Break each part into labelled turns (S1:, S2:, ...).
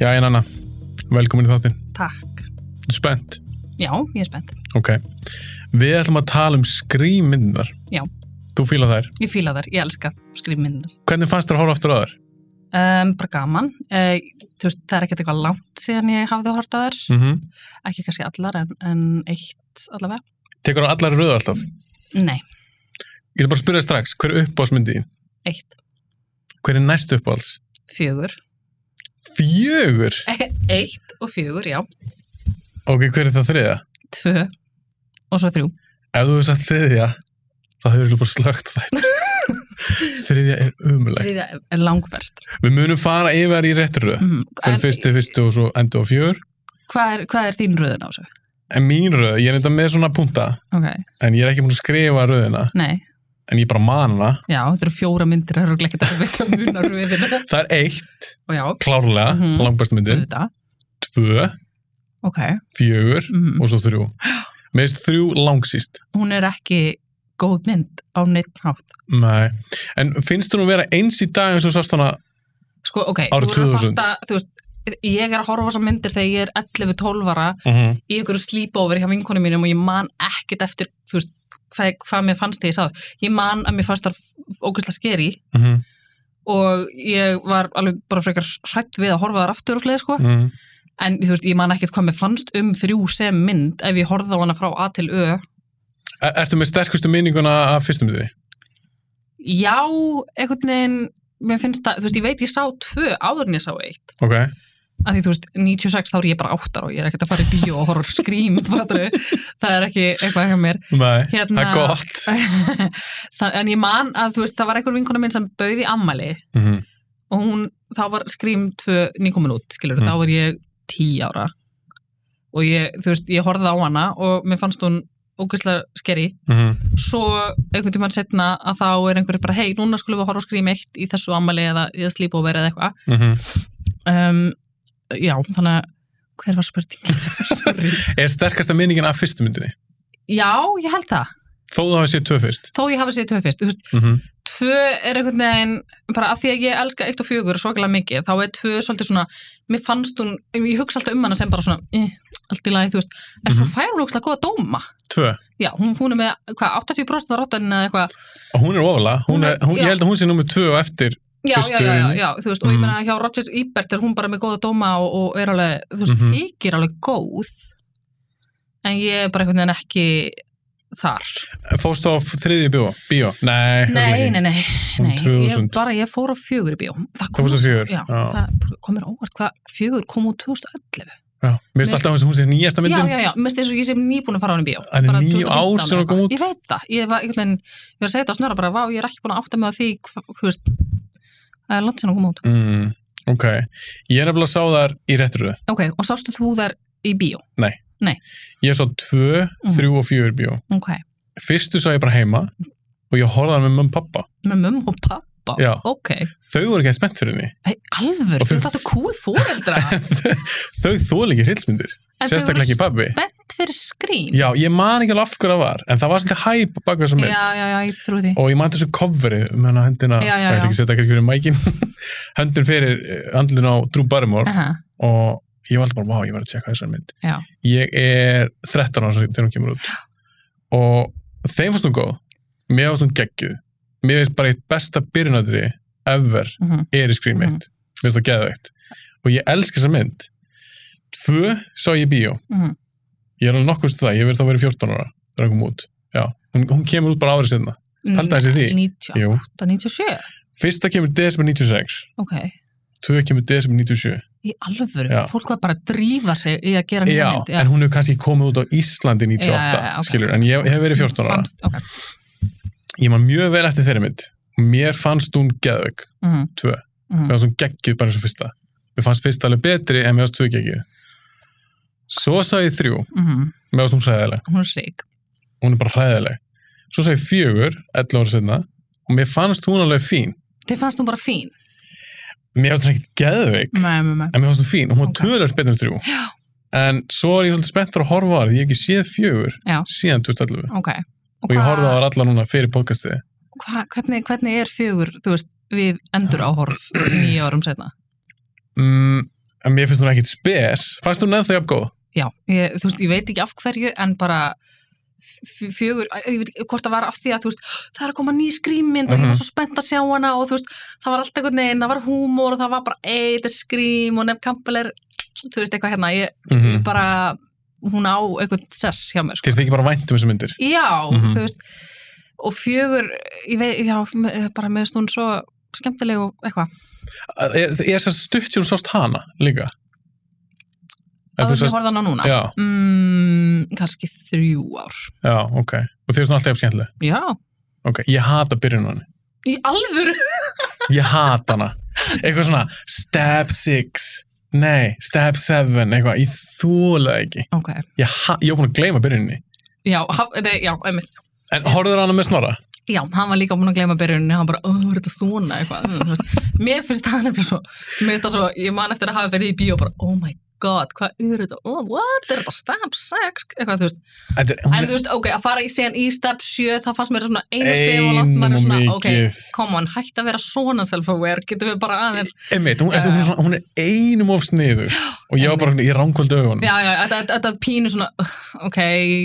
S1: Já, en Anna, velkomin í þáttinn.
S2: Takk.
S1: Ertu Spennt.
S2: Já, ég er spennt.
S1: Ok. Við ætlum að tala um skrýmyndunar.
S2: Já.
S1: Þú fíla þær.
S2: Ég fíla þar, ég elska skrýmyndunar.
S1: Hvernig fannst þér að horfa aftur á þær?
S2: Um, bara gaman. Uh, þú veist, það er ekkert eitthvað langt síðan ég hafði hort á þær.
S1: Mm
S2: Ekki kannski allar, en, en eitt allavega.
S1: Tekur á allar röðu alltaf.
S2: Nei,
S1: Ég er bara að spyrja þig strax, hver er uppáhalsmyndið þín?
S2: eitt.
S1: Hver er næst uppáhalds?
S2: Fjögur. Eh,
S1: Fjögur!
S2: eitt og fjögur, já.
S1: Ok, hver er það þriðja?
S2: Tvö og svo þrjú.
S1: Ef þú hefur sagt þriðja, þá hefur þú bara slögt þætt. þriðja er umuleg.
S2: Þriðja er langverst.
S1: Við munum fara yfir í réttur röð.
S2: Mm.
S1: Fyrir fyrstu, fyrstu og svo endur á fjögur.
S2: Hvað er, hvað er þín röðun á þessu?
S1: En mín röð, ég er þetta með svona punta,
S2: Ok,
S1: en ég er ekki búin að skrifa röðina,
S2: nei.
S1: en ég bara man hana.
S2: Já, þetta eru fjóra myndir, það eru ekki þetta veit að muna röðina.
S1: Það er eitt,
S2: Og já,
S1: klárlega, mm
S2: Mhm.
S1: -hmm. langbæstmyndin,
S2: þetta.
S1: tvö,
S2: Ok.
S1: fjögur
S2: Mm.
S1: og svo þrjú. Mér finnst þrjú langsýst.
S2: hún er ekki góð mynd á neitt hátt.
S1: Nei. En finnst þú nú vera eins í dag eins og sást hana,
S2: Sko, ok,
S1: Árið
S2: þú verður
S1: 2000.
S2: að fatta, þú veist, ég er að horfa á þessar myndir þegar ég er 11-12 ára
S1: mm
S2: í einhverju sleepover hjá vinkonum mínum og ég man ekkit eftir, þú veist, hvað, hvað mér fannst þegar ég sá það. Ég man að mér fannst það ógæslega skeri
S1: -hmm.
S2: og ég var alveg bara frekar hrætt við að horfa þar aftur og sleið, sko.
S1: Mm
S2: En þú veist, ég man ekkit hvað mér fannst um þrjú sem mynd ef ég horfði á hana frá A til Ö.
S1: er, E, ertu með sterkustu minninguna af fyrstum því?
S2: Já, einhvern veginn, mér finnst það, þú veist, ég veit ég sá tvö áður en ég sá eitt.
S1: Ok.
S2: að því þú veist, 96 þá er ég bara áttar og ég er ekkert að fara í bíó og horfa á skrím fattarðu? það er ekki eitthvað hjá mér
S1: Nei.
S2: Hérna-
S1: Það er gott.
S2: það, en ég man að þú veist, það var einhver vinkona minn sem bauði ammali
S1: Mm
S2: og hún, þá var skrím 2 nýkomin út, skilur,
S1: Mm.
S2: þá var ég 10 ára og ég, þú veist, ég horfði á hana og mér fannst hún ógeðslega skeri
S1: -hmm.
S2: svo einhvern tímann setna að þá er einhver bara, hei, núna skulum við horfa á skrím 1 í þessu ammali eða, eða slípóver eða eitthvað
S1: Mm
S2: um, já, þannig að hver var spurningin? Sorry.
S1: Er sterkasta minningin af fyrstum myndinni?
S2: já, ég held það
S1: Þó það hafi séð tvö fyrst.
S2: þó ég hafi séð tvö fyrst, þú veist,
S1: Mm
S2: tvö er einhvern veginn, bara af því að ég elska eitt og fjögur svakalega mikið, þá er tvö svolítið svona mér fannst hún, ég hugsa alltaf um hana sem bara svona, eh, allt í lagi, þú veist en svo
S1: Mhm.
S2: fær hún lókslega góða dóma
S1: Tvö.
S2: já, hún, hún er með, hvað, 80% ráttan eða eitthvað,
S1: Og hún er ofalega. Hún
S2: Hún
S1: er,
S2: er-
S1: hún, ég
S2: já.
S1: held að hún sé nummið tvö og eftir.
S2: já, já, já, já,
S1: Fyrstu-
S2: já, þú veist og ég
S1: Mhm.
S2: meina hjá Roger Ebert er hún bara með góða dóma og, og er alveg, þú veist,
S1: Mhm.
S2: þykir alveg góð en ég er bara einhvern veginn ekki þar
S1: Fóst á þriðju bíó? Bíó? Nei.
S2: nei, nei, nei,
S1: Hún
S2: nei, ég
S1: 2000.
S2: bara, ég fór á fjögur í bíó það kom
S1: Fóst á fjögur?
S2: Já, það komir óvart hvað fjögur kom úr 2011.
S1: Já, mér finnst
S2: Mér-
S1: alltaf eins og hún sé nýjasta
S2: Já,
S1: myndin.
S2: já, já, mér finnst eins og ég sem nýbúin að fara á henni í bíó.
S1: Hann er
S2: Bara
S1: níu
S2: 2015
S1: ár sem hún kom
S2: eitthvað.
S1: út.
S2: Ég veit það, ég var, einhvern veginn, ég var að segja þetta á snöra bara, vá, ég er ekki búin að átta með því, hva- hvað, þú veist, það er langt sem hún kom út.
S1: Mm, ok, ég er nefnilega að sá þar í rétturöðu.
S2: Ok, og sástu þú þar í bíó?
S1: Ég sá tvö,
S2: Mm.
S1: þrjú og fjögur bíó.
S2: Ok,
S1: Fyrstu sá ég bara heima og ég horfði hann með mömmu og pappa.
S2: með mömmu og pappa?
S1: Já.
S2: Ok,
S1: Þau voru ekki spennt fyrir henni.
S2: hey, alveg,
S1: Og
S2: þú
S1: þau-
S2: fættu cool fóreldra.
S1: Þau þóla ekki hryllsmyndir,
S2: En þau voru
S1: sérstaklega ekki pabbi.
S2: spennt fyrir skrím.
S1: Já, ég man ekki alveg af hverju það var, en það var svolítið hæp bak við þessa mynd.
S2: já, já, já, ég trúi því.
S1: Og ég man þessu coverið um hennar hendina,
S2: Já, já,
S1: ég ætla
S2: já.
S1: ekki að setja kannski fyrir mækin, höndin fyrir eh, andlun á Drew Barrymore
S2: Aha,
S1: og ég var alltaf bara, vá, ég var að tjekka þessa mynd.
S2: Já,
S1: ég er 13 ára þegar hún kemur út og þeim fannst hún góð mér fannst hún geggjuð mér finnst bara eitt besta byrjunadri ever
S2: mhm,
S1: er í Scream 1
S2: Mhm.
S1: mér finnst það geðveikt og ég elska þessa mynd tvö sá ég í bíó
S2: mhm.
S1: ég er alveg nokkuð stuð það, ég verði þá verið 14 ára þegar hún kom út, já, hún, hún kemur út bara árið sinna,
S2: Mm,
S1: Pældu aðeins í því.
S2: 98,
S1: jú,
S2: 97,
S1: fyrsta kemur desember 96
S2: ok.
S1: tvö kemur desember 97
S2: Í alvöru,
S1: Já.
S2: fólk var bara að drífa sig í að gera nýja
S1: já,
S2: mynd. Já,
S1: en hún hefur kannski komið út á Íslandi 98,
S2: Já, já, já, ok.
S1: skilur, en ég, ég hef verið 14 ára
S2: Fannst, ok.
S1: ég man mjög vel eftir þeirri mynd mér fannst hún geðvögg,
S2: Mm,
S1: tvö
S2: mm.
S1: mér fannst hún geggjuð bara eins og fyrsta mér fannst fyrsta alveg betri en mér fannst tvö geggjuð svo sá ég þrjú
S2: Mm,
S1: mér fannst hún hræðileg,
S2: hún er sík.
S1: hún er bara hræðileg svo sá ég fjögur, 11 ára senna og mér fannst hún alveg fín
S2: Þið fannst hún bara fín.
S1: mér fannst hún ekkert geðvögg
S2: Nei, nei, nei.
S1: en mér fannst hún fín, hún var
S2: Ok.
S1: okay. tölvöld betur en þrjú
S2: Já.
S1: en svo er ég svolítið spenntur að horfa á það ég hef ekki séð fjögur
S2: Já.
S1: síðan 2011
S2: Ok.
S1: og ég horfði á það allar núna fyrir podcastið
S2: Hva, hvernig, hvernig er fjögur, þú veist, við endur áhorf nýja árum setna?
S1: mm, en mér finnst hún ekkit spes fannst hún ennþá jafn góð
S2: já, ég, þú veist, ég veit ekki af hverju en bara f- fjögur, æ, ég veit ekki hvort það var af því að þú veist, það er að koma ný skrýmynd og ég var
S1: Mhm.
S2: svo spennt að sjá hana og þú veist, það var alltaf einhvern veginn, það var húmor og það var bara eitt skrým og nefn kampel er þú veist, eitthvað hérna, ég
S1: mm
S2: bara hún á einhvern sess hjá mér sko.
S1: þér þykir bara vænt um þessu myndir
S2: já,
S1: Mhm.
S2: þú veist og fjögur, ég veit, já me- bara með stund svo skemmtileg og eitthvað
S1: er, er þess að stutt sem hún sást hana líka Ef
S2: að
S1: þú
S2: þú
S1: sást-
S2: horfði á hana núna
S1: já,
S2: mm, kannski þrjú ár
S1: já, ok og þér er svona alltaf jafn skemmtileg
S2: já,
S1: ok, ég hata byrjun á henni
S2: í alvöru
S1: ég hata hana eitthvað svona stab 6 nei, stab 7 eitthvað, ég þóla ekki
S2: ok,
S1: ég, ha- ég var búin að gleyma byrjunni
S2: já, haf, nei, já, einmitt
S1: en horfður hana með snorra
S2: já, hann var líka búin að gleyma byrjunni hann bara, ó, er þetta svona eitthvað mm, þú veist. mér finnst það nefnilega svo mér finnst það svo, ég man eftir að hafa verið í bíó og bara, oh my god, hvað er þetta oh, what, er þetta stamp sex eitthvað, þú veist
S1: Þetta er- hún
S2: En
S1: er
S2: þú veist, ok, að fara í síðan í step 7 það fannst mér svona einu stef og langt maður er svona,
S1: einum og
S2: ok,
S1: mikið
S2: come on, hætt að vera svona self-aware, getum við bara aðeins
S1: Einmitt, hún, uh, hún, er svona, hún er einum of sniðu og ég var bara í ránkvöldu augunum
S2: Já, já, þetta- þetta þetta pínu svona ugh, ok,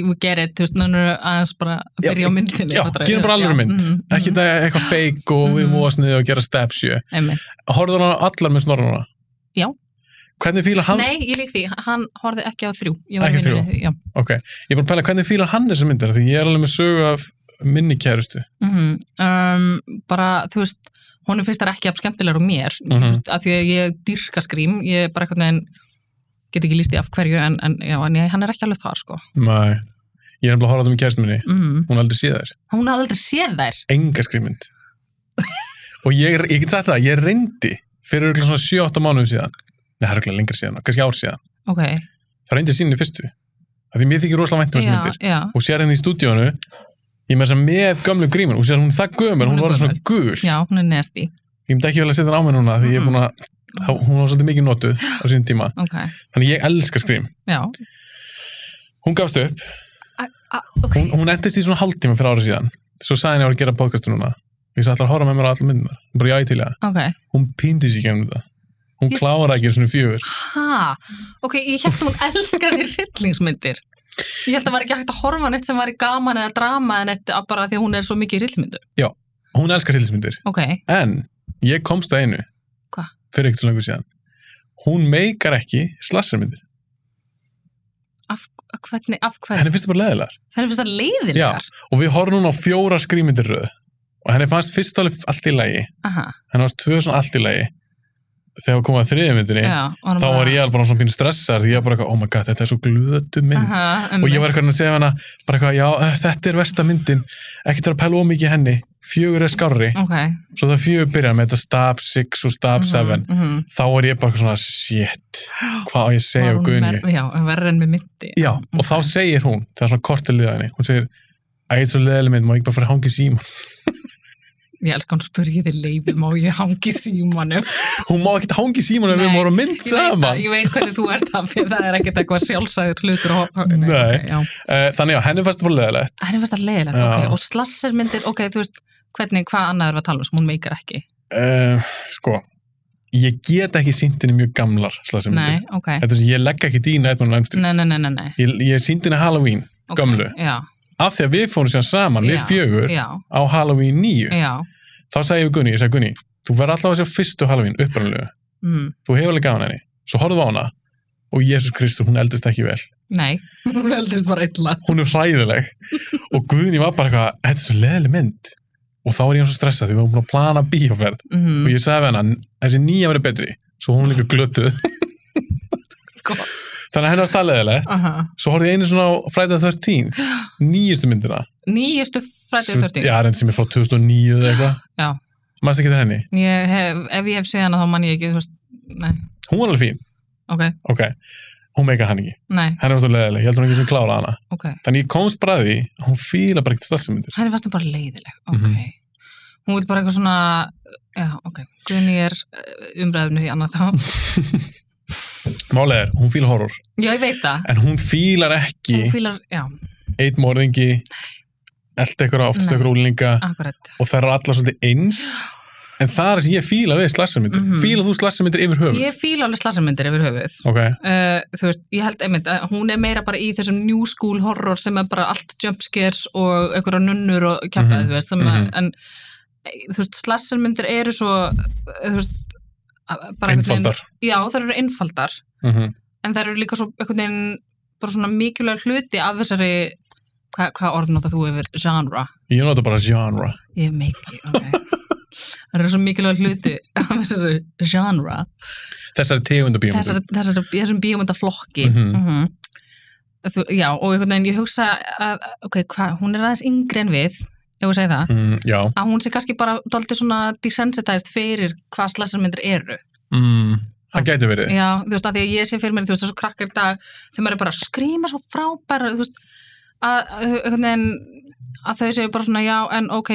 S2: we get it, þú veist, nánur aðeins bara að
S1: Já,
S2: byrja á myndinni
S1: Já,
S2: fattar við?
S1: gerum bara
S2: Já,
S1: alveg mynd,
S2: mhm, mhm,
S1: ekki það eitthvað fake og við
S2: Mhm.
S1: móa sniðu og gera step 7
S2: einmitt.
S1: Horfður hana allar með snorra núna?
S2: Já.
S1: Hvernig fíla hann,
S2: Nei, ég lík því, hann horfði ekki á þrjú Ég var í
S1: Ekki
S2: vinnunni, Já,
S1: ok, ég er bara að pæla hvernig fíla hann þessar myndir, því ég er alveg með sögu af minni kærustu,
S2: mhm, um, bara, þú veist honum finnst það ekki af skemmtilegur og mér
S1: Mhm.
S2: þú veist, af því að ég dýrka skrím ég er bara eitthvað neginn get ekki líst í af hverju en, en, já, en ég, hann er ekki alveg þar sko
S1: nei ég er nefnilega að horfa á þetta með kærustu minni,
S2: mm.
S1: hún er aldrei séð þær
S2: hún hafði aldrei séð þær
S1: enga skrýmynd og ég, ég get sagt það, ég reyndi fyrir örugglega svona 7-8 mánuðum síðan nei, það er örugglega lengra síðan, kannski ár síðan
S2: ok,
S1: það reyndi sín í fyrstu af því mér þykir rosalega vænt um þessu
S2: já,
S1: myndir
S2: já
S1: og sér henni í stúdíónu ég með þess að með gömlu grímun og sér hún er það gömul,
S2: Hún
S1: hún
S2: er
S1: var orðin svona gul
S2: já, hún er nesti,
S1: ég myndi ekki vel að setja hann á mig núna því ég er búin að þá- hún var svolítið mikið notuð á sínum tíma
S2: ok
S1: þannig ég elska skrým,
S2: já,
S1: hún gafst upp
S2: A, ok,
S1: hún, hún endist í svona hálftíma fyrir ára síðan svo sagði henni að ég var að gera podcastu núna ég sagði allar að horfa með mér á allar myndunar bara já, ég er til í það
S2: ok
S1: hún pindi sér gennum þetta hún
S2: Ég-
S1: klára ekki svona fjögur
S2: ha, ok, ég held hún elskaði hryllingsmyndir ég held að það var ekki hægt að horfa á neitt sem var í gaman eða drama en eitt bara því að hún er svo mikið í hryllingsmyndu,
S1: hún elskar hilsmyndir
S2: ok,
S1: en ég komst að einu
S2: Hva?
S1: fyrir ekkert svo langur síðan hún meikar ekki slassarmyndir
S2: af hvernig, af hvernig
S1: henni finnst það bara leðilegar
S2: henni finnst það leiðinlegar
S1: og við horfum núna á fjóra skrýmyndir röð og henni fannst fyrst alveg allt í lagi
S2: Aha,
S1: henni fannst tvö svona allt í lagi þegar við komum að þriðja myndinni
S2: já, og hann
S1: þá var ég alveg bara svona pínu stressar því ég var bara eitthvað, oh my god, þetta er svo glötu mynd
S2: Aha,
S1: og ég var eitthvað að segja við hana bara eitthvað, já, eh, þetta er versta myndin ekki til að pæla ómikið henni, fjögur er skárri
S2: ok
S1: svo það fjögur byrjar með þetta stab 6 og stab 7
S2: mm -hmm.
S1: þá er ég bara eitthvað svona shit, hvað á ég að segja um Gunni
S2: já, verður en með myndi Mhm.
S1: já, og þá segir hún, það er svona kort til liðaðinni hún segir, að ég er svo leðileg mynd má ég ekki bara fara að hanga í síma
S2: ég elska hún spurði þið leiði, má ég hangi símanum
S1: hún má ekkert hanga í síma ef við
S2: Nei,
S1: vorum á mynd
S2: ég veit, það,
S1: saman
S2: ég veit hvernig þú ert af því það er ekkert eitthvað sjálfsæður hlutur og,
S1: Nei.
S2: ok, já.
S1: uh, þannig já, henni fannst það bara leðilegt
S2: það er fyrst að leiðilegt,
S1: Já.
S2: ok og slasser myndir, ok, þú veist hvernig, hvað annað er að tala um sem hún meikar ekki
S1: uh, sko, ég get ekki sýndinni mjög gamlar
S2: nei,
S1: slagsmyndir,
S2: ok,
S1: þetta er sem ég legg ekki í Nightmare on Elm
S2: nei,
S1: Street
S2: nei, nei, nei, nei.
S1: ég, ég sýndinni Halloween
S2: Okay.
S1: Gömlu.
S2: já,
S1: af því að við fórum sér saman, við
S2: Já,
S1: fjögur
S2: já,
S1: á Halloween 9
S2: já
S1: þá sagði ég við Gunni, ég sagði Gunni þú verður alltaf að sjá fyrstu Halloween upprannlega
S2: mm.
S1: þú hefur alveg gaman henni, svo horfðu á hana og Jésús Kristur, hún eldist ekki vel
S2: nei, hún eldist bara illa
S1: hún er hræðileg og Guðni var bara eitthvað, þetta er svo leðileg mynd og þá er ég svo stressað því við erum búin að plana bíóferð og
S2: mm.
S1: ég sagði við hana, þessi nýja verið betri svo hún líka glötuð
S2: Gott.
S1: þannig að henni var staðleðilegt
S2: Aha.
S1: svo horfði ég einu svona á Friday the 13th nýjustu myndina
S2: nýjastu frætið
S1: Svo-
S2: 13
S1: já, reynd sem er frá 2009 eða
S2: Já.
S1: eitthvað mannst ekki til henni,
S2: ég hef, ef ég hef séð hana þá man ég ekki þú veist, nei,
S1: hún var alveg fín
S2: ok,
S1: ok, hún meika hann ekki
S2: nei,
S1: henni var svo leðileg, ég held hún ekki sem klára hana
S2: ok
S1: þannig ég komst bara að því að hún fíla bara ekkert stafsmyndir
S2: henni fannst hún bara leiðileg, ok
S1: Mhm.
S2: hún veit bara eitthvað svona já, ok, Guðni er eh, umræðinu í annað þá
S1: málega er, hún fíla horror
S2: já, ég veit það,
S1: en hún fílar ekki
S2: hún fílar, já,
S1: eitt morðingi elda ykkur oftast
S2: Nei. Ah.
S1: ykkur úlinga
S2: akkurat
S1: og þær eru allar svolítið eins en það er það sem ég fíla við slassamyndir
S2: Mhm.
S1: fíla þú slassamyndir yfir höfuð
S2: Ég fíla alveg slasamindir yfir höfuð.
S1: ok,
S2: Uh, þú veist, ég held einmitt að hún er meira bara í þessum new school horror sem er bara allt jumpscares og einhverja nunnur og kjartaði,
S1: Mhm,
S2: þú veist, sem að,
S1: mhm.
S2: en eh, þú veist, slasamindir eru svo, eh, þú veist, a- bara einhvern veginn-
S1: einfaldar
S2: Já, þær eru einfaldar,
S1: mm
S2: en þær eru líka svo einhvern veginn bara svona mikilvæg hluti af þessari, hva, hvað orð nota þú yfir genre?
S1: ég nota bara genre
S2: Ég meiki, ok. það eru svo mikilvæg hluti af þessari genre.
S1: þessari tegundabíum
S2: þessar, þessar, þessum bíómyndaflokki
S1: Mhm.
S2: mm Þú, já, og einhvern veginn ég hugsa að, ok, hvað, hún er aðeins yngri en við ef við segja það,
S1: mm, já
S2: að hún sé kannski bara daldið svona desensitized fyrir hvað slassarmyndir eru
S1: mm, það gæti verið
S2: já, þú veist, að því að ég sé fyrir mér þú veist, þessu krakkar í dag, þegar maður er bara að skrýma svo frábæra, þú veist að, að, einhvern veginn, að þau séu bara svona já, en ok,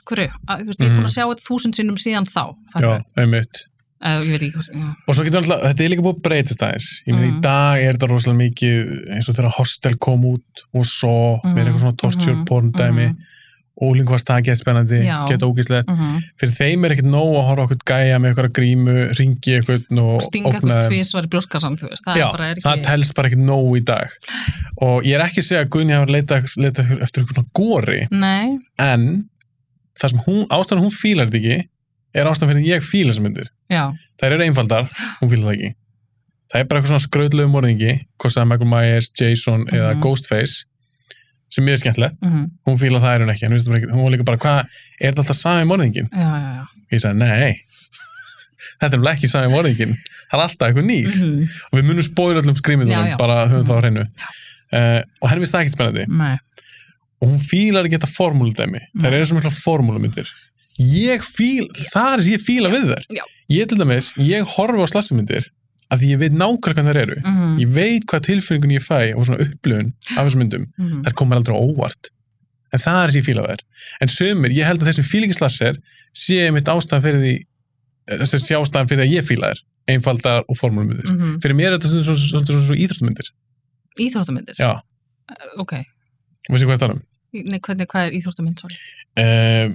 S2: akkurri að, þú veist, ég er búin að sjá þetta þúsund sinnum síðan þá
S1: Mhm. já,
S2: fattar,
S1: einmitt
S2: að, ég veit ekki hvort já.
S1: Og svo getur alltaf, þetta er líka búið að breytast aðeins. Ég meina,
S2: Mhm.
S1: í dag er þetta rosalega mikið eins og þegar hostel kom út og svo
S2: Mhm,
S1: verið eitthvað svona torture
S2: mhm,
S1: porn dæmi
S2: mhm.
S1: og língvast það gett spennandi,
S2: Já.
S1: geta ógíslegt.
S2: Mhm.
S1: Fyrir þeim er ekkert nóg að horfa okkur gæja með eitthvað grímu, ringi eitthvað og
S2: stinga
S1: ógna
S2: eitthvað
S1: þeim.
S2: tvísvar í brjóskassan, þú veist, það
S1: Já,
S2: bara er ekki
S1: það telst bara ekkert nóg í dag. Og ég er ekki að segja að Gunni hafa leitað leita eftir eitthvað svona góri,
S2: Nei,
S1: en það sem hún, ástæðan hún fílar þetta ekki er ástæðan fyrir að ég fíla þessar myndir.
S2: já,
S1: þær eru einfaldar, hún fílar það ekki það er bara eitthvað svona skröðlegu morðingi hvort sem það er Michael Myers, Jason eða
S2: Mhm.
S1: Ghostface sem ég er skemmtilegt,
S2: mm
S1: hún fílar það er hún ekki, en hún, ekki hún var líka bara, hvað, er þetta alltaf sami morðingin?
S2: já, já, já.
S1: ég sagði, nei þetta er bara ekki sami morðingin það er alltaf eitthvað nýr
S2: Mm
S1: og við munum spóður öllum
S2: Já, já.
S1: skrýmyndunum bara höfum það á hreinu uh, og henni finnst það ekki spennandi
S2: -hmm.
S1: og hún fílar ekki þetta formúludæmi þær
S2: Nei.
S1: eru svo mikla formúlumyndir ég fíl, það er sem ég fíla við þær
S2: Já.
S1: ég til dæmis, ég horfa á slassamyndir af því ég veit nákvæmlega hvað þær eru
S2: Mm
S1: ég veit hvað tilfinningun ég fæ og svona upplöfun af þessum myndum,
S2: -hmm.
S1: þær komar aldrei á óvart en það er sem ég fíla við þær en sömur, ég held að þessum fílingislasser sé mitt ástæðan fyrir því þessi sé ástæðan fyrir að ég fíla þær einfaldar og formúlumyndir
S2: mhm. Mm.
S1: fyrir mér er þetta svona, svona, svona, svona, svona íþróttmyndir
S2: Íþróttamyndir?
S1: Já.
S2: Ok,
S1: veistu hvað ég er að tala um
S2: Nei, hvernig, hvað er íþróttamynd, sorry?
S1: uh,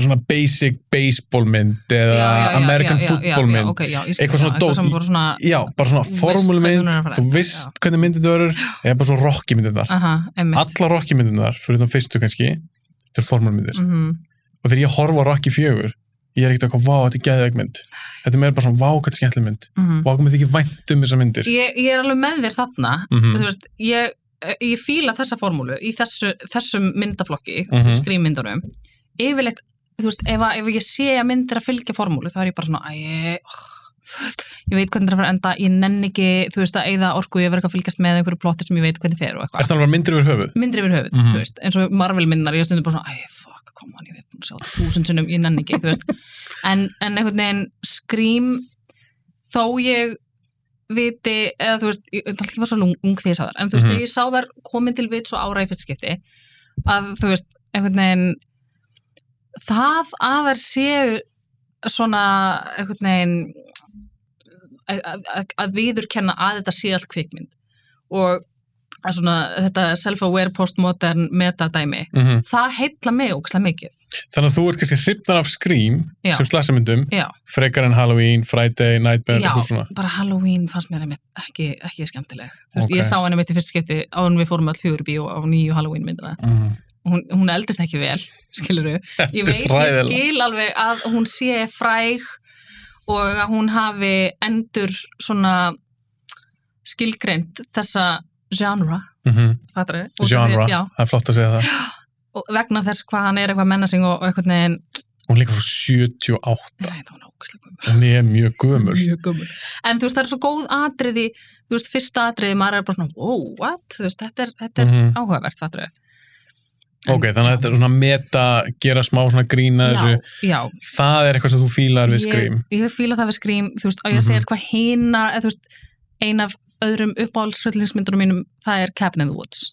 S1: svona basic baseball mynd eða
S2: Já, já, já,
S1: Uh, American
S2: já, já,
S1: football
S2: já,
S1: mynd
S2: já, ok, já, ég skil,
S1: Eitthvað svona
S2: já, eitthvað
S1: dót
S2: sem
S1: í-
S2: bara svona,
S1: já, bara svona
S2: Þú veist hvernig hún
S1: formúlumynd
S2: er að fara.
S1: þú veist hvernig myndið það verður eða bara svona Rocky myndirnar
S2: aha, emmitt
S1: allar Rocky myndirnar, fyrir þá fyrstu kannski þetta er formúlumyndir
S2: mm -hmm.
S1: og þegar ég horfa á Rocky 4 ég er ekkert eitthvað, vá, þetta er geðveik mynd þetta er meira bara svona, vá, hvað þetta er skemmtileg mynd
S2: Mm.
S1: vá, hvað mér þykir vænt um þessar myndir
S2: mhm. ég, ég er alveg með þér þarna þú
S1: Mhm,
S2: veist, ég, ég fíla þessa formúlu í þessu, þessum myndaflokki mm
S1: Mhm.
S2: -hmm. skrýmyndunum yfirleitt, þú veist, ef, að, ef ég sé að myndir að fylgja formúlu, þá er ég bara svona æ, ég- oh, ég veit hvernig það er að fara að enda ég nenn ekki, þú veist, að eigða orku ég verður að fylgjast með einhverju plotti sem ég veit hvernig fer og
S1: er
S2: eitthvað
S1: það alveg myndir yfir höfuð
S2: myndir yfir höfuð,
S1: Mhm.
S2: þú veist, eins og Marvel myndar ég er stundum bara svona, æ, fuck, kom hann, ég veit búin að sjá þetta þúsund sinnum, ég nenn ekki, þú veist en, en einhvern veginn skrím þó ég viti, eða þú veist, ég ætla ekki að vera svo lung, ung því ég sá þar, en þú veist,
S1: Mhm.
S2: þegar ég sá þar komin til vits og ára í fyrst skipti að þú veist, einhvern veginn það að þær séu svona einhvern veginn að- að að viðurkenna að þetta sé allt kvikmynd og að svona þetta self-aware postmodern metadæmi,
S1: Mhm.
S2: það heilla mig ókslega mikið,
S1: þannig að þú ert kannski hrifnar af Scream
S2: Já.
S1: sem slasamyndum,
S2: já
S1: frekar en Halloween Friday, Nightmare,
S2: Já.
S1: eitthvað svona
S2: bara Halloween fannst mér einmitt ekki, ekki skemmtileg. Þú veist,
S1: Ok.
S2: ég sá henni mitt í fyrst skipti án við fórum að fjögur bíó á nýju Halloween myndina.
S1: mm.
S2: Hún, hún eldist ekki vel, skilur við. Ég
S1: Þetta er
S2: veit, ég
S1: stræðilega.
S2: skil alveg að hún sé fræg og að hún hafi endur svona skilgreint þessa genre,
S1: Mhm.
S2: fattar við?
S1: genre,
S2: Já,
S1: það er flott að segja það
S2: og vegna þess hvað hann er eitthvað menasing og, og eitthvað neginn,
S1: hún er líka frá 78
S2: nei, það var nákvæmst
S1: hún er mjög gömul
S2: Mjög gömul. En þú veist, það er svo góð atriði, þú veist, fyrsta atriði, maður er bara svona, wow, what? Þú veist, þetta er, þetta er
S1: Mhm.
S2: áhugavert, fattur við.
S1: ok, þannig að þetta er svona meta gera smá svona grína þessu
S2: Já, já.
S1: það er eitthvað sem þú fílar við skrým
S2: Ég, ég fíla það við skrým, þú veist, og ég segir
S1: Mhm.
S2: hvað hina, eða þú veist, ein af öðrum uppáhaldsröldinsmyndunum mínum, það er Cabin in the Woods.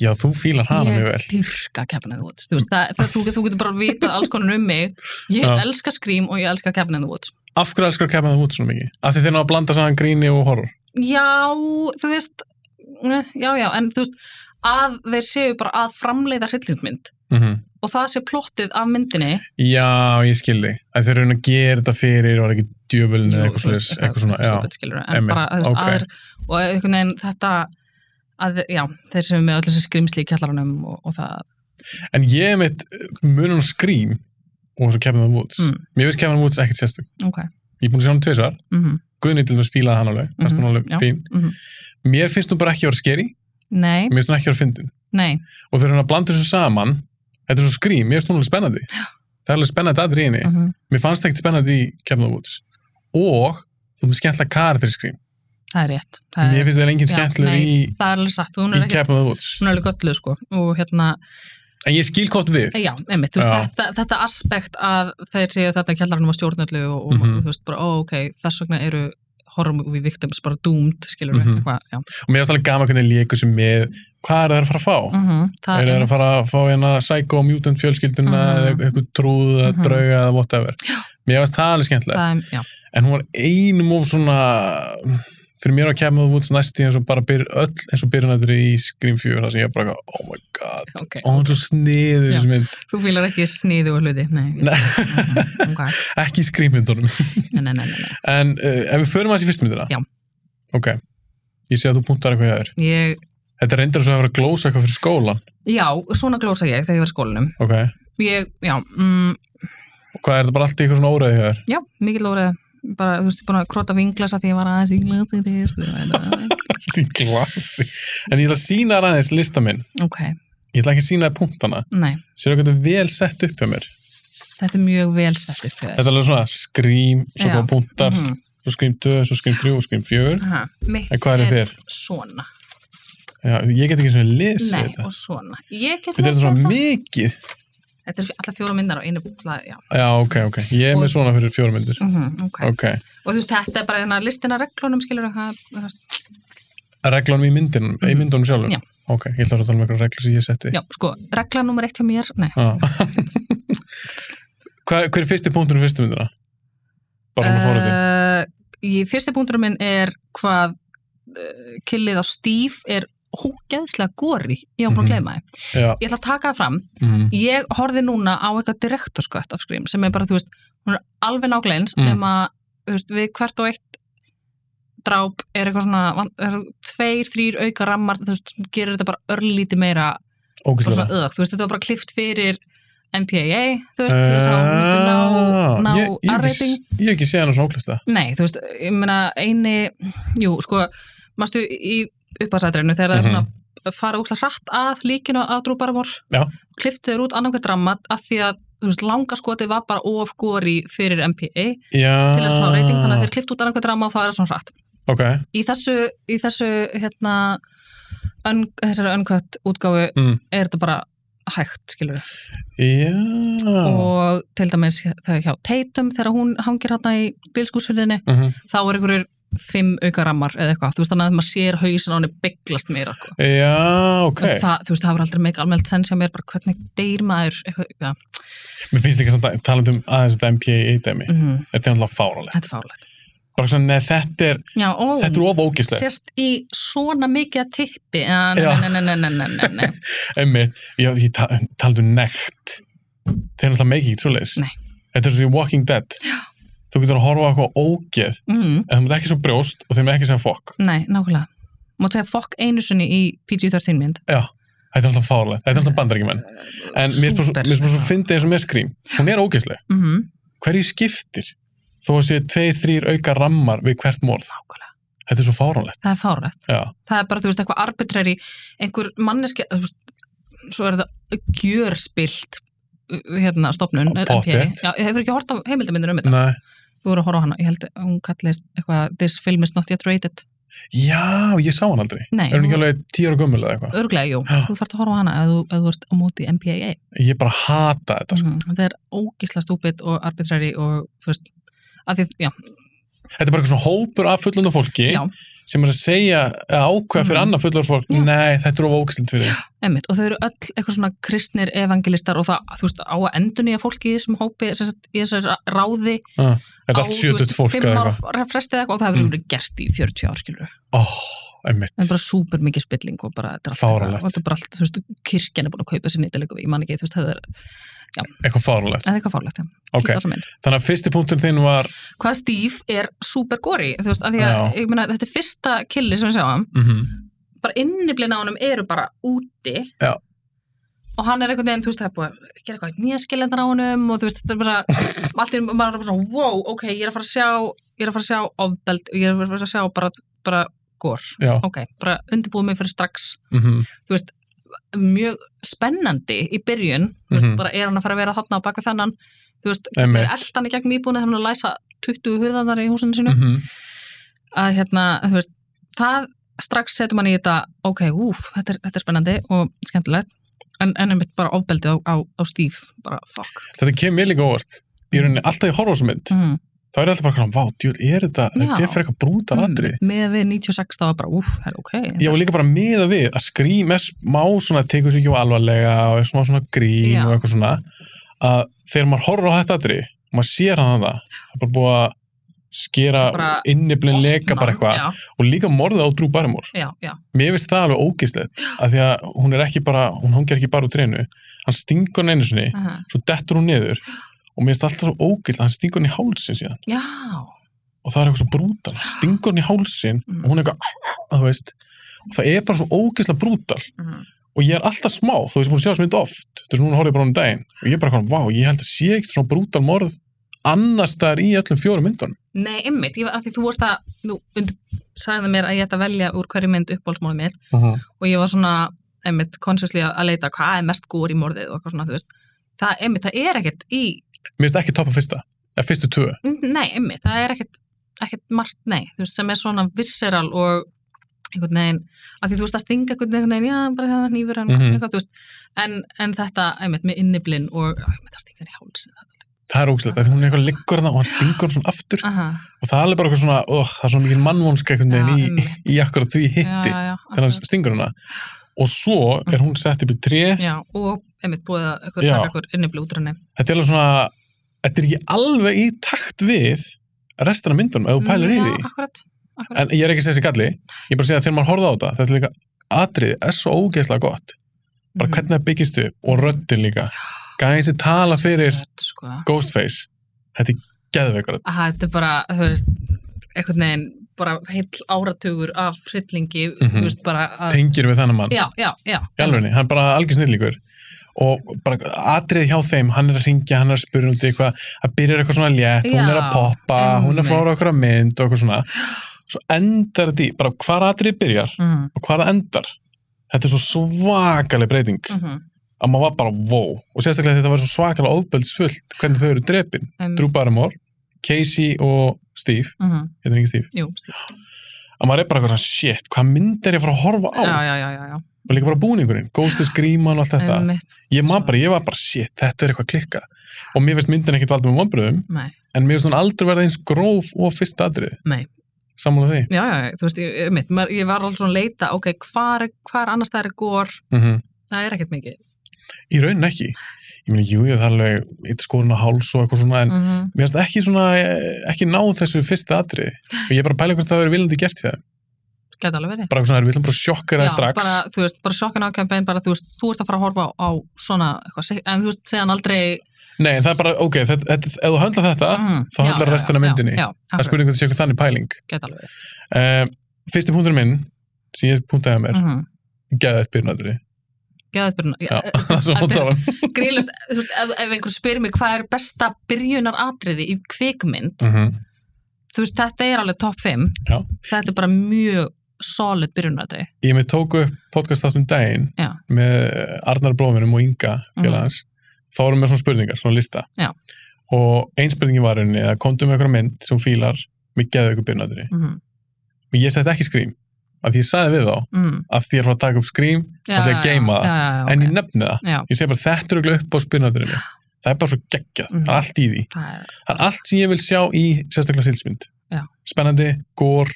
S1: já, þú fílar hana mjög
S2: Ég
S1: vel
S2: dyrka Cabin in the Woods, þú veist, það, það, þú, þú getur bara vitað alls konar um mig. Ég
S1: Já.
S2: elska skrým og ég elska Cabin in the Woods.
S1: af hverju elskar Cabin in the Woods svona mikið? af því þeir ná að blanda saman gríni og horror
S2: Já, þú veist, eh, já, já, en þú veist, að þeir séu bara að framleiða hryllingsmynd
S1: mm -hmm.
S2: og það sé plottið af myndinni
S1: Já, ég skildi. Að þeir eru að gera þetta fyrir og ekki djöfulin eða
S2: Jú,
S1: eitthvað
S2: þú
S1: slúðis,
S2: veist,
S1: eitthvað svona,
S2: eitthvað
S1: já.
S2: svoleiðis, skilurðu, en
S1: Einmitt,
S2: bara, þú veist,
S1: ókei.
S2: aðrir og einhvern veginn þetta að, já, þeir sem er með öll þessi skrimsli í kjallaranum og, og það,
S1: En ég mitt eh, munum skrím og svo Kevin Woods.
S2: Mm.
S1: Mér finnst Kevin Woods ekkert sérstök.
S2: ok
S1: Ég er búin að sjá hann tveisvar.
S2: mm
S1: Guðni til þess fílaði hann alveg, fannst
S2: Mhm,
S1: hann alveg
S2: já.
S1: fín.
S2: Mhm.
S1: Mér finnst hún bara ekki að vera skeri,
S2: nei,
S1: mér finnst hún ekki að vera fyndin.
S2: nei,
S1: Og þegar hann að blanda þessu saman, þetta er svo skrím, mér finnst hún alveg spennandi. Það er alveg spennandi aðrið henni.
S2: mm
S1: Mér fannst ekkert spennandi í Kevin Woods. Og þú finnst skemmtilega karakter í skrím.
S2: það er rétt það
S1: Mér
S2: er,
S1: finnst það engin
S2: já,
S1: skemmtilegur
S2: nei,
S1: í,
S2: það er alveg satt, hún
S1: í
S2: er ekki
S1: Kevin Woods.
S2: hún er alveg gölluð sko og hérna,
S1: En ég skil hvort við.
S2: já, einmitt, þú veist,
S1: Já.
S2: þetta, þetta aspekt að þeir séu þetta kjallaranum á stjórnarlu og, og
S1: Mhm.
S2: þú veist bara, ó, ok, þess vegna eru horfum við victims bara doomed skilur við,
S1: Mhm.
S2: eitthvað, já
S1: og mér er alltaf gaman hvernig leikur sem með hvað er það að fara að fá
S2: mm það
S1: er það að fara að fá hérna Psycho Mutant fjölskylduna
S2: Mhm.
S1: eða eitthvað trúð eða
S2: Mhm.
S1: drauga eða whatever mér varst það alveg skemmtilega
S2: það er, já,
S1: en hún var einum of svona fyrir mér að kemja það út næst í eins og bara byr, öll eins og byrjanættur í Scream 4 þar sem ég bara eitthvað, oh my god
S2: ok
S1: og hún er svo sniður þessu mynd
S2: Þú fýlar ekki sniðu og hluti, nei.
S1: Nei.
S2: Mhm, ok.
S1: ekki í Scream myndunum
S2: Nei, nei, nei, nei, nei.
S1: en uh, ef við förum aðeins í fyrstu myndina
S2: Já.
S1: ok, ég sé að þú punktar eitthvað hjá þér
S2: Ég,
S1: þetta er reyndar svo að vera að glósa eitthvað fyrir skólan
S2: já, svona glósa ég þegar ég var í skólanum.
S1: ok,
S2: Ég, já, mm,
S1: og hvað er þetta bara allt í eitthvað svona óræði hjá þér
S2: já, mikil orðið, bara, þú veist, ég er búin að krota vinglasa því ég var aðeins í glasa því ég um var
S1: Allt í glasi. En ég ætla að sína þér aðeins lista minn.
S2: Ok,
S1: Ég ætla ekki að sína þér punktana.
S2: nei,
S1: Sér þetta er vel sett upp hjá mér.
S2: þetta er mjög vel sett upp
S1: Þetta
S2: fyrir.
S1: er alveg svona skrím, svo
S2: Já.
S1: koma punktar,
S2: Mhm,
S1: svo skrím 2, svo skrím 3 og skrím 4.
S2: aha. Mitt
S1: En hvað er þér?
S2: svona,
S1: Já, ég get ekki svona lesið
S2: nei,
S1: þetta.
S2: og svona. Ég get
S1: Þetta er
S2: lesið
S1: svona mikið.
S2: Þetta er alla fjóra myndar á einu blað, já.
S1: Já, ok, ok. Ég er með
S2: Og-
S1: svona fyrir fjóra myndir.
S2: Mm ok.
S1: Mhm, Ok.
S2: Og þú veist, þetta er bara hérna listina reglunum, skilur það, þú veist,
S1: Reglunum í myndinum, í myndunum sjálfum?
S2: Mm, Já.
S1: Ok, ég ætla að tala um eitthvað reglur sem ég setti.
S2: já, sko, regla nummer eitt hjá mér, nei,
S1: Já. Hvað, hver er fyrsti punkturinn í fyrstu myndina? Bara svona fóruð þig.
S2: Uh, í fyrsti punkturum minn er hvað uh, killið á Steve er hógeðslega góri, ég var búin að
S1: Mhm.
S2: gleyma þið.
S1: Já.
S2: Ég ætla að taka það fram,
S1: Mm.
S2: Eh, ég horfði núna á eitthvað direktorskött af skrým sem er bara, þú veist, hún er alveg nágleins
S1: Mm.
S2: mm. nema, þú veist, við hvert og eitt dráp er eitthvað svona van- það eru tveir, þrýr auka rammar þú veist, sem gerir þetta bara örlítið meira og svona
S1: Ógæslega.
S2: öðagt, þú veist, þetta var bara klift fyrir MPAA, þú veist, þess að hún myndi ná,
S1: Eh,
S2: ná
S1: Ah, ég, ég, hef ekki-
S2: R-rating
S1: ég hef ekki séð hann á svona óklifta
S2: Nei, þú veist, ég meina eini, jú, sko, mástu í upphæðsætreinu þegar það er
S1: Mhm.
S2: svona fara úkslega hratt að líkinu af drúbarmór,
S1: Já.
S2: kliftið er út annan hver drammat af því að, þú veist, langaskotið var bara of góri fyrir MPA
S1: Já,
S2: til að
S1: Ah.
S2: fá reyting, þannig að þeir klift út annan hver dramma og það er svona hratt.
S1: ok
S2: Í þessu, í þessu, hérna, un, þessari uncut útgáfu
S1: Mm.
S2: er þetta bara hægt, skilur við.
S1: Já
S2: Og til dæmis þau hjá Tatum þegar hún hangir hérna í bilskúsfyrðinni
S1: Mhm.
S2: þá er einhverjur fimm auka rammar eða eitthvað, þú veist þannig að maður sér hausin á henni bygglast meira sko.
S1: Já, ok
S2: okay. það, þú veist það var aldrei meik almennt sens hjá mér bara hvernig deyr maður eitthvað, ja.
S1: Mér finnst líka samt að talandi um aðeins þetta MPA-dæmi
S2: mm
S1: Þetta er náttúrulega fáralegt
S2: þetta er fárlegt
S1: Bara svona, neð, þetta er,
S2: Já, ó,
S1: þetta er of ógæslega
S2: sérst í svona mikið að tippi Ja, nei,
S1: Já.
S2: nei, nei, nei, nei, nei, nei, nei.
S1: Einmitt, ég, ég ta, talandi um nekt Þetta er náttúrulega meikið, svoleiðis
S2: Nei.
S1: Þetta er svo í Walking Dead Já. Þú getur að horfa á eitthvað ógeð
S2: Mm,
S1: En það er ekki svo brjóst og þeim er ekki segja fokk
S2: nei, nákvæmlega Máttu segja fokk einu sinni í PG-13 mynd
S1: Já, þetta er alltaf fáralegt Þetta er alltaf bandaríkjumenn En mér spyr
S2: Súper.
S1: mér spyr svo fyndið eins og með skrím Hún er ógeðslega
S2: mm -hmm,
S1: hverju skiptir þó að sé tveir, þrýr auka rammar við hvert morð.
S2: Nákvæmlega,
S1: Þetta er svo fáránlegt.
S2: það er fárlegt
S1: Já,
S2: það er bara, þú veist, eitthvað arbitrari einhver manneski þú veist, svo er það gjörspilt uh, hérna, stopnun
S1: Á,
S2: er NPA.
S1: pottþétt.
S2: Já, ég hefur ekki hort á heimildamindir um þetta
S1: Nei.
S2: þú voru að horfa á hana, ég held að hún kallist eitthvað, this film is not yet rated
S1: Já, ég sá hann aldrei.
S2: nei,
S1: Er hún ekki alveg tíu ára gömul eða eitthvað?
S2: örglega, jú,
S1: Já.
S2: þú þarft að horfa á hana ef þú, ef þú ert á móti MPAA
S1: Ég bara hata þetta. Sko.
S2: mm, það er ógisla stúpid og arbitrari og þú veist, að því, já,
S1: Þetta er bara eitthvað svona hópur af fullandu fólki
S2: já
S1: sem er að segja eða ákveða fyrir
S2: Mhm.
S1: annað fullandu fólk
S2: Já.
S1: Nei, þetta er of ógæsland fyrir þig.
S2: Einmitt, og þau eru öll eitthvað svona kristnir evangelistar og það, þú veist, á að endunýja fólki í þessum hópi, sem sagt, í þessar ráði
S1: Ah, Þetta er allt sjötut fólk eða
S2: eða
S1: eitthvað.
S2: eitthvað. Fimm ára frestið eitthvað og það hefur
S1: Mm.
S2: verið gert í 40 ár, skilur.
S1: Ó, einmitt.
S2: en bara súper mikið spilling og bara þetta er allt
S1: Fáránlegt.
S2: eitthvað- og þetta er bara allt, þú veist, kirkjan er búin að kaupa sér nýttilegum, ég man ekki, þú veist, það er
S1: Eitthvað fárulegt.
S2: eða eitthvað fárlegt, já,
S1: Ok,
S2: Kíktu á þessa mynd.
S1: þannig að fyrsti punktur þinn var,
S2: hvað Steve er súper góri, þú veist, af því að,
S1: Já.
S2: ég meina, þetta er fyrsta killi sem við sjáum,
S1: mhm,
S2: bara inniblinn á honum eru bara úti
S1: Já.
S2: og hann er einhvern veginn, þú veist, það er búið að gera eitthvað nýja skilendar á honum og þú veist, þetta er bara allt í einu- maður er bara svona, wow, ok, ég er að fara að sjá ég er að fara að sjá ofbeld ég er að fara að sjá bara, bara gór
S1: já,
S2: ok, bara undirbúið mig fyrir strax
S1: mhm,
S2: þú veist, mjög spennandi í byrjun, þú veist,
S1: Mhm.
S2: bara er hann að fara að vera þarna á baka þennan, þú veist
S1: Einmitt.
S2: eld hann í gegnum íbúinu, hann er að læsa 20 hurðanar í húsinu sinu
S1: mhm,
S2: að hérna, þú veist, það strax setur mann í þetta, ok, úf, þetta er, þetta er spennandi og skemmtilegt en ennum mitt bara ofbeldið á, á, á stíf bara fuck
S1: þetta kemur mér líka óvart. Í rauninni alltaf í horfarsmynd,
S2: mm.
S1: þá er ég alltaf bara svona, vá, djúl, er þetta, þetta
S2: Já. Mm.
S1: er fyrir eitthvað brúta atrið.
S2: með við 96 það var bara, úf, það er ok
S1: Já, og líka bara miða við að skrím er smá svona, tekur sér ekki á alvarlega og er smá svona grín
S2: Já.
S1: og eitthvað svona að þegar maður horfir á þetta aðri og maður sér hann það, það er bara búið að skera
S2: Bara
S1: inniblinn leka bara eitthvað
S2: já,
S1: og líka morðið á Drew Barrymore
S2: já, já,
S1: mér finnst það alveg ógistlegt að því að hún er ekki bara, hún hangir ekki bara úr treinu hann stingur hann einu sinni,
S2: aha.
S1: svo dettur hún niður og mér finnst það alltaf svo ógistlegt hann stingur hann í hálsin síðan
S2: já
S1: og það er eitthvað svo brútal, hann stingur hann í hálsin
S2: Mm.
S1: og hún er eitthvað, þú veist og það er bara svo ógislega brútal
S2: mm.
S1: og ég er alltaf smá, þú veist, búin að sjá þessu mynd oft þú veist, núna horfði ég bara um daginn og ég er bara hvað, vá, ég held að sé ekkert svona brútal morð annars staðar í öllum fjórum myndunum
S2: Nei, ymmit, ég var að því þú vorst að þú undir, sagði það mér að ég ætti að velja úr hverju mynd uppbólsmálið mitt og ég var svona, ymmit, consciously að leita hvað er mest góri morðið og eitthvað svona, þú veist það, ymmit, það er ekkert í
S1: mér finnst ekki toppa fyrsta, eða fyrstu tvö
S2: Nei, ymmið, það er ekkert, ekkert margt, nei, þú veist, sem er svona visceral og einhvern veginn, að því þú veist að stinga einhvern veginn, einhvern veginn, já, bara hérna nýfur hann,
S1: Mhm.
S2: eitthvað, þú veist, en, en þetta, einmitt, með inniblinn og, einmitt, það stinga hann í hálsin, þetta,
S1: það er ógæslega, þegar hún er eitthvað liggur það og hann stingur hann svona aftur
S2: aha,
S1: og það er alveg bara eitthvað svona, oh, það er svona mikil mannvonska einhvern
S2: Já,
S1: veginn í,
S2: einmitt.
S1: í akkurat því hitti
S2: já, já, já,
S1: þegar hann stingur hana og svo er hún sett upp í tré
S2: akkurat. já, og, einmitt, búið að eitthvað,
S1: Já.
S2: taka eitthvað innibli út úr henni,
S1: þetta er alveg svona, þetta er ekki alveg í takt við restina af myndunum, ef þú pælar í
S2: Mm,
S1: því
S2: já, akkurat, akkurat,
S1: en ég er ekki að segja þessi galli ég er bara að segja að þegar maður horfði á þetta þetta er líka atrið, er svo ógeðslega gott bara
S2: Mhm.
S1: hvernig það byggist upp og röddin líka gæðin sem tala fyrir
S2: Mm. Akkurat, sko.
S1: Ghostface þetta er geðveikurödd
S2: aha, þetta er bara, þú veist, einhvern veginn, bara heill áratugur af hryllingi, þú
S1: Mhm.
S2: veist, bara að,
S1: tengir við þennan mann,
S2: já, já, já,
S1: í alvegni hann er bara algjör snillíkur og bara atrið hjá þeim, hann er að ringja hann er að spyrja út í eitthvað, það byrjar eitthvað svona létt hún er að
S2: Já,
S1: poppa, hún er að
S2: einmitt.
S1: fara okkur að mynd og eitthvað svona svo endar þetta í, bara hvar atrið byrjar
S2: mhm,
S1: og hvar það endar þetta er svo svakaleg breyting
S2: mhm.
S1: að maður var bara wow og sérstaklega þetta var svo svakalega ofbeldsfullt hvernig þau eru drepin
S2: Um,
S1: Drew Barrymore, Casey og Steve
S2: mhm,
S1: heitir hann ekki Steve
S2: Jú, stíl.
S1: að maður er bara eitthvað svona shit hvað mynd er ég að fara að horfa á
S2: Já, já, já, já, já.
S1: og líka bara búningurinn Ghost is Gríman og allt þetta
S2: Einmitt.
S1: ég maður bara, ég var bara shit þetta er eitthvað klikka og mér finnst myndin ekkit valdum um ombröðum
S2: Nei,
S1: en mér finnst hún aldrei verða eins gróf og fyrst atrið
S2: Nei.
S1: sammála því
S2: já, já, já, þú veist, ég, einmitt, maður, ég var alveg svona að leita, ok, hvar, hvar annars það er gór,
S1: mm
S2: það er ekkert mikið.
S1: í raunin ekki ég meina, jú, ég það er alveg eitt skorun á háls og eitthvað svona en
S2: Mm -hmm.
S1: mér finnst ekki svona eh, ekki náð þessu fyrsta atrið og ég er bara að pæla hvort það verið viljandi gert hjá þeim
S2: Gæti alveg verið.
S1: bara eitthvað svona, við viljum bara sjokkera það strax
S2: bara, þú veist, bara sjokkin ákjömpin, bara, þú veist, þú ert að fara að horfa á, á svona, eitthvað, sig- en þú veist, segja hann aldrei...
S1: nei, en það er bara, ok, þetta, þetta, ef þú höndlar þetta
S2: Mm,
S1: Ah, þá handlar restina af myndinni.
S2: Já, já,
S1: það er spurning hvort það sé eitthvað þannig pæling
S2: gæti alveg verið.
S1: uh, fyrsti punktur minn sem ég punktaði að mér,
S2: Mm -hmm.
S1: mm. geða eitt byrjunadri
S2: Gæti byrjun.
S1: já, það sem hún tala um.
S2: Grílust, þú veist, ef, ef einhver spyr mig hvað er besta byrjunaratriði í kvikmynd,
S1: Mhm.
S2: þú veist, þetta er alveg topp 5
S1: Já.
S2: þetta er bara mjög solid byrjunrætri
S1: ég með tóku upp podcast áttum daginn
S2: Já. Mm.
S1: með Arnar bróðminum og Inga félagans, þá erum við svona spurningar svona lista
S2: Já.
S1: og ein spurningi var henni að komdu með eitthvað mynd sem þú fílar með geða eitthvað byrjunadri
S2: mm -hmm.
S1: og ég sett ekki skrím, af því ég sagði við þá
S2: mm.
S1: af því ég er frá að taka upp skrím Af því að geyma það.
S2: já, já, já,
S1: en
S2: ok.
S1: ég nefni það
S2: já,
S1: ég segi bara þetta er auðvitað upp á spyrnaturinu það er bara svo geggjað,
S2: Mhm.
S1: það er allt í því
S2: það er
S1: það er allt sem ég vil sjá í sérstaklega hilsmynd
S2: Já.
S1: spennandi, gór,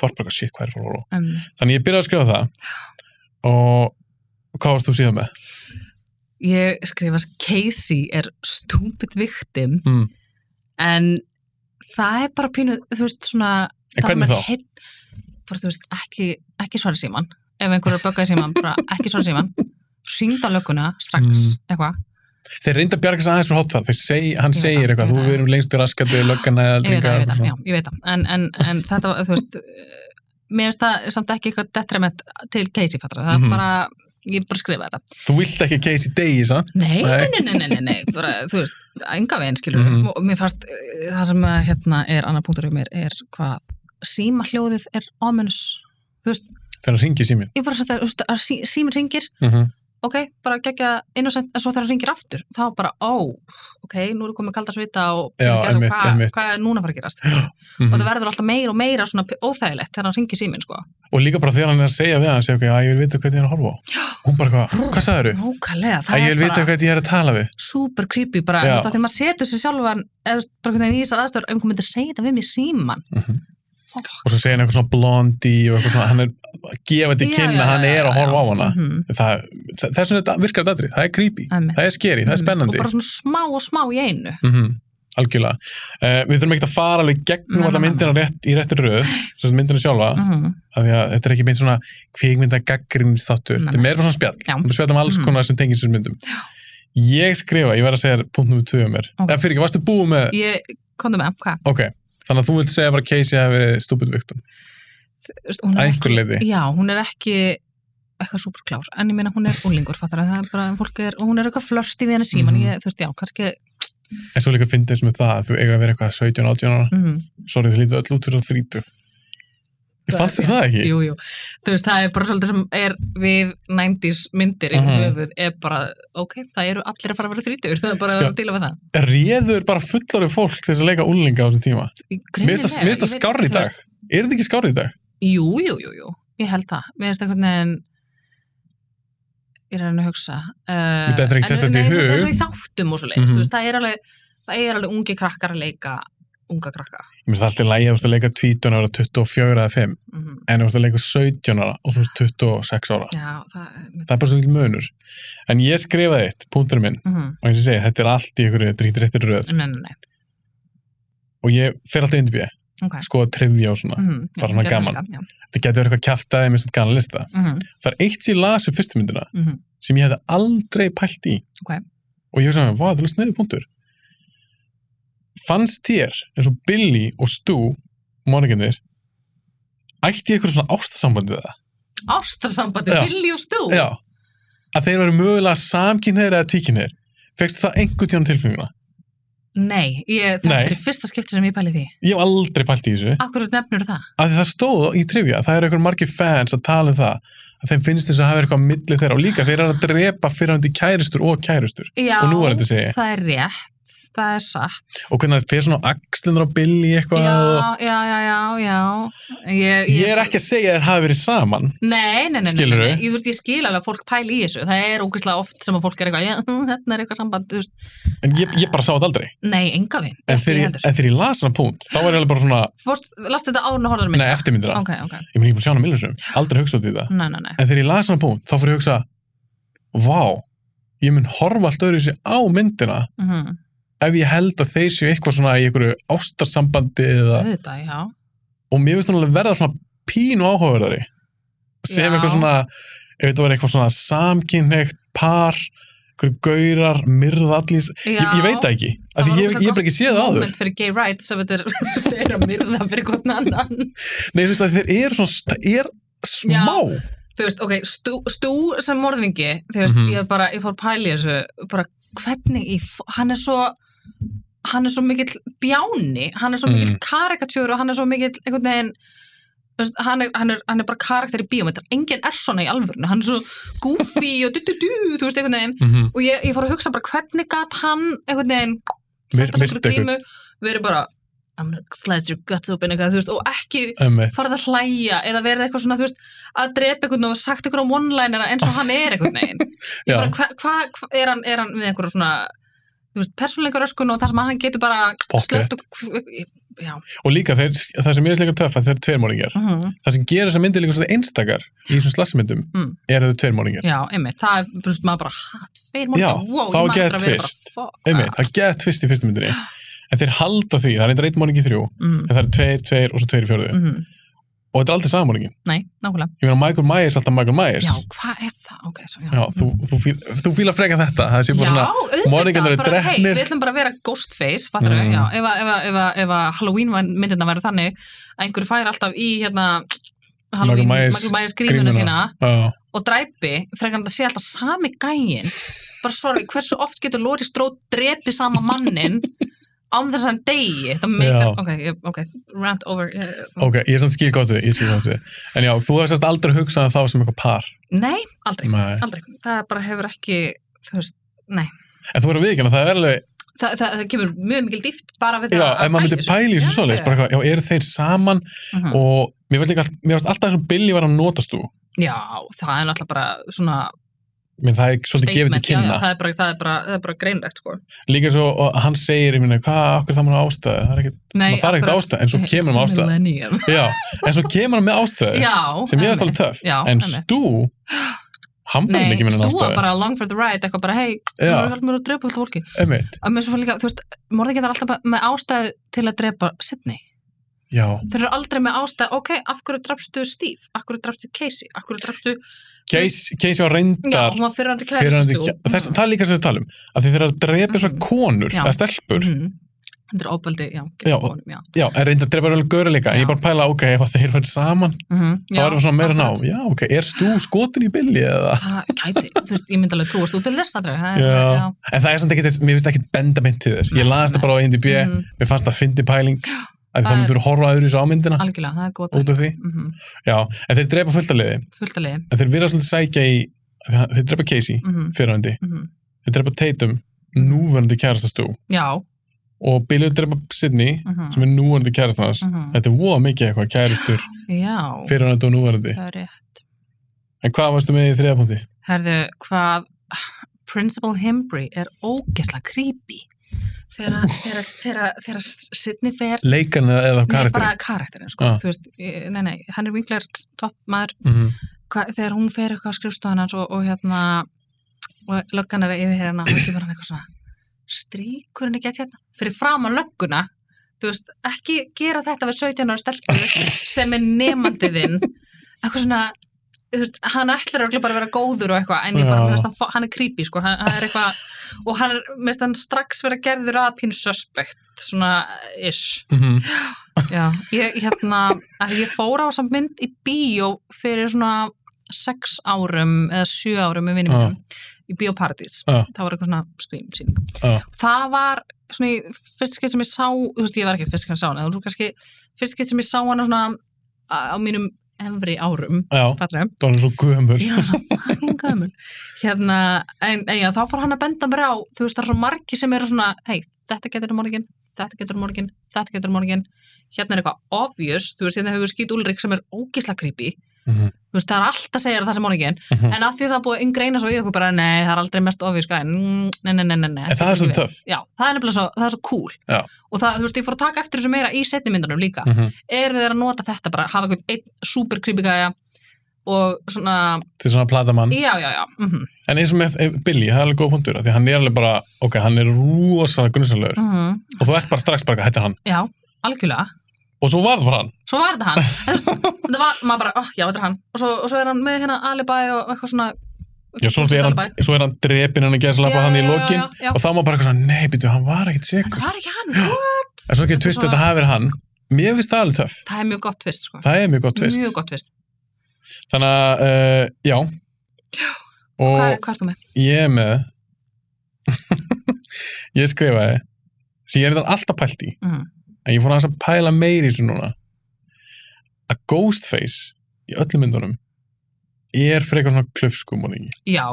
S1: þorpar shit, hvað er fyrir orða,
S2: um,
S1: þannig ég byrjaði að skrifa það og og hvað varst þú síðan með?
S2: ég skrifast Casey er stúpid victim
S1: Mm.
S2: en það er bara pínu þú veist svona
S1: En
S2: það sem
S1: hvernig
S2: er
S1: þá?
S2: heill- bara þú veist, ekki, ekki svara síman ef einhver er að böggaði síman, bara ekki svara síman ringd á lögguna strax
S1: Mm.
S2: eitthvað,
S1: Þeir reynda að bjarga sér aðeins frá hotfall, þeir seg, hann
S2: Ég veit
S1: segir
S2: það,
S1: eitthvað,
S2: ég
S1: þú
S2: veit það.
S1: verður lengstu raskandi, löggana eða
S2: ég veit það, ég veit
S1: eldringar.
S2: það, já, ég veit það en, en, en þetta var, þú veist eh, mér finnst það samt ekki eitthvað detriment til Casey fattar, það
S1: Mhm.
S2: er bara ég bara skrifa þetta
S1: Þú vilt ekki case í degi, sann?
S2: Nei,
S1: Nei.
S2: nei, nei, nei, nei, nei bara, þú veist, enga veginn skilur mm
S1: Mhm.
S2: og mér fannst eh, það sem að, hérna er annar punktur um mér er hvað síma hljóðið er ominous þú veist,
S1: Þegar hann ringir síminn.
S2: ég bara sætti að, að sí, síminn ringir
S1: Mm -hmm.
S2: ok, bara gegja innocent en svo þegar hann ringir aftur, þá bara ó, ok, nú er komið kalda svita og
S1: Já,
S2: og
S1: einmitt,
S2: hvað,
S1: einmitt.
S2: hvað er núna að fara að gerast
S1: Mhm,
S2: mhm. og
S1: Mm.
S2: það verður alltaf meira og meira svona p- óþægilegt þegar hann ringir síminn sko
S1: Og líka bara þegar hann er að segja við hann, segja ok, að ég vil vita hvað ég er að horfa á. Hún bara hvað, hvað sagður þú?
S2: Nókalega, það
S1: Að ég
S2: er
S1: vil vita
S2: bara
S1: hvað ég er að tala við.
S2: super creepy bara,
S1: Já.
S2: þú veist, af því maður setur sér sjálfan eða þú veist, bara hvernig í þessar aðstöður, ef einhver myndi segja þetta við mér í símann
S1: Mhm.
S2: Fuck.
S1: Og svo segir hann eitthvað svona blondi og eitthvað svona, hann er að gefa til
S2: Já,
S1: kynna,
S2: já,
S1: að hann
S2: já,
S1: er að
S2: já,
S1: horfa á hana.
S2: Mhm,
S1: Það, það, þess vegna þetta virkar þetta atrið, það er creepy,
S2: einmitt.
S1: það er skeri, það er
S2: Mhm,
S1: spennandi.
S2: og bara svona smá og smá í einu
S1: mm algjörlega uh, við þurfum ekkert að fara alveg gegnum
S2: Nei,
S1: alla
S2: nei, nei,
S1: myndina rétt, í réttir röð sem sagt myndina sjálfa, mm.
S2: Mhm,
S1: af því að þetta er ekki mynd svona kvikmynda gaggrinns þáttur
S2: Nei,
S1: þetta er meira bara svona spjall,
S2: Já.
S1: þetta er spjall um alls
S2: Mhm.
S1: konar sem tengir þessum myndum ég skrifa, ég verð að segja þér punkt nummer 2 um mér,
S2: Ok.
S1: okay. eða fyrir ekki, varstu búið með
S2: ég, komdu með, hvað
S1: ok, þannig að þú vilt segja bara að Casey hafi verið stúpid victim,
S2: Þú veist, hún
S1: að
S2: er ekki-
S1: einhver leiði
S2: Já, hún er ekki eitthvað superklár, en ég meina hún er úlingur, fattar það er bara, fólk er, og hún er eitthvað flörti við henni síman,
S1: Mhm.
S2: ég, þú veist, já, kannski
S1: en svo líka fyndið sem er það, að þú eiga að vera eitthvað 17, 18 ára,
S2: mm,
S1: sorry þið lítu öll út fyrir 30 ég
S2: Það
S1: fannst
S2: er
S1: þér það ekki
S2: jú, jú, þú veist, það er bara svolítið sem er við 90s myndir í
S1: Mhm.
S2: höfuð, er bara, ok, það eru allir að fara að vera þrítur, það er bara
S1: Já.
S2: að díla við það
S1: réður bara fullari fólk til þess að leika úlinga á þessum tíma Mér finnst það- mér
S2: Greinilega,
S1: finnst það
S2: ég veit
S1: skárri í
S2: ekki, þú
S1: dag. Er þetta ekki skárið í dag?
S2: Jú, jú, jú, jú, ég held það. Mér finnst einhvern veginn, ég er að reyna að hugsa. Uh,
S1: Mér dettur ekkert
S2: en-
S1: sérstaklega í
S2: nei, þú veist,
S1: hug.
S2: eins og í þáttum og svo leiðis,
S1: Mhm.
S2: þú veist, það er alveg, það er alveg ungi krakkar að leika unga krakka.
S1: Mér finnst það alltaf lægið að þú ert að leika 20 ára, 24 eða 5
S2: Mm
S1: en þú ert að leika 17 ára og þú ert 26 ára.
S2: Já, það,
S1: Það er bara svo mikil munur. En ég skrifaði eitt, punkturinn minn,
S2: mm -hmm.
S1: og eins og ég segi, þetta er allt í einhverju drítir eftir röð
S2: Nei, nei, nei,
S1: og ég fer alltaf indibíð,
S2: ok.
S1: skoða trivja og svona.
S2: Mhm,
S1: Sko,
S2: já,
S1: Bara svona
S2: gerðu
S1: gaman.
S2: það, já.
S1: Þetta getur verið eitthvað kjaftaði með svona gana lista.
S2: Mhm,
S1: Það er eitt sem ég las við fyrstu myndina
S2: mhm.
S1: sem ég hefði aldrei pælt í.
S2: Ok.
S1: Og ég hugsaði, hvað, það er snöðu punktur. Fannst þér eins og Billy og Stu, mónikinnir, ætti ég eitthvað svona ástasambandi við það?
S2: Ástarsambandi,
S1: Já.
S2: Billy og Stu.
S1: Já. Að þeir eru mögulega samkynneir eða tvíkynneir. Fekstu það einhvern tíðan tilfenguna?
S2: Nei, ég, það
S1: Nei.
S2: er fyrsta skipti sem ég pæli því.
S1: Ég hef aldrei pælt í þessu.
S2: Akkur nefnir það?
S1: Af því það stóð í trivja. Það eru einhver margir fans að tala um það. Að þeim finnst þess að hafa eitthvað á milli þeirra. Og líka þeir eru að drepa fyrirhandi kæristur og kærustur.
S2: Já,
S1: Og nú er þetta segi.
S2: það er rétt, það er satt.
S1: Og hvernig það fer svona á axlunar á billi eitthvað. og-
S2: já, já, já, já, já. Ég,
S1: Ég er ekki að segja að þeir hafi verið saman.
S2: Nei, nei, nei, nei, nei,
S1: Skilurðu?
S2: nei. Ég, þú veist, ég skil alveg að fólk pæli í þessu Það er ógeðslega oft sem að fólk er eitthvað "Já, Þetta er eitthvað samband, þú veist
S1: En ég, ég bara sá þetta aldrei.
S2: Nei, enga vin,
S1: En
S2: ekki
S1: þegar ég,
S2: heldur
S1: en þegar ég las hana punkt, þá var ég alveg bara svona,
S2: Fórst, last þetta áður en að horfa
S1: nei,
S2: mig
S1: eftirmyndina.
S2: Ok, ok,
S1: Ég meni, ég er búin að sjá hana millisum. Aldrei hugsa út í það.
S2: nei, nei, nei
S1: En þegar ég las hana punkt, þá fór ég að hugsa, vá, ég mun horfa allt öðru sér á myndina
S2: mm
S1: ef ég held að þeir séu eitthvað svona í einhverju ástarsambandi eða,
S2: Þetta, já
S1: og mér finnst hún alveg verða svona pínu áhugaverðari. Sem
S2: Já.
S1: eitthvað svona, ef þetta var eitthvað svona samkynhneigt par, einhverju gaurar, myrðallís,
S2: Já,
S1: ég, ég veit það ekki. Af
S2: Það
S1: því
S2: var
S1: ég ég hef bara ekki séð það áður.
S2: Moment fyrir gay rights ef þetta er, þeir eru að myrða fyrir hvern annan
S1: Nei, þú veist að þeir eru svona, það er smá.
S2: Þú veist, ok, stú, stú sem morðingi Þú veist,
S1: Mhm.
S2: ég bara, ég fór pæli í þessu Bara hvernig í, f- hann er svo Hann er svo mikill bjáni Hann er svo mikill
S1: Mm.
S2: karikatjúr Og hann er svo mikill, einhvern veginn þú veist, hann er, hann, er, hann er bara karakter í bíómyndar enginn er svona í alvörinu, hann er svo goofy og du-du-du, þú veist einhvern veginn
S1: Mm -hmm.
S2: og ég, ég fór að hugsa bara hvernig gat hann einhvern veginn
S1: Myr-
S2: sett að
S1: myrti
S2: svo grímu verið bara, I'm gonna slice your guts open eitthvað, þú veist, og ekki farið að hlæja eða verið eitthvað svona, þú veist, að drepa einhvern og sagt einhverjum one-linera eins og hann er einhvern veginn. Ég bara, hvað, hva, hva, er, hann, er hann með einhverju svona, þú veist, persónleika röskun og það sem að hann getur bara
S1: Pocket.
S2: slögt og, hv- já.
S1: Og líka þeir, það sem ég veist líka töff að þeir eru tveirmólingar. Það sem gerir þess að myndir líka svona einstakar í þessum slasmyndum
S2: Mm.
S1: er að þau tveirmólingar.
S2: Já, einmitt, það er, þú veist, maður bara, ha, tveir málum,
S1: Já,
S2: wow,
S1: þá
S2: ég man
S1: get
S2: eftir að vera
S1: twist.
S2: bara, fuck.
S1: Einmitt, það getur tvist í fyrstu myndinni. En þeir halda því, það er eitthvað einn mólingi í þrjú,
S2: Mm,
S1: en það eru tveir, tveir og svo tveir í fjörðu.
S2: mhm,
S1: og þetta er aldrei samanlíkin
S2: Nei, nákvæmlega.
S1: ég meina Michael Myers er alltaf Michael Myers
S2: Já, hvað er það? Ok, svo, já.
S1: Já, þú, þú, fíl, þú fílar freka þetta það sé bara svona
S2: auðvitað,
S1: morðingjarnir eru
S2: bara, hey,
S1: drepnir.
S2: við ætlum bara að vera ghostface fattar
S1: Mm.
S2: mm. já, ef, að- ef, að- ef, ef, ef að Halloween myndirna verður þannig að einhver fær alltaf í hérna Halloween,
S1: Michael Myers
S2: Michael Myers grímuna sína
S1: grímuna. Já,
S2: og dræpi, frekar hann að sé alltaf sami gæin bara sorry, hversu oft getur Lóri Stróð drepið sama mannin án þess að hann degi það meikar,
S1: Já.
S2: ok, ég- ok, rant over eh,
S1: ok, ég er samt skil gott við, ég skil gott við en já, þú hefði sérst aldrei hugsað um þá sem eitthvað par
S2: nei, aldrei,
S1: Nei.
S2: aldrei það bara hefur ekki, þú veist nei,
S1: en þú verður að viðkjanna, það er alveg
S2: Þa, það, það kemur mjög mikil dýft bara við
S1: já,
S2: það
S1: ef maður
S2: sko.
S1: myndi pæli þessu svoleiðis, bara eitthvað, já, eru þeir saman
S2: Mhm.
S1: og mér finnst líka, mér finnst alltaf eins og Billy var að notast þú,
S2: Já, það er náttúrulega bara svona
S1: menn það er svolítið gefið til
S2: já, já,
S1: kynna,
S2: það er bara, það er bara, það er bara greinlegt sko.
S1: líka svo og hann segir, ég minna, hvað, okkur það maður ástæðu það er ekki,
S2: Nei,
S1: Maður þarf ekkert
S2: akkurat.
S1: ástæðu, en svo
S2: Nei,
S1: kemur hann með ástæðu.
S2: millennium.
S1: já, en svo kemur hann með ástæðu
S2: Já,
S1: sem ég veist alveg
S2: emmitt.
S1: töff,
S2: Já,
S1: en
S2: emmitt.
S1: Stu hann bara
S2: Nei,
S1: ekki minna en
S2: stúa
S1: ástæðu,
S2: bara long for the ride, eitthvað bara hei, þú
S1: já,
S2: erum alltaf mér að drepa alltaf fólki
S1: emitt
S2: að mér svo fann líka, þú veist, morði getur alltaf bara með ástæðu til að drepa Sidney
S1: já,
S2: þeir eru aldrei með ástæðu, ok, af hverju drafstu Steve, af hverju drafstu Casey af hverju drafstu,
S1: Case Case var
S2: já,
S1: reyndar
S2: hún var fyrrandi
S1: fyrrandi,
S2: kærasti Stu.
S1: þess, það er líka sem við um, talum að þið þeirra að drepa þessar
S2: Mhm.
S1: konur
S2: Já.
S1: eða stelpur,
S2: Mhm. þetta er óbældi, já,
S1: Já.
S2: honum, já.
S1: já, en reynda að drepa alveg göra líka,
S2: Já.
S1: ég bara pæla, ok, ef að þeir verður saman,
S2: Mhm.
S1: þá
S2: Já,
S1: er það svona meira ná,
S2: akkurat.
S1: já, ok, er Stu skotin í Billy eða
S2: það gæti, þú veist, ég myndi alveg trúast út til þess, fattur
S1: Já. En það er samt ekki, mér finnst ekki benda mynd til þess. Ég
S2: Nei,
S1: las það
S2: nei.
S1: bara á IMDb,
S2: Mhm.
S1: mér fannst það fyndi pæling, að þá
S2: Það er-
S1: myndur horfa öðru þessu ámyndina
S2: algjörlega, það er góð
S1: út af því.
S2: mm -hmm.
S1: Já, en þeir drepa fullt að liði,
S2: fullt að liði
S1: en þeir virða svolítið sækja í, þeir drepa Casey,
S2: mm -hmm.
S1: fyrrandi, þeir drepa Tatum, núverandi kærastastú,
S2: já
S1: og Billy drepa Sidney,
S2: mm -hmm.
S1: sem er núverandi kærastan
S2: Mm.
S1: hans. Þetta er voða mikið eitthvað, kærastur,
S2: mhm. já,
S1: fyrrandi og núverandi.
S2: það er rétt
S1: En hvað varstu með í þriða punkti?
S2: herðu, hvað Principal Hembry er ógesla creepy þegar þegar- þegar- þegar Sidney fer
S1: Leikarinn eða- eða
S2: Nei,
S1: karakterinn?
S2: bara karakterin, sko,
S1: Ah.
S2: þú veist, eh, nei, nei, hann er vinklar topp maður,
S1: Mhm.
S2: hva, þegar hún fer eitthvað að skrifstofan hans og, og hérna, og löggan er yfir hérna og ekki bara hann eitthvað svona, stríkur henni gett hérna, fyrir fram á lögguna, þú veist, ekki gera þetta við 17 ára stelpu sem er nemandi þinn, eitthvað svona, þú veist, hann ætlar örugglega bara að vera góður og eitthvað, en ég bara,
S1: Já.
S2: mér finnst hann, fa- hann er creepy, sko, hann, hann er eitthvað, og hann er, mér finnst hann strax vera gerður að pínu suspect, svona, ish.
S1: Mhm.
S2: Já, ég, hérna, að ég fór á samt mynd í bíó fyrir svona sex árum eða sjö árum með vinnum
S1: Já.
S2: mínum í bíóparadís.
S1: Já.
S2: Það var eitthvað svona skrýmsýning.
S1: Já.
S2: Það var svona í fyrst skipt sem ég sá, þú veist, ég var ekkert fyrst skipt sem ég sá hana, þú veist kannski fyrst skipt sem ég sá hana svona á á mínum efri árum,
S1: Já,
S2: fattum.
S1: það var svo gömul.
S2: Já, svona fucking gömul. Hérna, en, en já, þá fór hann að benda mér á, þú veist, það er svo margi sem eru svona, hei, þetta getur um morgin, þetta getur um morgin, þetta getur um morgin. Hérna er eitthvað obvious, þú veist, hérna hefur skýt Ulrik sem er ógisla creepy.
S1: Mhm.
S2: Þú veist, það er alltaf að segja þér það sem morgin,
S1: Mhm.
S2: en af því það er búið að inngreina svo í okkur bara, nei, það er aldrei mest obvious, gæði, nei, nei, nei, nei, nei.
S1: En það er
S2: getur
S1: svolítið
S2: ekki verið."
S1: töff.
S2: Já, það er nefnilega svo, það er svo cool.
S1: Já.
S2: Og það, þú veist, ég fór að taka eftir þessu meira í setni myndunum líka
S1: Mhm.
S2: eru þeir að nota þetta bara, hafa einhvern einn super creepy gæja og svona,
S1: Þetta er svona platamann.
S2: já, já, já, mhm, mhm,
S1: En eins og með eh, Billy, það er alveg góð punktur af því að hann er alveg bara, ok, hann er rosalega grunnsalögur og þú ert bara strax bara, þetta er hann
S2: já, algjörlega.
S1: og svo var það bara hann
S2: Svo var þetta hann, En þú veist, það var, maður bara, oh, já, þetta er hann, og svo, og svo er hann með hérna Alibi og eitthvað svona,
S1: Já, svo er hann,
S2: Alibi.
S1: svo er hann drepin hann að gera
S2: Já,
S1: slappa hann í
S2: já, já,
S1: lokin
S2: já, já.
S1: og þá maður bara eitthvað svona, nei, býtu, hann var ekkit
S2: Það
S1: sekur
S2: var ekki hann, what?
S1: en svo getur
S2: Þetta er
S1: tvist að
S2: svona-
S1: þetta hafi verið hann Mér finnst það alveg töff,
S2: það er mjög gott tvist, sko,
S1: það er mjög gott tvist
S2: mjög gott tvist.
S1: Þannig að, uh, já Og
S2: Hvað, hvað ertu með?
S1: ég er með Ég skrifaði sem ég er þetta alltaf pælt í
S2: Mhm.
S1: en ég fór aðeins að pæla meiri í þessu núna að Ghostface í öllum myndunum er frekar svona klöfskumóningi
S2: Já,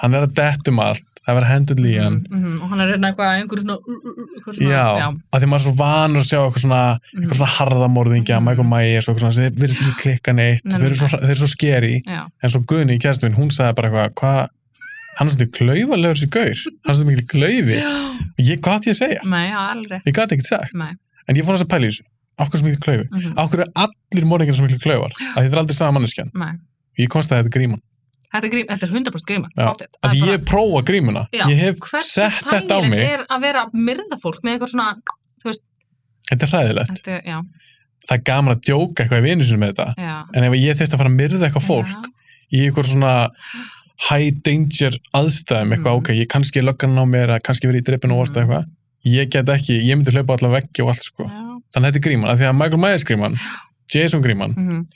S1: hann er að dettum allt, það er að hendur líðan
S2: Mhm, mhm, og hann er hérna eitthvað, einhver svona, uh, uh, uh, eitthvað svona,
S1: já,
S2: já,
S1: að því maður er svo vanur að sjá eitthvað svona,
S2: mhm,
S1: eitthvað svona harðamorðingja
S2: Mhm.
S1: Michael Myers og eitthvað svona, þeir virðist ekki klikka neitt
S2: Nei,
S1: og þeir eru svo, þeir eru svo skeri
S2: já,
S1: en svo Gunni, kæristin minn, hún sagði bara eitthvað hvað, hann er svona klaufalegur þessi gaur hann er svona mikil klaufi og ég, hvað átti ég að segja?
S2: nei, já, alveg,
S1: Ég gat ekkert sagt,
S2: nei,
S1: en ég fór aðeins að pæla í þessu okkur sem mikil klaufi
S2: mhm,
S1: Af hverju er allir morðingar sem miklu klaufar? Af því þetta er aldrei sama manneskjan.
S2: nei.
S1: Ég komst að þetta er gríman.
S2: Þetta er, grím, þetta er 100% gríma.
S1: Já,
S2: pottþétt.
S1: Af
S2: Það
S1: því
S2: er
S1: ég
S2: bara-
S1: hef prófað grímuna.
S2: Já,
S1: Ég hef
S2: Hversu
S1: sett þetta á
S2: þægilegt
S1: mig.
S2: er að vera að myrða fólk með eitthvað svona,
S1: Þetta er hræðilegt.
S2: þetta, er- já,
S1: það er gaman að djóka eitthvað í vinusinu með þetta
S2: já.
S1: en ef ég þurfti að fara að myrða eitthvað fólk sko. í einhver svona high danger aðstæðum eitthvað,
S2: Mhm.
S1: ok, ég kannski er löggan á mér að kannski verið í dreipinu og orta
S2: Mhm.
S1: eitthvað ég get ekki, ég myndi hlaupa allar veggi og allt sko,
S2: Já, já.
S1: þannig að þetta er gríman af því að Michael Myers gríman, Jason gríman
S2: mhm.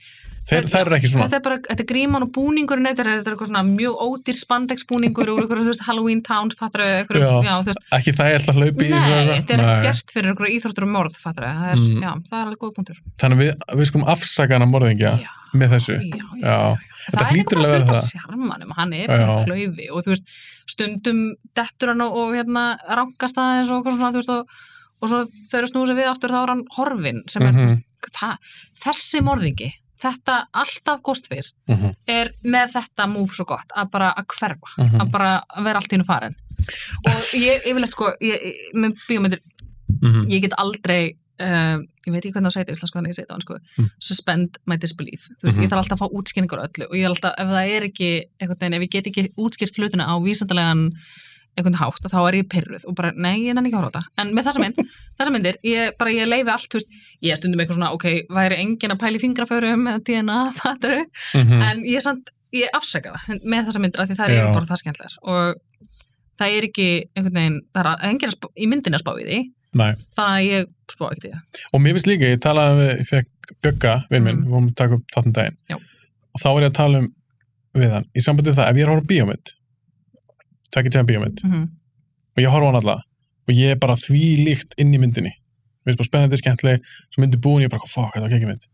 S1: þeir,
S2: Þetta-
S1: þær eru ekki svona,
S2: Þetta er bara, þetta er gríman og búningurinn þetta er, þetta er eitthvað svona mjög ódýr spandexbúningur úr eitthvað, þú veist, Halloween Town, fattur eitthvað,
S1: Já.
S2: já, þú veist,
S1: ekki það er alltaf hlaupi í
S2: nei,
S1: þessu
S2: þetta er
S1: eitthvað.
S2: ekkert
S1: Nei.
S2: gert fyrir eitthvað íþróttur og morð, fattur það er,
S1: Mm.
S2: já, það er alveg góð punktur.
S1: þannig að við, við skum afsakana morðingja
S2: já,
S1: með þessu,
S2: já, já,
S1: já, Þetta
S2: það er
S1: hlýtur
S2: eitthvað
S1: að
S2: bara
S1: vera
S2: hluta
S1: það.
S2: sjarmanum, hann er
S1: Já.
S2: bara klaufi og þú veist, stundum dettur hann og, og hérna rankast aðeins og eitthvað svona, þú veist, og, og svo þegar snúið sér við aftur þá er hann horfin sem er,
S1: Mhm.
S2: mm það, þessi morðingi, þetta alltaf ghostface
S1: Mhm.
S2: er með þetta múf svo gott að bara að hverfa,
S1: Mhm.
S2: að bara að vera allt í hennu farin og ég, ég vil eftir sko ég, ég- með bíómyndir,
S1: Mhm.
S2: ég get aldrei um, ég veit ekki hvernig það sæti ætla, sko, hvernig ég sæti á hann sko,
S1: Mm.
S2: suspend my disbelief þú veist,
S1: Mhm.
S2: ég þarf alltaf að fá útskýringur á öllu og ég er alltaf, ef það er ekki einhvern veginn, ef ég get ekki útskýrt hlutina á vísindalegan einhvern hátt, þá er ég pyrruð og bara, nei, ég nenni ekki að horfa á þetta en með þessa mynd, þessa myndir, ég bara ég leifi allt, þú veist, ég er stundum eitthvað svona ok, væri enginn að pæli fingraförum eða DNA, fattaru,
S1: Mhm.
S2: en ég, samt, ég afsaka það með þessa myndir af því
S1: Já.
S2: það eru bara það skemmtilegar og það er ekki einhvern veginn, það er að- enginn að spá, í myndinni að spá í því
S1: Nei.
S2: þannig að ég spá ekki í það
S1: og mér finnst líka, ég talaði við, ég fekk Bjögga, vinn minn,
S2: Mm.
S1: við vorum að taka upp þáttum daginn
S2: Já.
S1: og þá var ég að tala um við hann, í sambandi við það, ef ég er að horfa á bíómynd tvekki tíma bíómynd
S2: mm -hmm.
S1: og ég horfa á hann alla og ég er bara því líkt inn í myndinni við erum bara spennandi, skemmtileg, svo myndi búin ég bara, fuck, þetta var ekki mynd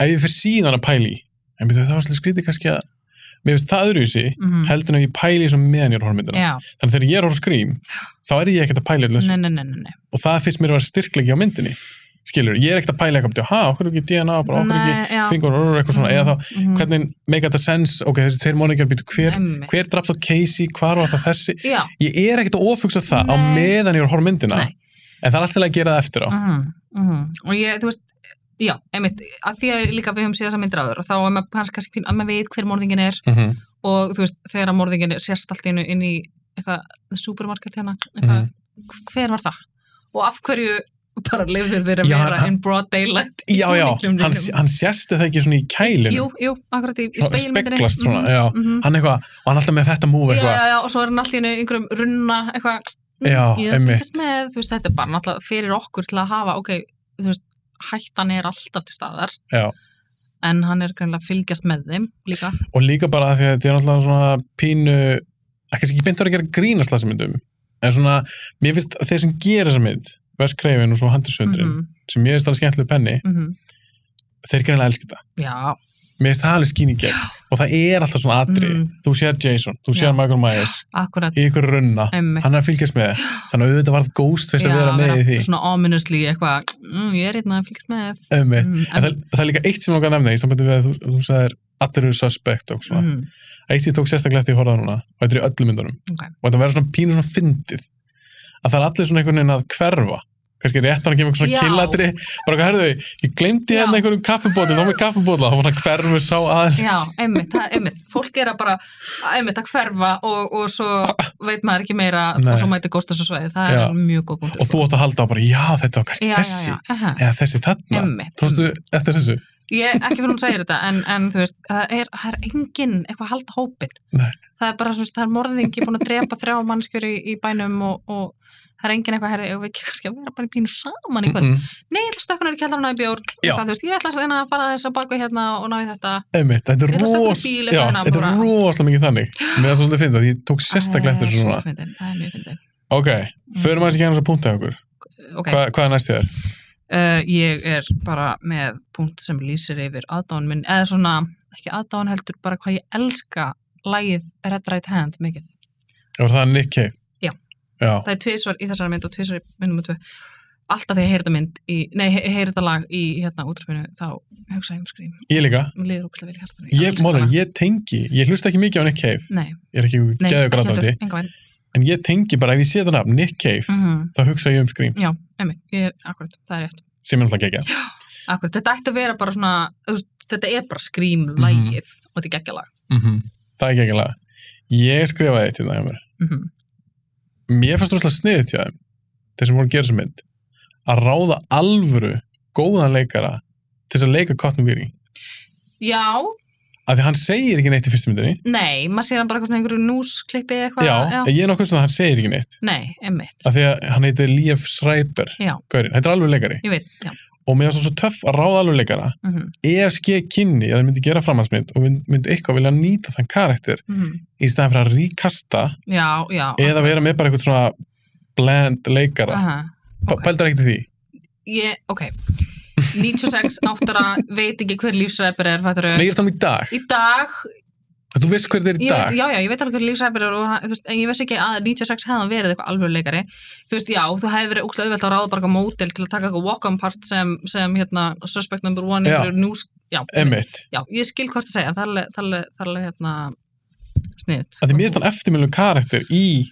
S1: ef ég fyrir síðan að pæli, í, en byrju, það var svolítið skrítið kannski að, mér finnst það öðruvísi heldur en ef ég pæli í svo meðan ég er að horfa á myndina
S2: Mhm. já,
S1: þannig þegar ég er að horfa á skrím, þá er ég ekkert að pæli allir
S2: nei, nei, nei, nei, nei.
S1: og það finnst mér að vera styrklegi á myndinni skilur, ég er ekkert að pæla eitthvað ha, okkur er ekki DNA, bara okkur er
S2: Nei, já.
S1: ekki fingur og eitthvað svona, eða þá,
S2: Mhm.
S1: hvernig make þetta sense, ok, þessi tveir móningjar býtu hver,
S2: Einmitt.
S1: hver drafst á Casey, hvar var það þessi
S2: já,
S1: ég er ekkert að ofugsa það á
S2: Nei.
S1: meðan ég er að horfa á myndina,
S2: Nei.
S1: en það er alltaf að gera það eftir á,
S2: -hmm. Mm og ég, þú veist já, einmitt, að því að líka við höfum séð þessa myndir áður og þá er maður kannski kannski pín- að maður veit hver morðingin er
S1: Mhm,
S2: og þú veist, þegar að morðingin er sérst allt í einu inn í eitthvað supermarket hérna,
S1: Mhm.
S2: eitthvað, hver var það? Og af hverju bara lifður þeir að
S1: Já,
S2: vera
S1: hann-
S2: in broad daylight í
S1: já, já,
S2: búningnum
S1: hann,
S2: þínum?
S1: hann sérst það ekki svona í kælinu,
S2: Jú, jú, akkurat í, í
S1: Svona
S2: speilmyndinni
S1: speglast svona,
S2: Mhm,
S1: já.
S2: mhm.
S1: hann eitthvað og hann alltaf með þetta múf
S2: já,
S1: eitthvað
S2: já, já, og svo er hann allt í einu einhverjum runna eitthvað, "Mm,
S1: Já,
S2: ég
S1: einmitt.
S2: fylgist með, þú veist, þetta er bara náttúrulega fyrir okkur til að hafa, ok, þú veist hættan er alltaf til staðar
S1: Já.
S2: en hann er greinlega að fylgjast með þeim líka,
S1: og líka bara af því að þetta er náttúrulega svona pínu ekki ekki beint að vera að gera grínast þessi myndum en svona, mér finnst að þeir sem gera þessa mynd Wes Craven og svo Hunter Sundrin sem mér finnst alveg skemmtileg penni
S2: mhm.
S1: þeir greinlega elska þetta,
S2: já,
S1: mér finnst það alveg skýningi og það er alltaf svona atri
S2: Mhm.
S1: þú sér Jason, þú sér
S2: Já.
S1: Michael Myers
S2: akkurat
S1: í ykkur runna,
S2: einmitt
S1: hann er að fylgjast með þannig að auðvitað varð Ghostface að vera með í því
S2: svona ominously eitthvað, mm, ég er einn að fylgjast með
S1: ömmi,
S2: mm,
S1: en það, það er líka eitt sem ég langar að nefna í sambandi við að þú, þú sagðir allir eru suspect og svona,
S2: mm,
S1: eitt sem ég tók sérstaklega eftir að horfa á núna og þetta er í öllum myndunum
S2: ok,
S1: og þetta verður svona pínu svona fyndið að það er allir svona einhvern veginn að hverfa kannski rétt hann kemur einhvern
S2: Já.
S1: svona killatri bara hvað herðu, ég glemdi
S2: Já.
S1: hérna einhverjum kaffibóti þá með kaffibóla, þá var hann hverfur sá að
S2: já, einmitt, það, einmitt fólk er að bara, einmitt að hverfa og, og svo veit maður ekki meira
S1: Nei.
S2: og svo mæti gósta svo sveið, það
S1: Já.
S2: er mjög góð punktur
S1: og þú átt að halda á bara, já þetta var kannski
S2: já,
S1: þessi Hérna,
S2: já, já, aha,
S1: eða þessi þarna,
S2: einmitt
S1: tókstu eftir þessu
S2: ég, ekki fyrir hún segir þetta, en, en þú veist það er, það er engin eitthvað að halda hópin
S1: Nei.
S2: það er bara, svo, það er morðingi búin að drepa þrjá mannskjur í, í bænum og, og það er engin eitthvað herði, ég veit ekki kannski að vera bara í pínu saman í kvöld
S1: Mm-mm.
S2: nei, ég ætla að stökka niður í kjallarinn og ná í bjór
S1: Mm-hmm. Já.
S2: hvað, þú veist, ég ætla að reyna að fara þess að baka hérna og ná í þetta
S1: einmitt, þetta er
S2: Ég ætla að stökkva
S1: ros
S2: í bíl
S1: já,
S2: eitthvað hérna,
S1: þetta
S2: bara-
S1: er rosalega mikið þannig með það svolítið fyndið, því ég tók sérstaklega eftir þessu svona,
S2: svona Eh, fyndin, það er mjög fyndin Mm,
S1: ok, förum aðeins ekki hann að punktið okkur,
S2: ok,
S1: Hva, hvað er næst þér?
S2: uh, ég er bara með punkt sem lýsir yfir aðdán minn eða svona, ekki aðdán heldur bara hvað ég elska lagið Red Right Hand mikið,
S1: var það Nick Cave?
S2: Já.
S1: já,
S2: það er tvisvar í þessari mynd og tvisvar í myndum og tvö alltaf þegar ég heyri þetta mynd í, nei, he- heyri þetta lag í hérna útrafinu þá hugsa ég um skrým,
S1: ég líka
S2: mér liður úkst að vilja hjartan
S1: ég, málum, ég tengi, ég hlusta ekki mikið á Nick Cave
S2: nei,
S1: ég er ekki
S2: nei,
S1: geðu grátandi
S2: enga veginn
S1: en ég tengi bara ef ég sé þetta nafn, Nick Cave
S2: mm
S1: þá hugsa ég um Scream,
S2: já, einmitt, ég er akkurat, það er rétt
S1: sem er alltaf gegja
S2: Akkurat, þetta ætti að vera bara svona, þú veist, þetta er bara skrýmlægið
S1: Mhm.
S2: og þetta er geggjalag.
S1: það er gegjalega ég skrifaði eitt hérna hjá mér
S2: Mm
S1: mér fannst rosalega sniðut hjá þeim þeir sem voru að gera sem mynd að ráða alvöru góðan leikara til þess að leika Cotton Weary
S2: Já,
S1: af því hann segir ekki neitt í fyrstu myndinni
S2: nei, maður sér hann bara hvort með einhverju núsklippi eða eitthvað.
S1: já, en ég er nokkuð svona að hann segir ekki neitt
S2: Nei, emmitt.
S1: af því að hann heitir Liev Schreiber
S2: Já.
S1: Gaurin, þetta er alveg leikari
S2: Ég veit, já.
S1: og mér er svo, svo töff að ráða alveg leikara
S2: Mm -hmm.
S1: ef skeið E kynni að það myndi gera framhansmynd og mynd- myndi eitthvað vilja nýta þann karakter í staðan fyrir að ríkasta
S2: mhm. Já, já.
S1: eða vera með bara eitthvað svona bland leikara,
S2: Aha,
S1: okay.
S2: Ah, ok. Eh,
S1: pældar ekkert í því
S2: Ég, ok. 96 áttara, veit ekki hver lífsreipur er, fættur
S1: nei, ég er þannig í dag,
S2: Í dag,
S1: að þú veist hver þetta er
S2: ég
S1: í
S2: veit,
S1: dag
S2: já, já, ég veit alveg hver lífsreipur er og hann- þú veist, en ég veist ekki að 96 hefði hann verið eitthvað alveg leikari. Þú veist, já, þú hefði verið úkslega auðvelt að ráða bara eitthvað módel til að taka eitthvað walk-on part sem, sem, hérna, suspect number one,
S1: Já.
S2: einhverju news, já,
S1: emmitt,
S2: já, ég skil hvort að segja, það er alveg, það er alveg, það er alveg, hérna, sniðut.
S1: að því mér er þann eftirmjölum karakter í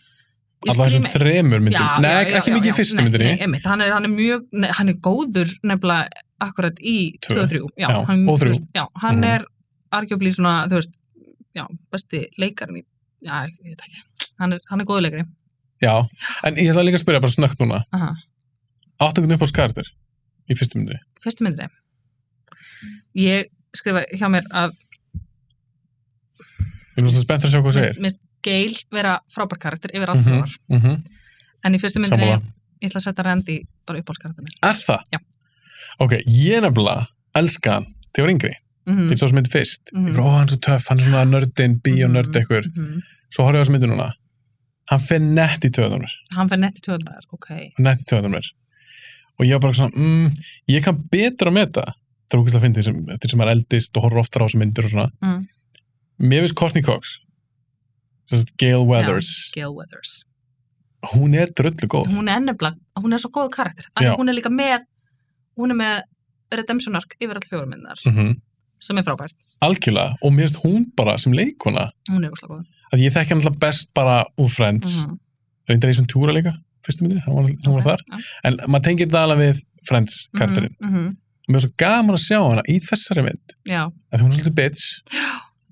S1: alltaf þessum þremur myndum
S2: Já,
S1: nei,
S2: já,
S1: ekki-
S2: já,
S1: ekki
S2: já,
S1: mikið
S2: já,
S1: í fyrstu
S2: nei,
S1: myndinni
S2: nei, einmitt, hann, er, hann er mjög, nei, hann er góður nefnilega akkurat í 2
S1: Tvö.
S2: og 3 já,
S1: Já,
S2: hann,
S1: og
S2: þú
S1: þrjú.
S2: veist, já, hann
S1: Mhm.
S2: er argjöfli svona, þú veist já, besti leikarinn í já, ég veit ekki, hann er, hann er góður leikari
S1: já, en ég ætla líka að spyrja bara snögt núna
S2: Aha.
S1: áttu einhvern uppáhalds karakter í fyrstu myndi
S2: fyrstu myndri ég skrifa hjá mér að
S1: ég er svona spennt að sjá hvað þú segir
S2: mist Gail vera frábær karakter yfir allt
S1: Mhm.
S2: mm -hmm.
S1: mm
S2: en í fyrstu myndri
S1: sammála,
S2: ég, ég ætla að setja Randy bara uppáhalskarakterinn
S1: er það?
S2: Já.
S1: ok, ég nefnilega elska hann þegar ég var yngri,
S2: mm
S1: til svo sem myndi fyrst
S2: Mhm.
S1: ég bara, ó, hann er svo töff, hann er svona nördin bíónörd ekkur, svo horfði ég á þessu myndu núna hann fer nett í töðanum mér
S2: hann fer netti tjóðnar, ok
S1: nett í töðanum mér og ég var bara svona, mm, ég kann betur að meta það er ógæslega að fyndi sem, til sem er eldist og horfður oftar á þessu myndir og svona
S2: Mm.
S1: mér finnst Courtney Cox sem sagt Gail Weathers
S2: Gail Weathers
S1: hún er drullu góð
S2: hún er nefnilega, hún er svo góð karakter Af því
S1: Já.
S2: hún er líka með hún er með redemption arc yfir all fjórum minnar
S1: mm
S2: sem er frábært,
S1: algjörlega og mér finnst hún bara sem leikona
S2: hún er úrslega góð
S1: að ég þekki hann alltaf best bara úr Friends mm -hmm.
S2: Mhm.
S1: reyndar í svona túra líka fyrstu myndinni, hann var, hann var
S2: Ok,
S1: þar
S2: já.
S1: en maður tengir þetta alveg við Friends karakterinn
S2: Mhm, mhm.
S1: og mér er svo gaman að sjá hana í þessari mynd
S2: já,
S1: að hún er svolítið bitch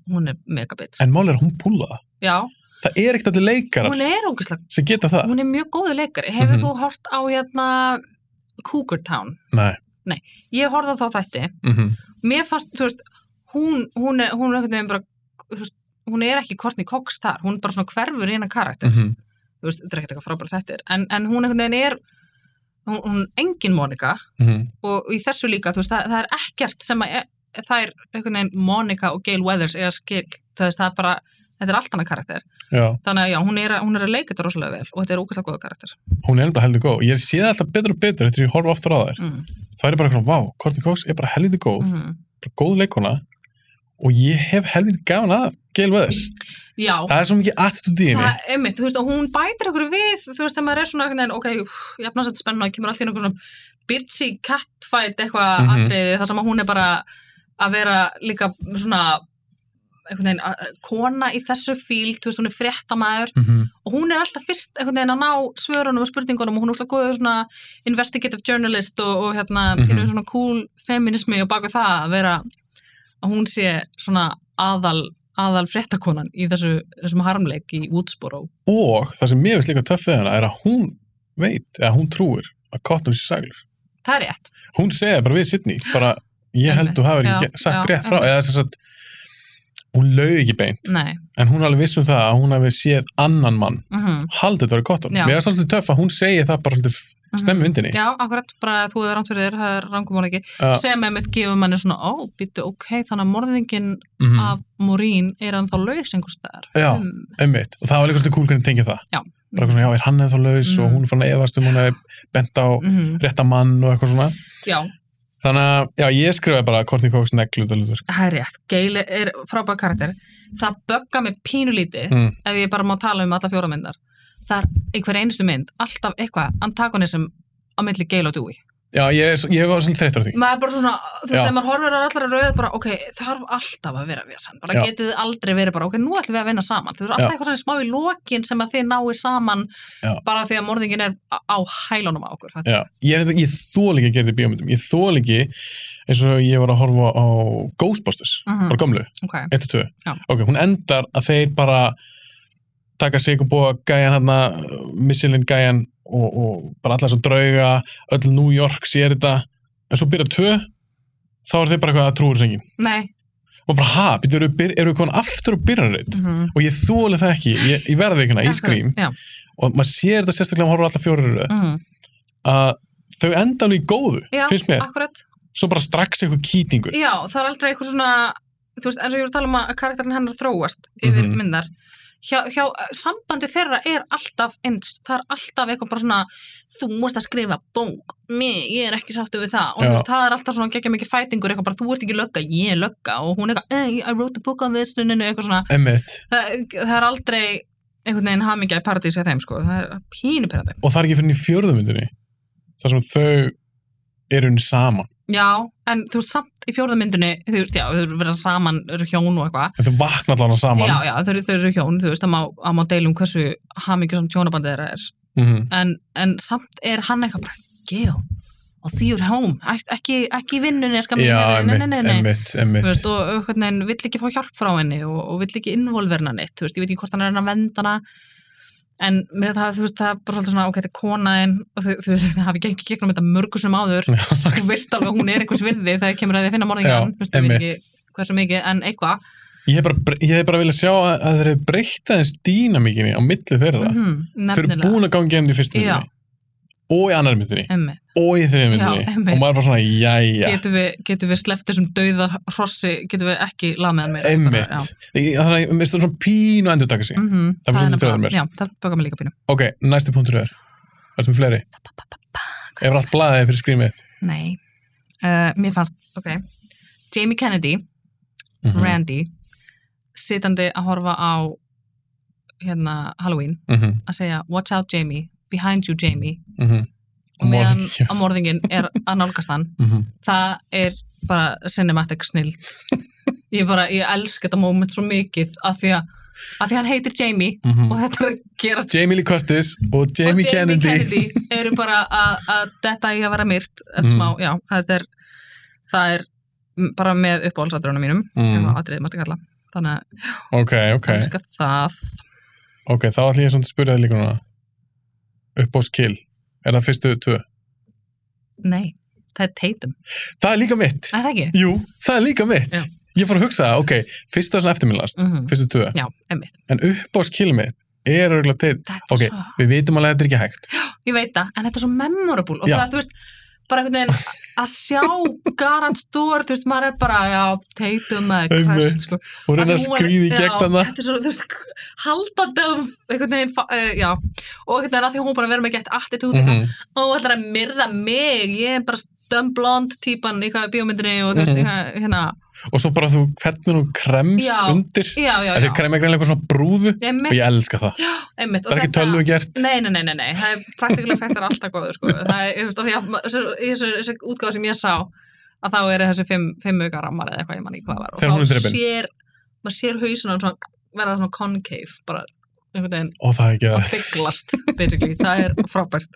S2: hún er megabits
S1: en mál er að hún púla það
S2: já,
S1: það er ekkert allir leikarar
S2: hún er úrslega
S1: sem geta það
S2: hún er mjög góðu leikari, hefur
S1: Ah. Mhm.
S2: þú hort á hérna Cougar Town
S1: nei
S2: ég horfði á þá þætti,
S1: mm -hmm.
S2: mér fannst þú veist, hún, hún er, hún er einhvern veginn bara þú veist, hún er ekki Courtney Cox þar, hún er bara svona hverfur í hennar karakter þú veist, þetta er ekkert eitthvað frábæra þettir en, en hún einhvern veginn er hún, hún er engin Monika og í þessu líka, þú veist, það, það er ekkert sem að e, það er einhvern veginn Monika og Gail Weathers eða skil, þú veist, það er bara þetta er allt annað karakter,
S1: já,
S2: þannig að já, hún er, að- hún er að leika þetta rosalega vel og þetta er ógæslega góða karakter
S1: hún er enda heldur góð ég sé það alltaf betur og betur eftir því ég horfa oftar á þær
S2: mm.
S1: það er bara svona, vá, Courtney Cox er bara helviti góð
S2: Mm.
S1: bara góð leikona og ég hef helviti gaman að Gail Weathers
S2: Já,
S1: það er svo mikið attitude í henni
S2: það, einmitt, þú veist, og hún bætir okkur við, þú veist, þegar maður er svona einhvern veginn, ok, úff, jafnast þetta er spennu og kemur allir einhvern svona bitchy catfight eitthvað mm
S1: Mhm.
S2: atriði, þar sem að hún er bara að vera líka svona einhvern veginn, að- kona í þessu fíl, þú veist, hún er fréttamaður
S1: mm -hmm.
S2: og hún er alltaf fyrst einhvern veginn að ná svörunum og spurningunum og hún er úrslega góð svona investigative journalist og, og hérna,
S1: Mhm.
S2: pínu svona cool feminismi og baka það að vera að hún sé svona aðal aðal fréttakonan í þessu, þessum harmleik í Woodsboro
S1: og það sem mér finnst líka töff við hana er að hún veit, eða hún trúir að Cotton sé saglur
S2: Það er rétt.
S1: hún segja bara við Sidney bara, ég held þú hafa
S2: Já,
S1: ekki ge- sagt
S2: já,
S1: rétt frá
S2: já.
S1: eða þess að hún laug ekki beint
S2: Nei.
S1: en hún er alveg viss um það að hún hafi séð annan mann
S2: Mm -hmm.
S1: haldið þetta verið Cotton
S2: Já.
S1: mér er svolítið töff að hún segi það bara svolítið stemmi vindinni
S2: mhm. Já, akkurat, bara þú hefur rámt fyrir þér, það er rangum hún ekki.
S1: Já.
S2: Sem einmitt gefur manni svona, ó, býttu, ok, þannig að morðingin
S1: Mhm.
S2: af Morín er hann þá laus einhvers staðar.
S1: Já.
S2: Um,
S1: einmitt, og það var líka svolítið cool hvernig tengja það
S2: Já.
S1: bara eitthvað svona, já, er hann eða þá laus
S2: Mhm.
S1: og hún er fann að efast um hún hefði bent á
S2: mhm.
S1: rétta mann og eitthvað svona
S2: Já,
S1: þannig að, já, ég skrifaði bara Courtney Cox neglutalur
S2: það er rétt. Gail er frábæð karakter. Það bögga mig pínulítið
S1: Mm.
S2: ef ég bara má tala um alla fjóra myndar. Það er einhver einstu mynd, alltaf eitthvað, antagonism á milli Gail og Dewey.
S1: já, ég, er svo- ég var svolítið þreyttur á því
S2: maður er bara svona, þú veist,
S1: Já.
S2: þegar maður horfir á allara rauða bara, ok, þarf alltaf að vera vesen, bara
S1: Já.
S2: getið þið aldrei verið bara, ok, nú ætlum við að vinna saman, þú veist, alltaf
S1: Já.
S2: eitthvað svona smá í lokin sem að þið náu saman
S1: Já.
S2: bara því að morðingin er á- á hælunum á okkur, fættu.
S1: já, ég, er þetta- ég þól ekki að gera þetta í bíómyndum ég þól ekki eins og ég var að horfa á Ghostbusters
S2: Mhm.
S1: bara gömlu,
S2: Ok,
S1: 1 og 2
S2: Já.
S1: ok, hún endar að þeir bara taka sig og búa gæjan hérna, hann missilinn gæjan og, og bara allar svo drauga öll New York sér þetta en svo byrja tvö þá er þeir bara eitthvað að trúur sengin
S2: Nei.
S1: og bara ha, býttu, eru, við byr- eru við komin aftur á byrjanreit
S2: Mhm.
S1: og ég þóla það ekki, ég, ég verði ekki hana í skrím
S2: Já.
S1: og maður sér þetta sérstaklega að horfa allar fjórir
S2: mhm.
S1: að þau enda alveg í góðu,
S2: Já,
S1: finnst mér
S2: akkurat.
S1: svo bara strax eitthvað kýtingur
S2: Já, það er aldrei eitthvað svona, þú veist, eins og ég voru að tala um að karakterin hennar þróast yfir
S1: Mhm.
S2: myndar. Hjá, hjá, sambandi þeirra er alltaf eins, það er alltaf eitthvað bara svona, þú múst að skrifa bók, mig, ég er ekki sáttu við það. Og þú
S1: Já.
S2: veist, það er alltaf svona geggja mikið fætingur, eitthvað bara, þú ert ekki lögga, ég er lögga og hún er eitthvað, hey, I wrote a book on this, nynnu, eitthvað svona.
S1: Emmett,
S2: Það, það er aldrei einhvern veginn hamingja í paradísi að þeim, sko. Það er pínuperandi.
S1: og það er ekki fyrir henni í fjörðumyndinni þar sem þau eru henni saman
S2: Já, en þú veist, samt í fjórðamyndinni, þú veist, já, þau eru verið saman, eru hjón og eitthvað.
S1: en þau vakna allan saman
S2: Já, já, þau eru, þau eru hjón, þú veist, það má, það má deilum hversu hamingjusamt hjónabandið þeirra er.
S1: Mhm.
S2: En, en samt er hann eitthvað bara, Gail, og því er home, Ek- ekki, ekki í vinnunni, skal mér,
S1: já
S2: nei, nei,
S1: Emmett,
S2: nei, nei, nei.
S1: Emmett,
S2: Þú
S1: Emmett
S2: veist, og og hvernig hann vill ekki fá hjálp frá henni og, og vill ekki involverna neitt, þú veist, ég veit ekki hvort hann er að reyna að venda hana, en með það, þú veist, það er bara svolítið svona, ok, þetta er konaðin og þú, þú veist, það hafi gengið gegnum þetta mörgusum áður, þú veist alveg að hún er einhvers virði þegar kemur að þið finna morðingjan,
S1: Já,
S2: þú veist, ég veit
S1: einmitt.
S2: ekki hversu mikið, en eitthvað,
S1: ég hef bara, bre- ég hef bara viljað sjá að, að þeir hefur breytt aðeins dýnamíkinni á milli þeirra
S2: mm
S1: þau eru
S2: nefnilega,
S1: búin að gangi henni í fyrstu
S2: Já.
S1: myndinni og í annar myndinni
S2: emmi.
S1: og í þriðju
S2: Já,
S1: myndinni
S2: einmitt.
S1: og maður er bara svona, jæja
S2: getum við, getum við sleppt þessum dauða hrossi, getum við ekki lameðan meira
S1: Emmett það er mér finnst það svona pínu endur taka sig
S2: mm -hmm.
S1: Það er svolítið dauðað mér.
S2: já, það bögar mér líka pínu
S1: ok, næsti punktur er ertu með fleiri? Ef allt blaðið fyrir skrýmið
S2: nei, uh, mér fannst ok, Jamie Kennedy
S1: Mhm.
S2: Randy sitandi að horfa á hérna Halloween
S1: -hmm.
S2: að segja watch out Jamie, behind you Jamie
S1: Mhm.
S2: og meðan
S1: Morðingja.
S2: að morðingin er að nálgast hann
S1: Mhm.
S2: það er bara cinematic snild ég bara, ég elska þetta moment svo mikið að því að, að því að hann heitir Jamie
S1: Mhm.
S2: og þetta er að gerast sko.
S1: Jamie Lee Curtis og Jamie,
S2: og Jamie
S1: Kennedy,
S2: Kennedy, eru bara að- að þetta í að vera myrt
S1: Mm.
S2: smá, já, þetta er það er m- bara með uppáhaldsadrunum mínum
S1: Mm.
S2: ef aðrið mætti kalla þannig að
S1: ok, ok,
S2: okay. elska það
S1: ok þá ætlum ég svona að spyrja það líka núna upp á skill, er það fyrstu tvö
S2: nei, það er teitum,
S1: það er líka mitt,
S2: er það ekki?
S1: jú, það er líka mitt
S2: Já.
S1: ég fór að hugsa, það, ok, fyrsta svona eftirminnlast
S2: Mm -hmm.
S1: fyrstu tvö,
S2: já, emmitt,
S1: en upp á skill mitt er örgulega teitt,
S2: þetta
S1: Ok.
S2: er svo
S1: við vitum alveg að þetta er ekki hægt
S2: ég veit það, en þetta er svo memorable og
S1: Já.
S2: það, þú veist, bara einhvern veginn að sjá Garant Stór, þú veist, maður er bara, já, teitum eða
S1: Einmitt.
S2: kvæst, sko.
S1: og reyna
S2: Að
S1: að
S2: nú er-
S1: skrýði í gegn
S2: já,
S1: hana
S2: Þetta er svo, þú veist, haldandi um einhvern veginn, fa- eh, já, og einhvern veginn að því hún er búin að vera með gett attitúti, mm -hmm.
S1: Mhm.
S2: og ætlar að myrða mig, ég er bara stömm blond típan í hvað bíómyndinni og þú veist,
S1: Mhm.
S2: mm hérna,
S1: og svo bara þú, hvernig hún kremst
S2: Já.
S1: undir
S2: já, já,
S1: þetta er
S2: já,
S1: kremja greinlega eitthvað svona brúðu og
S2: einmitt,
S1: ég elska það,
S2: einmitt, og
S1: það er ekki tölvu gert
S2: Nei, nei, nei, nei, nei, það er praktikilega fættir alltaf góður, sko, það er, þú veist, af því að þessu- í þessu- þessu útgáð sem ég sá að þá eru þessi fimm, fimm auka rammar eða eitthvað, ég mann í hvað var og
S1: Þegar hún er
S2: þá
S1: drepin.
S2: sér, maður sér hausinu svona, verða svona concave, bara einhvern veginn
S1: og það er ekki
S2: að
S1: að
S2: bygglast basically, það er frábært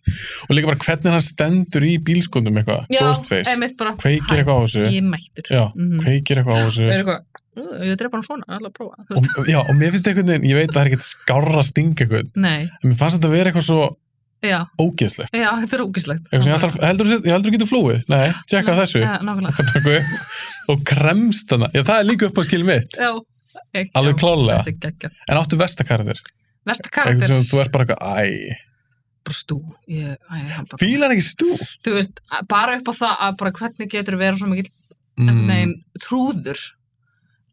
S1: og líka bara hvernig hann stendur í bílskundum eitthvað, ghostface,
S2: einmitt bara
S1: kveikir
S2: hæ,
S1: eitthvað á þessu
S2: ég er mættur
S1: já,
S2: Mhm.
S1: kveikir eitthvað á þessu
S2: er eitthvað, "Ú, ég drepa hann svona, ég ætla að prófa þú
S1: og,
S2: veist,
S1: já, og mér finnst einhvern veginn, ég veit að það er ekkert skárra að stinga einhvern,
S2: nei,
S1: en mér fannst þetta að vera eitthvað svo
S2: já,
S1: ógeðslegt
S2: já, þetta er ógislegt
S1: eitthvað sem ég alltaf, heldur þú heldur þú getur flúið? Nei, tjekka á þessu
S2: já, nákvæmlega
S1: Eitthvað upp og kremst hana, já það er líka upp á skil mitt
S2: já, ekki,
S1: alveg
S2: já,
S1: klálega,
S2: þetta er geggjað.
S1: en áttu vestakarðir
S2: versta
S1: eitthvað
S2: karakter,
S1: sem þú ert bara eitthvað, æ
S2: bara stú ég, æ, hann bara-
S1: fílar ekki stú
S2: þú veist, að- bara upp á það að bara hvernig getur verið svo mikill
S1: mm,
S2: mm. trúður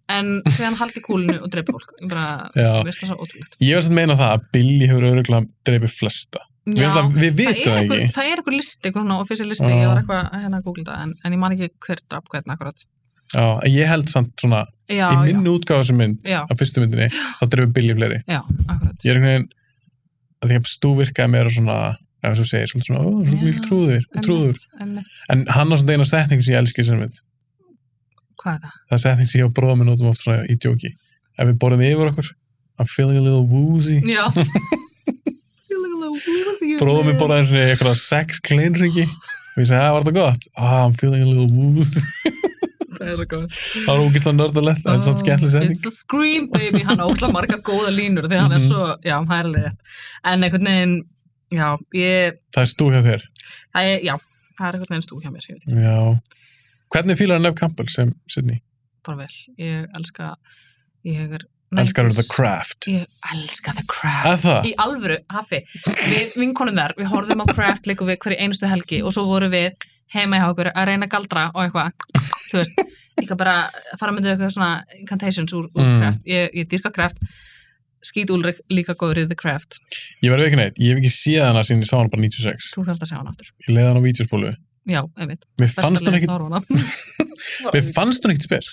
S2: en síðan haldi kúlinu og dreipa fólk ég bara,
S1: já.
S2: veist það svo ótrúlegt
S1: ég vil samt meina það að Billy hefur öruglega dreipið flesta, við,
S2: Já.
S1: ætla, við vitum það
S2: einhver,
S1: ekki
S2: það er einhver listi, eitthvað svona offísil listi,
S1: Já.
S2: ég var eitthvað að hérna að googla það en, en ég man ekki hver draf hvernig akkurat
S1: Já, en ég held samt svona,
S2: já,
S1: í minni útgáðu sem mynd,
S2: Já.
S1: á fyrstu myndinni, þá drefum Billy fleiri.
S2: já, já, akkurat
S1: Ég er einhvern veginn, að því að Stu virkaði meira svona, ef þú segir, svolítið svona, ó,
S2: Já.
S1: svona mjög trúður, trúður.
S2: Einmitt, einmitt.
S1: En hann á svona eina setning sem ég elski sem mynd.
S2: hvað er það?
S1: Það er setning sem ég og bróða minn notum oft svona í djóki. Ef við borðum yfir okkur, I'm feeling a little woozy.
S2: já feeling a little woozy
S1: Bróða minn borðaði einu sinni eitthvað sex kleinringi. Og ég segi, að var það gott? Ah, I'm feeling a little woozy.
S2: það er eitthvað
S1: Það var ógislega nördulegt, en svona skemmtileg setning.
S2: It's a scream baby, hann ósla marga góða línur þegar hann er
S1: Mhm.
S2: svo, já, það er alveg rétt en einhvern veginn, já, ég
S1: Það er stú hjá þér.
S2: það er, já, það er eitthvað neins þú hjá mér, ég veit ekki,
S1: Já. Hvernig fílar hann Neve Campbell sem Sidney?
S2: bara vel ég elska, ég er
S1: Elskar hann The
S2: 90s.
S1: Craft?
S2: ég elska The Craft
S1: Að það?
S2: í alvöru, hafi, við vinkonum þar við horfðum á Craft líka við hverju einustu helgi og svo vorum við heima hjá okkur að reyna að galdra og eitthvað þú veist, eitthvað bara að fara myndið eitthvað svona incantations úr, úr
S1: Mm.
S2: Craft ég, ég dýrka Craft, skýt Úlrik líka góður í The Craft,
S1: Ég verði ekki neitt. Ég hef ekki séð hana síðan ég sá hana bara 96.
S2: þú þarf að segja hann aftur
S1: Ég leiði hana á vídeospólu.
S2: já, einmitt,
S1: Mér fannst hún
S2: leið
S1: ekkit,
S2: að horfa á hana.
S1: mér fannst hún ekkit spes.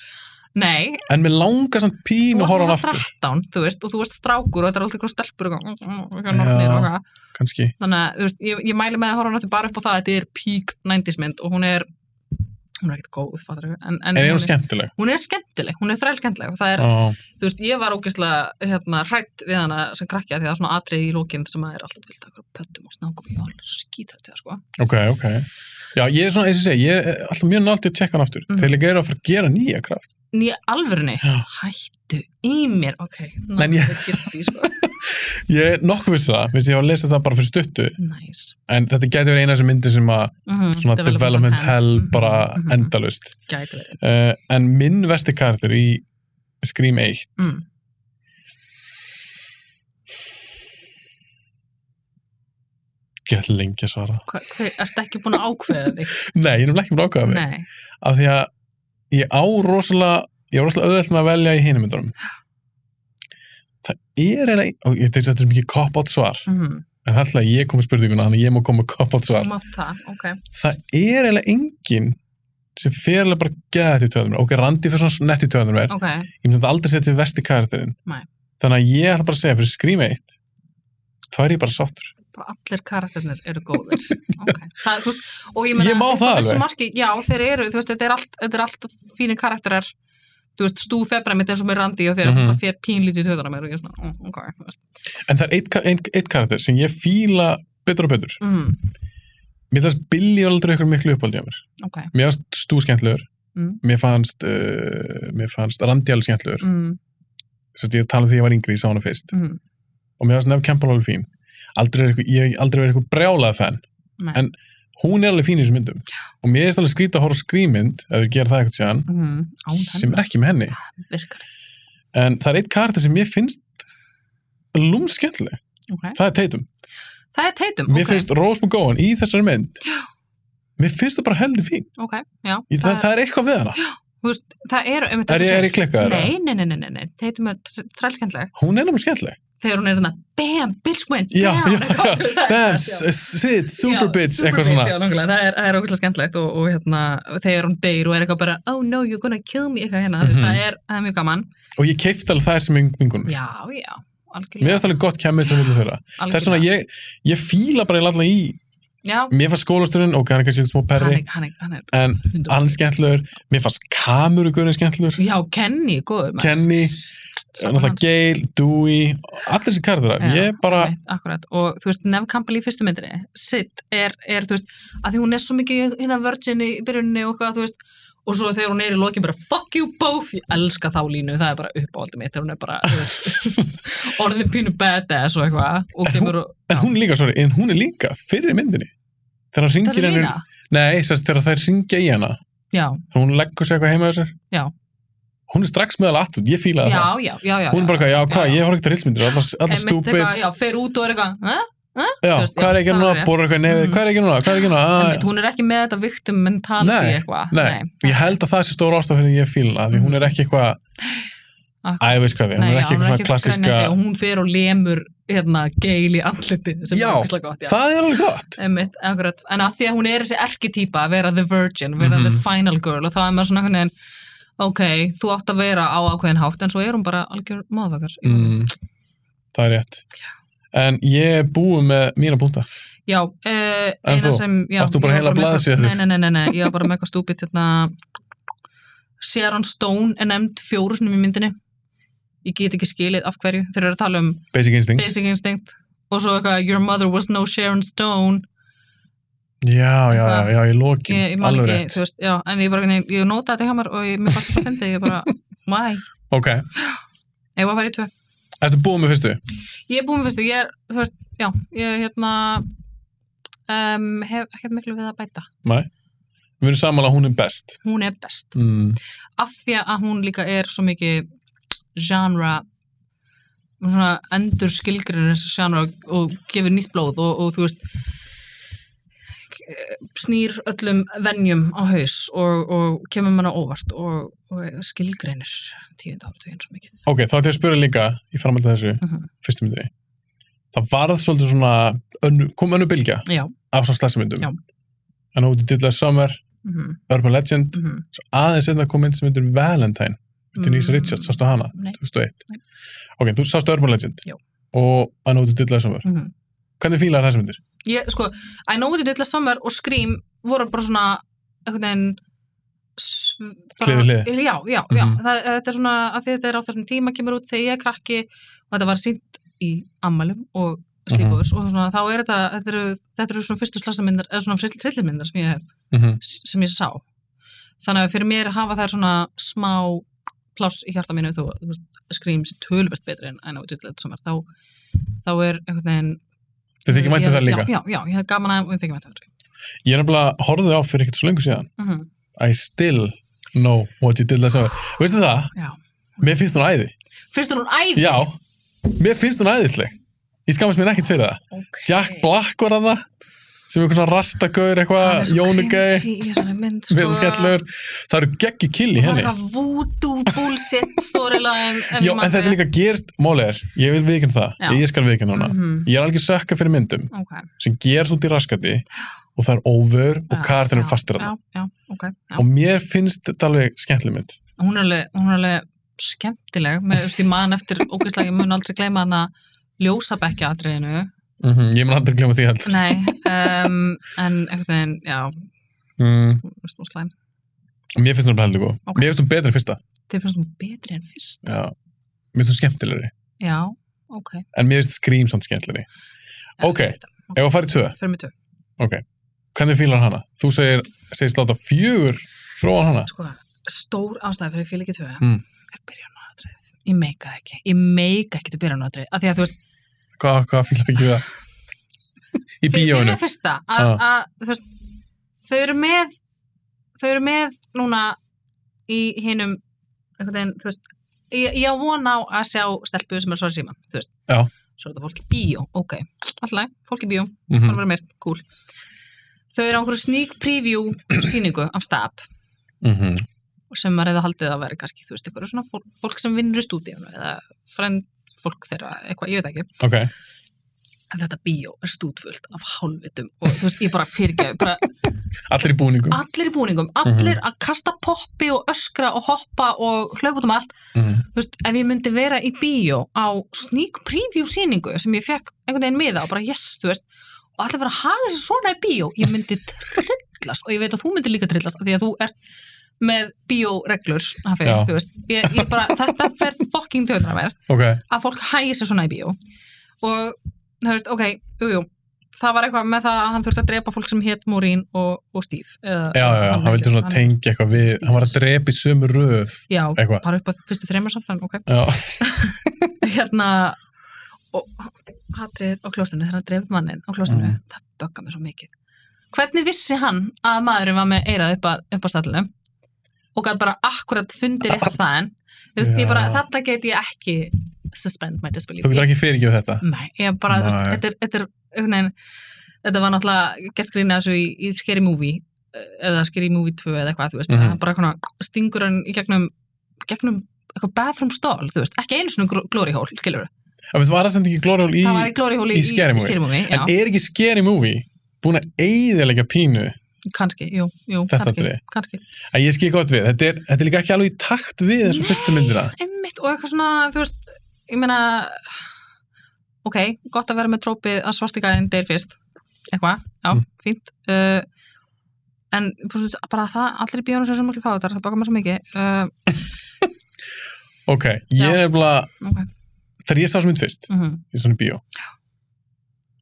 S2: nei,
S1: En mér langar samt
S2: þú
S1: pínu að horfa á hana
S2: varst
S1: aftur.
S2: 13 þú veist, og þú varst strákur og þetta er alltaf eitthvað stelpur og eitthvað, mm, mm, eitthvað nornir og
S1: Já.
S2: eitthvað
S1: Kanski.
S2: þannig að þú veist, ég, ég mæli með að horfa á náttúrulega bara upp á það að þetta er peak 90s mynd og hún er hún er ekkert góð, fattar við en, en
S1: En er hún
S2: hún, er,
S1: skemmtileg?
S2: hún er skemmtileg, hún er þræl skemmtileg og það er,
S1: Já.
S2: þú veist, ég var ógeðslega hérna hrætt við hana sem krakkja því það er svona atrið í lókin sem að er alltaf fyllt akkur pöttum og snákum, ég var alveg skítrætt við það sko
S1: Ok, ok. Já, ég er svona, eins og segja, ég er alltaf mjög náttið að tjekka hann aftur.
S2: Mhm.
S1: Þeir líka eru að fara að gera nýja kraft.
S2: nýja alvörunni,
S1: Já.
S2: hættu í mér ok, ná,
S1: En ég-
S2: það gildi sko
S1: Ég er nokkuð viss um það, vissi ég var að lesa það bara fyrir stuttu,
S2: nice
S1: en þetta getur verið eina af þessum myndir sem að
S2: mm -hmm.
S1: svona development, hell bara
S2: mm,
S1: endalust.
S2: Mhm, gæti verið
S1: Uh, en minn vesti karakter í Scream 1,
S2: mm.
S1: get lengi að svara.
S2: Hva, hver, ertu ekki búin að ákveða þig?
S1: Nei, ég er nefnilega ekki búin að ákvæða mig.
S2: Nei,
S1: Af því að ég á rosalega, ég á rosalega auðvelt með að velja í hinum myndunum. Það er eiginlega, og ég- þetta er svo mikið cop-out svar,
S2: mm.
S1: en það er alltaf að ég kom með spurninguna, þannig að ég má koma með cop-out svar.
S2: þú mátt það, ok
S1: það er eiginlega enginn sem fer alveg bara gæðið í töðunum ok, Randi fyrir svona nett í töðunum er
S2: Ok,
S1: ég myndi þetta aldrei setja sem vesti karakterinn
S2: Nei.
S1: þannig að ég ætla bara að segja fyrir Scream 1 þá er ég bara sáttur
S2: bara allir karakternar eru góðir ok, það, þú veist, og ég
S1: ég,
S2: meina
S1: má
S2: upp á
S1: það
S2: þessu
S1: alveg
S2: marki, já, þeir eru, þú veist, þetta er allt, þetta er allt fínir karakterar þú veist, stú febra mitt eins og með Randi og þeir mm
S1: Mhm.
S2: bara fyrir pínlítið töðar á mér og ég er svona, mm, ok, þú veist
S1: en það er eitt, ka- ein- eitt karakter sem ég fíla betur og betur
S2: mm,
S1: mér finnst Billy aldrei ykkur miklu uppáldi mér
S2: ok,
S1: mér fannst Stú skemmtilegur
S2: Mm.
S1: mér fannst uh, mér fannst Randi alveg skemmtilegur mm.
S2: mm,
S1: ég er að tala um því ég var yngri, ég sá hana fyrst
S2: mm,
S1: og mér fannst nefn Campbell alveg fín aldrei er ykkur, ég hef aldrei verið ykkur brjálað fan
S2: nei,
S1: En- hún er alveg fín í þessum myndum og mér er alveg skrýta að horfa á skrýmynd ef við gera það eitthvað séðan
S2: mm, án
S1: sem
S2: hennar
S1: er ekki með henni
S2: virkar,
S1: en það er eitt karakter sem mér finnst lúmskendli,
S2: ok,
S1: það er Tatum
S2: það er teitum,
S1: mér
S2: ok,
S1: finnst Rose McGowan í þessari mynd mér finnst það bara heldur fín
S2: ok, já
S1: Ég, það,
S2: það,
S1: það er eitthvað við hana,
S2: þú veist, það eru, einmitt
S1: er
S2: eins og
S1: ég, er
S2: segir.
S1: ég klikkað þeirra
S2: nei, nei, nei, nei, nei, nei, teitum er trælskendlega
S1: hún er lúmskendli
S2: þegar hún er þarna, bam, bitch went
S1: Já,
S2: down
S1: já, já.
S2: Það er-
S1: bam,
S2: já.
S1: s- sit, super
S2: Já,
S1: bitch,
S2: super
S1: eitthvað
S2: bitch,
S1: svona
S2: já, nákvæmlega. það er, það er ógæslega skemmtlegt og, og hérna, þegar hún deyr og er eitthvað bara oh no, you're gonna kill me, eitthvað hérna mm
S1: Mhm.
S2: það, er, það er mjög gaman,
S1: og ég keifti alveg þær sem vingunum mér
S2: já, já algjörlega,
S1: finnst alveg gott kemmist að vilja þeirra það er svona,
S2: algjörlega.
S1: ég, ég fíla bara alltaf í
S2: já,
S1: mér fannst skólasturinn, ok, hann er kannski smá
S2: hann
S1: perri
S2: er, hann er, hann er
S1: en
S2: hundur.
S1: hann er skemmtilegur, mér fannst Kamuru Gunni skemmtilegur,
S2: já, Kenny, góður maður.
S1: Kenny náttúrulega Gail, Dewey allir þessi karakterar,
S2: Já,
S1: ég bara
S2: Einmitt, Akkurat, og þú veist, Neve Campbell í fyrstu myndinni Sid er, er, þú veist, að því hún er svo mikið hérna virgin í byrjunni og hvað, þú veist og svo þegar hún er í lokin bara fuck you both, ég elska þá línu, það er bara uppáhaldi mitt, þegar hún er bara þú veist, orðin pínu badass og eitthvað og kemur og
S1: en hún er líka, sorry, en hún er líka fyrir myndinni þegar hann
S2: Þessi
S1: ringir henni,
S2: lína?
S1: nei, sérst þegar þær ringja í hana,
S2: Já,
S1: þegar hún leggur sér eitthvað heima þessar,
S2: Já.
S1: hún er strax meðal aftut, ég fílaði
S2: já,
S1: það,
S2: já, já, já.
S1: hún er bara eitthvað, já,
S2: Já,
S1: hvað,
S2: já.
S1: ég horf ekki til hilsmyndir, allar, allar
S2: Einmitt
S1: stúpid
S2: eitthvað, Já, fer út og er eitthvað, hæ?
S1: já,
S2: þú veist,
S1: hvað
S2: já,
S1: er ekki
S2: það er
S1: núna,
S2: rétt.
S1: borur eitthvað nefið,
S2: Mhm.
S1: hvað er ekki núna, hvað er ekki
S2: Einmitt,
S1: núna,
S2: Hún er ekki með þetta viktum mentality
S1: Ah, Nei,
S2: eitthvað.
S1: nei, að ég held að það sé stóra ástaf fyrir því ég fíla hana, því hún er ekki eitthvað
S2: Akkurat.
S1: Æ, ég veist hvað við, hún
S2: Nei,
S1: er
S2: já,
S1: ekki eitthvað svona klassiska
S2: grenjandi og hún fer og lemur hérna geil í andliti sem
S1: Já,
S2: er okkur gott, já.
S1: það er alveg gott
S2: Einmitt, akkurat. En að því að hún er þessi erketýpa að vera the virgin, vera
S1: Mhm.
S2: the final girl og þá er maður svona einhvern veginn ok, þú átt að vera á ákveðin hátt en svo er hún bara algjör maðurfakar
S1: mm, það er rétt en ég er búið með mína púnta
S2: Já, uh,
S1: En
S2: eina
S1: þú?
S2: sem já,
S1: Átt þú bara
S2: ég var
S1: heila
S2: með
S1: blaðsíðu
S2: eitthvað-
S1: þér?
S2: Nei, nei, nei, nei, ég var bara með eitthvað stúpid hérna, Sharon Stone er nefnd fjóru sinni í myndinni Ég get ekki skilið af hverju Þeir eru að tala um
S1: Basic Instinct
S2: Basic Instinct og svo eitthvað Your mother was no Sharon Stone
S1: já, já, já, já, ég loki,
S2: Ég, ég man
S1: alveg
S2: ekki,
S1: rétt
S2: þú veist, já En ég bara, ég, ég nota þetta hjá mér og ég, mér fannst þetta svo fyndi Ég bara, why?
S1: ok,
S2: Ég var að fara í tvö
S1: ertu búið með fyrstu?
S2: Ég er búin, veistu, ég er, þú veist, já Ég er hérna um, hef ekkert miklu við að bæta
S1: Við erum saman að hún er best.
S2: hún er best
S1: Mm.
S2: af því að hún líka er svo mikið genre svona endur skilgrinn þessi genre og, og gefur nýtt blóð og, og þú veist eh, snýr öllum venjum á haus og, og kemur manna óvart og, og skilgreinir tíunda áratugin svo mikið
S1: Ok, þá ætti ég að spura líka í framhaldi af þessu,
S2: Mhm.
S1: fyrstu myndinni. Það varð svolítið svona, önnu, kom önnu bylgja
S2: já,
S1: af svona slagsmyndum.
S2: Já.
S1: En hún dillar Summer,
S2: mm -hmm,
S1: Urban Legend,
S2: mm -hmm.
S1: svo aðeins einnig kom mynd sem myndir Valentine, myndir Nýsa
S2: Mm.
S1: Richards, sástu hana,
S2: Nei.
S1: 2001.
S2: Nei.
S1: Ok, þú sástu Urban Legend.
S2: Já.
S1: Og að hún dillar Summer.
S2: Mm -hmm.
S1: Hvernig fílar þessi myndir?
S2: ég, sko, I know what you did last summer og Scream voru bara svona einhvern veginn s- bara-
S1: Hlið við
S2: já, já, já.
S1: Mhm.
S2: Það, þetta er svona að því þetta er á þessum tíma kemur út þegar ég er krakki og þetta var sínt í ammælum og slíkovers og svona, þá er þetta þetta eru, þetta eru svona fyrstu slassamindar eða svona hryllimindar sem ég hef
S1: Mm
S2: sem ég sá þannig að fyrir mér hafa þær svona smá pláss í hjarta mínu þó skrýms tölvert betri en enn á dutlega sumar þá, þá er einhvern veginn
S1: Þið þykir væntu
S2: Ég-
S1: um það líka?
S2: Mm, já, já, já, ég hef gaman að við um þykir væntu þar
S1: Ég er nefnilega horfðið á fyrir ekkert svo lengur síðan.
S2: mm -hmm.
S1: I still know what you did last summer. Veistu það?
S2: Já.
S1: Mér finnst hún æði.
S2: fyrst er hún æði
S1: Já, mér finnst hún æðisleg. Ég skammast mér ekkert fyrir það.
S2: okay.
S1: Jack Black var hann það, sem einhvern svona rastagaur
S2: Hann er
S1: eitthvað,
S2: svo
S1: jónugau,
S2: cringy í þessari mynd, sko.
S1: mér svo skellur. Það eru geggi kill í
S2: Það er
S1: henni.
S2: eitthvað voodoo bullshit storyline
S1: Já, en þetta líka gerst, málið er, ég vil viðkynna það,
S2: Já.
S1: ég skal viðkynna hana.
S2: -hmm.
S1: Ég er algjör sökka fyrir myndum
S2: Ok,
S1: sem gerst út í raskati og það er over og kartin er fastir
S2: já,
S1: hann.
S2: já, ok já.
S1: Og mér finnst þetta alveg skemmtileg mynd.
S2: hún er alveg, hún er alveg skemmtileg með, þú veist, ég man eftir ógeðslega, ég mun aldrei gleyma hana ljósabekja atriðinu
S1: Mm Ég mun aldrei glemma því heldur.
S2: nei, um, en einhvern veginn já,
S1: Mm,
S2: þú veist, hún slæm
S1: mér finnst hún bara heldur góð.
S2: Ok.
S1: Mér finnst hún betri en fyrsta.
S2: þið finnst hún betri en fyrst
S1: Já. Mér finnst hún skemmtilegri.
S2: já, ok
S1: En mér finnst Scream samt skemmtilegri. Ok. Ef að fara í tvö,
S2: fyrir mig tvö,
S1: hvernig fílar hana? Þú segir, segist láta fjögur fróðan hana.
S2: sko, stór ástæði fyrir fíl ekki tvö
S1: Mm.
S2: er byrjunaratrið ég meika það ekki, ég meika ekki til byrjunaratrið af því að þú veist,
S1: Hvað, hvað fílar ekki við það? Í
S2: fyrir- fyrir
S1: bíóinu.
S2: það fyrsta að,
S1: Ah.
S2: að, þú veist, þau eru með þau eru með núna í hinum einhvern veginn, þú veist ég, ég á von á að sjá stelpu sem er svo síma þú veist,
S1: Já.
S2: svo er þetta fólk í bíó ok, alltaf, fólk í bíó
S1: Mm
S2: hann var meir, cool þau eru á einhverju sneak preview sýningu af stab
S1: -hmm.
S2: sem maður hefði haldið að vera kannski, þú veist, eitthvað svona fólk, fólk sem vinnur í stúdíunum eða frend fólk þeirra, eitthvað, ég veit ekki
S1: Ok.
S2: en þetta bíó er stúdfullt af hálfvitum og þú veist, ég bara fyrirgeðu, bara
S1: Allir í búningum.
S2: allir í búningum, allir að kasta poppi og öskra og hoppa og hlaupa út um allt
S1: Mhm.
S2: þú veist, ef ég myndi vera í bíó á sneak preview síningu sem ég fekk einhvern veginn miða og bara yes, þú veist og allir vera að haga þessi svona í bíó ég myndi trillast og ég veit að þú myndir líka trillast af því að þú ert með bíóreglur hafi,
S1: Já.
S2: þú veist, ég, ég bara, þetta fer fucking tjóðan að mér
S1: Ok.
S2: að fólk hægir sér svona í bíó og þú veist, ok, jú, jú það var eitthvað með það að hann þurfti að drepa fólk sem hétt Morín og, og Steve eða,
S1: Já, já, já. Hann vildi svona tengja eitthvað við. Hann var að drepa í sömu röð.
S2: já,
S1: Eitthvað.
S2: bara upp á fyrstu þreymur samt en ok,
S1: Já.
S2: hérna og hatrið á klóstinu þegar hann dreif mannin á klóstinu,
S1: Mm.
S2: það böggar mér svo mikið hvernig vissi hann að maðurinn var með eirað upp, að, upp á stallinu og gæti bara akkurat fundið rétt staðin þú veist, ég bara,
S1: Já.
S2: þetta get ég ekki suspend my disbelief
S1: Þú getur ekki fyrirgjöð þetta.
S2: Nei, ég bara, þú veist,
S1: Nei.
S2: þetta er, þetta er, einhvern veginn, þetta var náttúrulega gert grína þessu í, í Scary Movie eh, eða Scary Movie 2 eða eitthvað, þú veist,
S1: Mhm.
S2: mm -hmm. bara svona stingur hann í gegnum, gegnum eitthvað bathroom stall, þú veist, ekki einu svona gl- glory hole, skilur
S1: En við varum samt ekki glóriál í...
S2: það var í glory hole í,
S1: í Scary Movie.
S2: Scary Movie já,
S1: En er ekki Scary Movie búin að eyðilega pínu
S2: kannski, jú, jú,
S1: Þetta
S2: kannski,
S1: atriði.
S2: kannski.
S1: að ég skil gott við, þetta er, þetta er líka ekki alveg í takt við eins og fyrstu myndina
S2: Einmitt, og eitthvað svona, þú veist, ég meina, ok, gott að vera með trópið að svarti gæðin deyr fyrst, eitthvað, já,
S1: Mm.
S2: fínt uh, en þú veist, bara það allir í bíónu sem sem mjög fá þetta, það baka mér svo mikið uh,
S1: ok, ég er
S2: Já.
S1: nefnilega,
S2: ok,
S1: þegar ég sá þessu mynd fyrst
S2: mhm,
S1: í svona bíó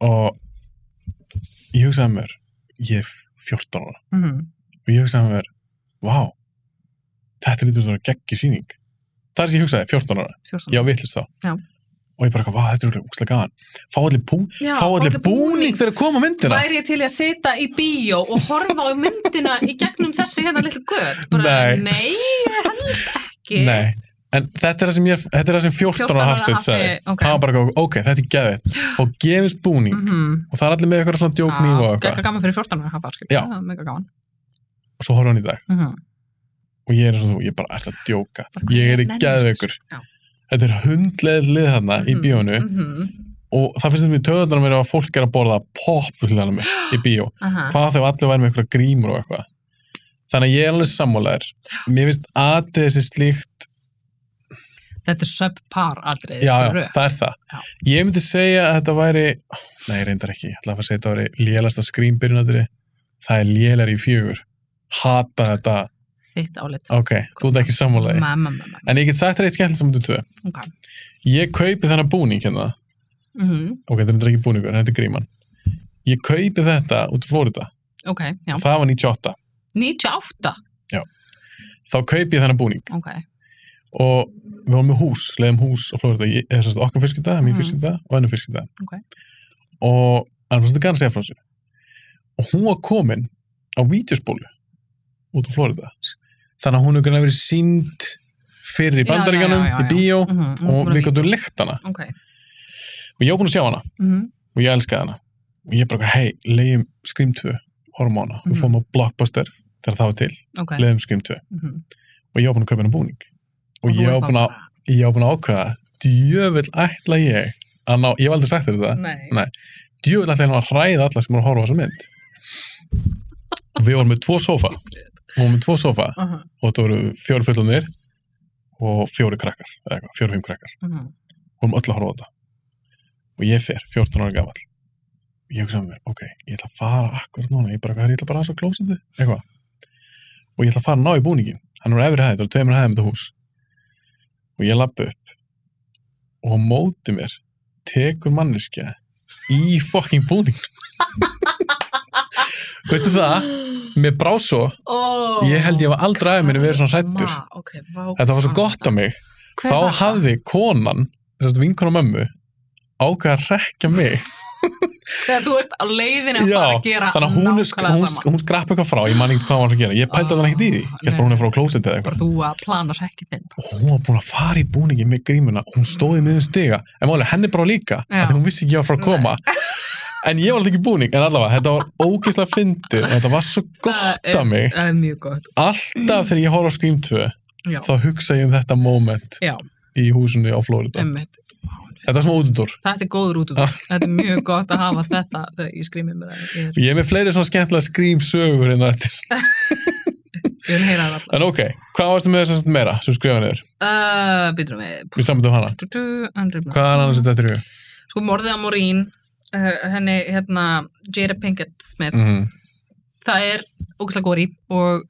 S1: og ég hugsaði með mér ég er 14 ára
S2: mhm,
S1: og ég hugsaði með mér, vá þetta lítur svona geggi sýning það er sem ég hugsaði, 14 ára,
S2: 14
S1: ég á vitlust þá
S2: Já.
S1: og ég bara, hvað, þetta er úkslega gaman fá allir, bú,
S2: Já,
S1: fá allir búning þegar að koma á myndina
S2: Væri ég til í að sita í bíó og horfa á myndina í gegnum þessi hérna litlu gött?
S1: Nei.
S2: Bara, nei, ég held ekki.
S1: Nei, en þetta er það sem, ég, þetta er það sem 14 ára Hafsteinn sagði
S2: ok.
S1: hann var bara, eitthvað, ok, þetta er geðvitt og gefins búning
S2: Mhm. Ah,
S1: og það er allir með eitthvað svona djók nýf og
S2: Já,
S1: eitthvað
S2: Gekka gaman fyrir 14 ára hafa, skil.
S1: Já.
S2: Það er mega gaman.
S1: og svo horfði hann í dag
S2: Mhm.
S1: og ég er eins og þú, ég bara ert að djóka
S2: Bara,
S1: ég er í
S2: nennir
S1: geðveikur
S2: þessu? Já.
S1: þetta er hundleið lið þarna í
S2: Mhm,
S1: bíónu
S2: mhm,
S1: og það finnst þetta mér töðunar mér að fólk er að borða populunum í bíó
S2: aha.
S1: hvað þau allir væri með eitthvað grímur og eitthvað þannig að ég er alveg sammálaður mér finnst atrið þessi slíkt
S2: Þetta er subpar atrið,
S1: já,
S2: skilur
S1: já, það er það
S2: Já.
S1: ég myndi segja að þetta væri nei, reyndar ekki, ég ætla að fara að segja að þetta væri lélasta skrýmbyrjunatri það er lélar í fjögur hata þetta,
S2: Þitt álit.
S1: ok, þú ert ekki sammálaði
S2: Mamma, mamma,
S1: en ég get sagt þér eitt skemmtilegt sem þú tvö
S2: ok.
S1: ég kaupi þennan búning hérna
S2: Mhm,
S1: ok, þetta er reyndar ekki búningur, þetta er gríman ég kaupi þetta út í Flórida
S2: Ok, já.
S1: það var 98,
S2: 98,
S1: þá kaupi ég þennan búning
S2: ok.
S1: og við vorum með hús, leiðum hús á Flórida, ég- eða sérst okkar fyrskita, mín
S2: Mm.
S1: fyrskita og önnur fyrskita
S2: Ok.
S1: og hann var svolítið gana að segja frá sér og hún var komin á vítjusbólu út á Flórida þannig að hún hefur grann verið sínd fyrir í
S2: Já, já,
S1: bandaríkanum,
S2: já, já,
S1: í
S2: já.
S1: bíó
S2: Mhm, hún
S1: og
S2: búin að
S1: við
S2: víkja.
S1: gotum lykt hana
S2: Ok,
S1: og ég var búin að sjá hana
S2: mhm,
S1: og ég elskaði hana og ég bara, hei, leiðum Scream 2 horfum á hana, við
S2: Mhm.
S1: fórum á Blockbuster þegar það var til,
S2: ok.
S1: leiðum Scream 2
S2: mhm.
S1: og ég var búin að kaupa hennar búning og,
S2: þú
S1: ég
S2: er
S1: var búin að,
S2: bara-
S1: ég var búin að ákveða djöfull ætla ég að ná, ég hef aldrei sagt þér þetta
S2: Nei.
S1: Nei. djöfull ætla ég nú að hræða alla sem voru að horfa á þessa mynd og við vorum með tvo sofa við vorum með tvo sofa
S2: Aha,
S1: og þetta voru fjóri fullunir og fjóri krakkar, eða eitthvað, fjóri fimm krakkar
S2: aha.
S1: vorum öll að horfa á þetta og ég fer, 14 ára gamall ég hugsa með mér, ok, ég ætla að fara akkurat núna, ég bara, hvað er, ég ætla bara aðeins á klósandi eitthvað og ég ætla að fara að ná í búningin hann er á efri hæði, það eru tveimur hæðum þetta hús og ég lappa upp og á móti mér tekur manneskja í fucking búning veistu það mér brá svo,
S2: Ó,
S1: ég held ég var aldrei aðeins minni verið svona hrættur
S2: ma, ok, vá,
S1: þetta var svo gott á mig
S2: Hver
S1: þá
S2: var það?
S1: hafði konan þessast vinkona mömmu ákveða að rekja mig
S2: þegar þú ert á leiðinu að
S1: Já,
S2: fara að gera
S1: þannig að hún, er,
S2: nákvæmlega
S1: hún,
S2: sama.
S1: hún skrapp eitthvað frá, ég man ekkert hvað hann var að gera ég pældi
S2: Ah,
S1: allan ekkert í því, ég held bara hún er frá klósiti eða
S2: bara
S1: eitthvað
S2: þú að plana rekki þinn
S1: og hún var búin að fara í búningin með grímuna hún stóði miðum stiga, en máli henni bara líka af
S2: Já.
S1: því hún vissi ekki að frá að koma en ég var alltaf ekki í búning, en allavega þetta var ógeðslega fyndið og þetta var svo
S2: Það
S1: gott
S2: er-
S1: af mig
S2: það er mjög gott
S1: alltaf þegar ég horf á Scream 2
S2: já,
S1: þá hugsa ég um þetta moment
S2: já,
S1: í húsinu á Flórida
S2: emmitt
S1: þetta er svona útundur
S2: þetta er góður út
S1: Já.
S2: þetta er mjög gott að hafa þetta þegar ég skrými með það ég, er,
S1: ég er með fleiri svona skemmtilega Scream sögur en þetta
S2: ég vil heyra það allar
S1: En ok, hvað varstu með þess að meira sem skrifa niður?
S2: uh, býtum við
S1: Við samtum hana. Hvað er annars þetta trjú?
S2: sko morðið á Morín uh, henni hérna Jada Pinkett Smith
S1: Mm.
S2: það er ógæslega góri og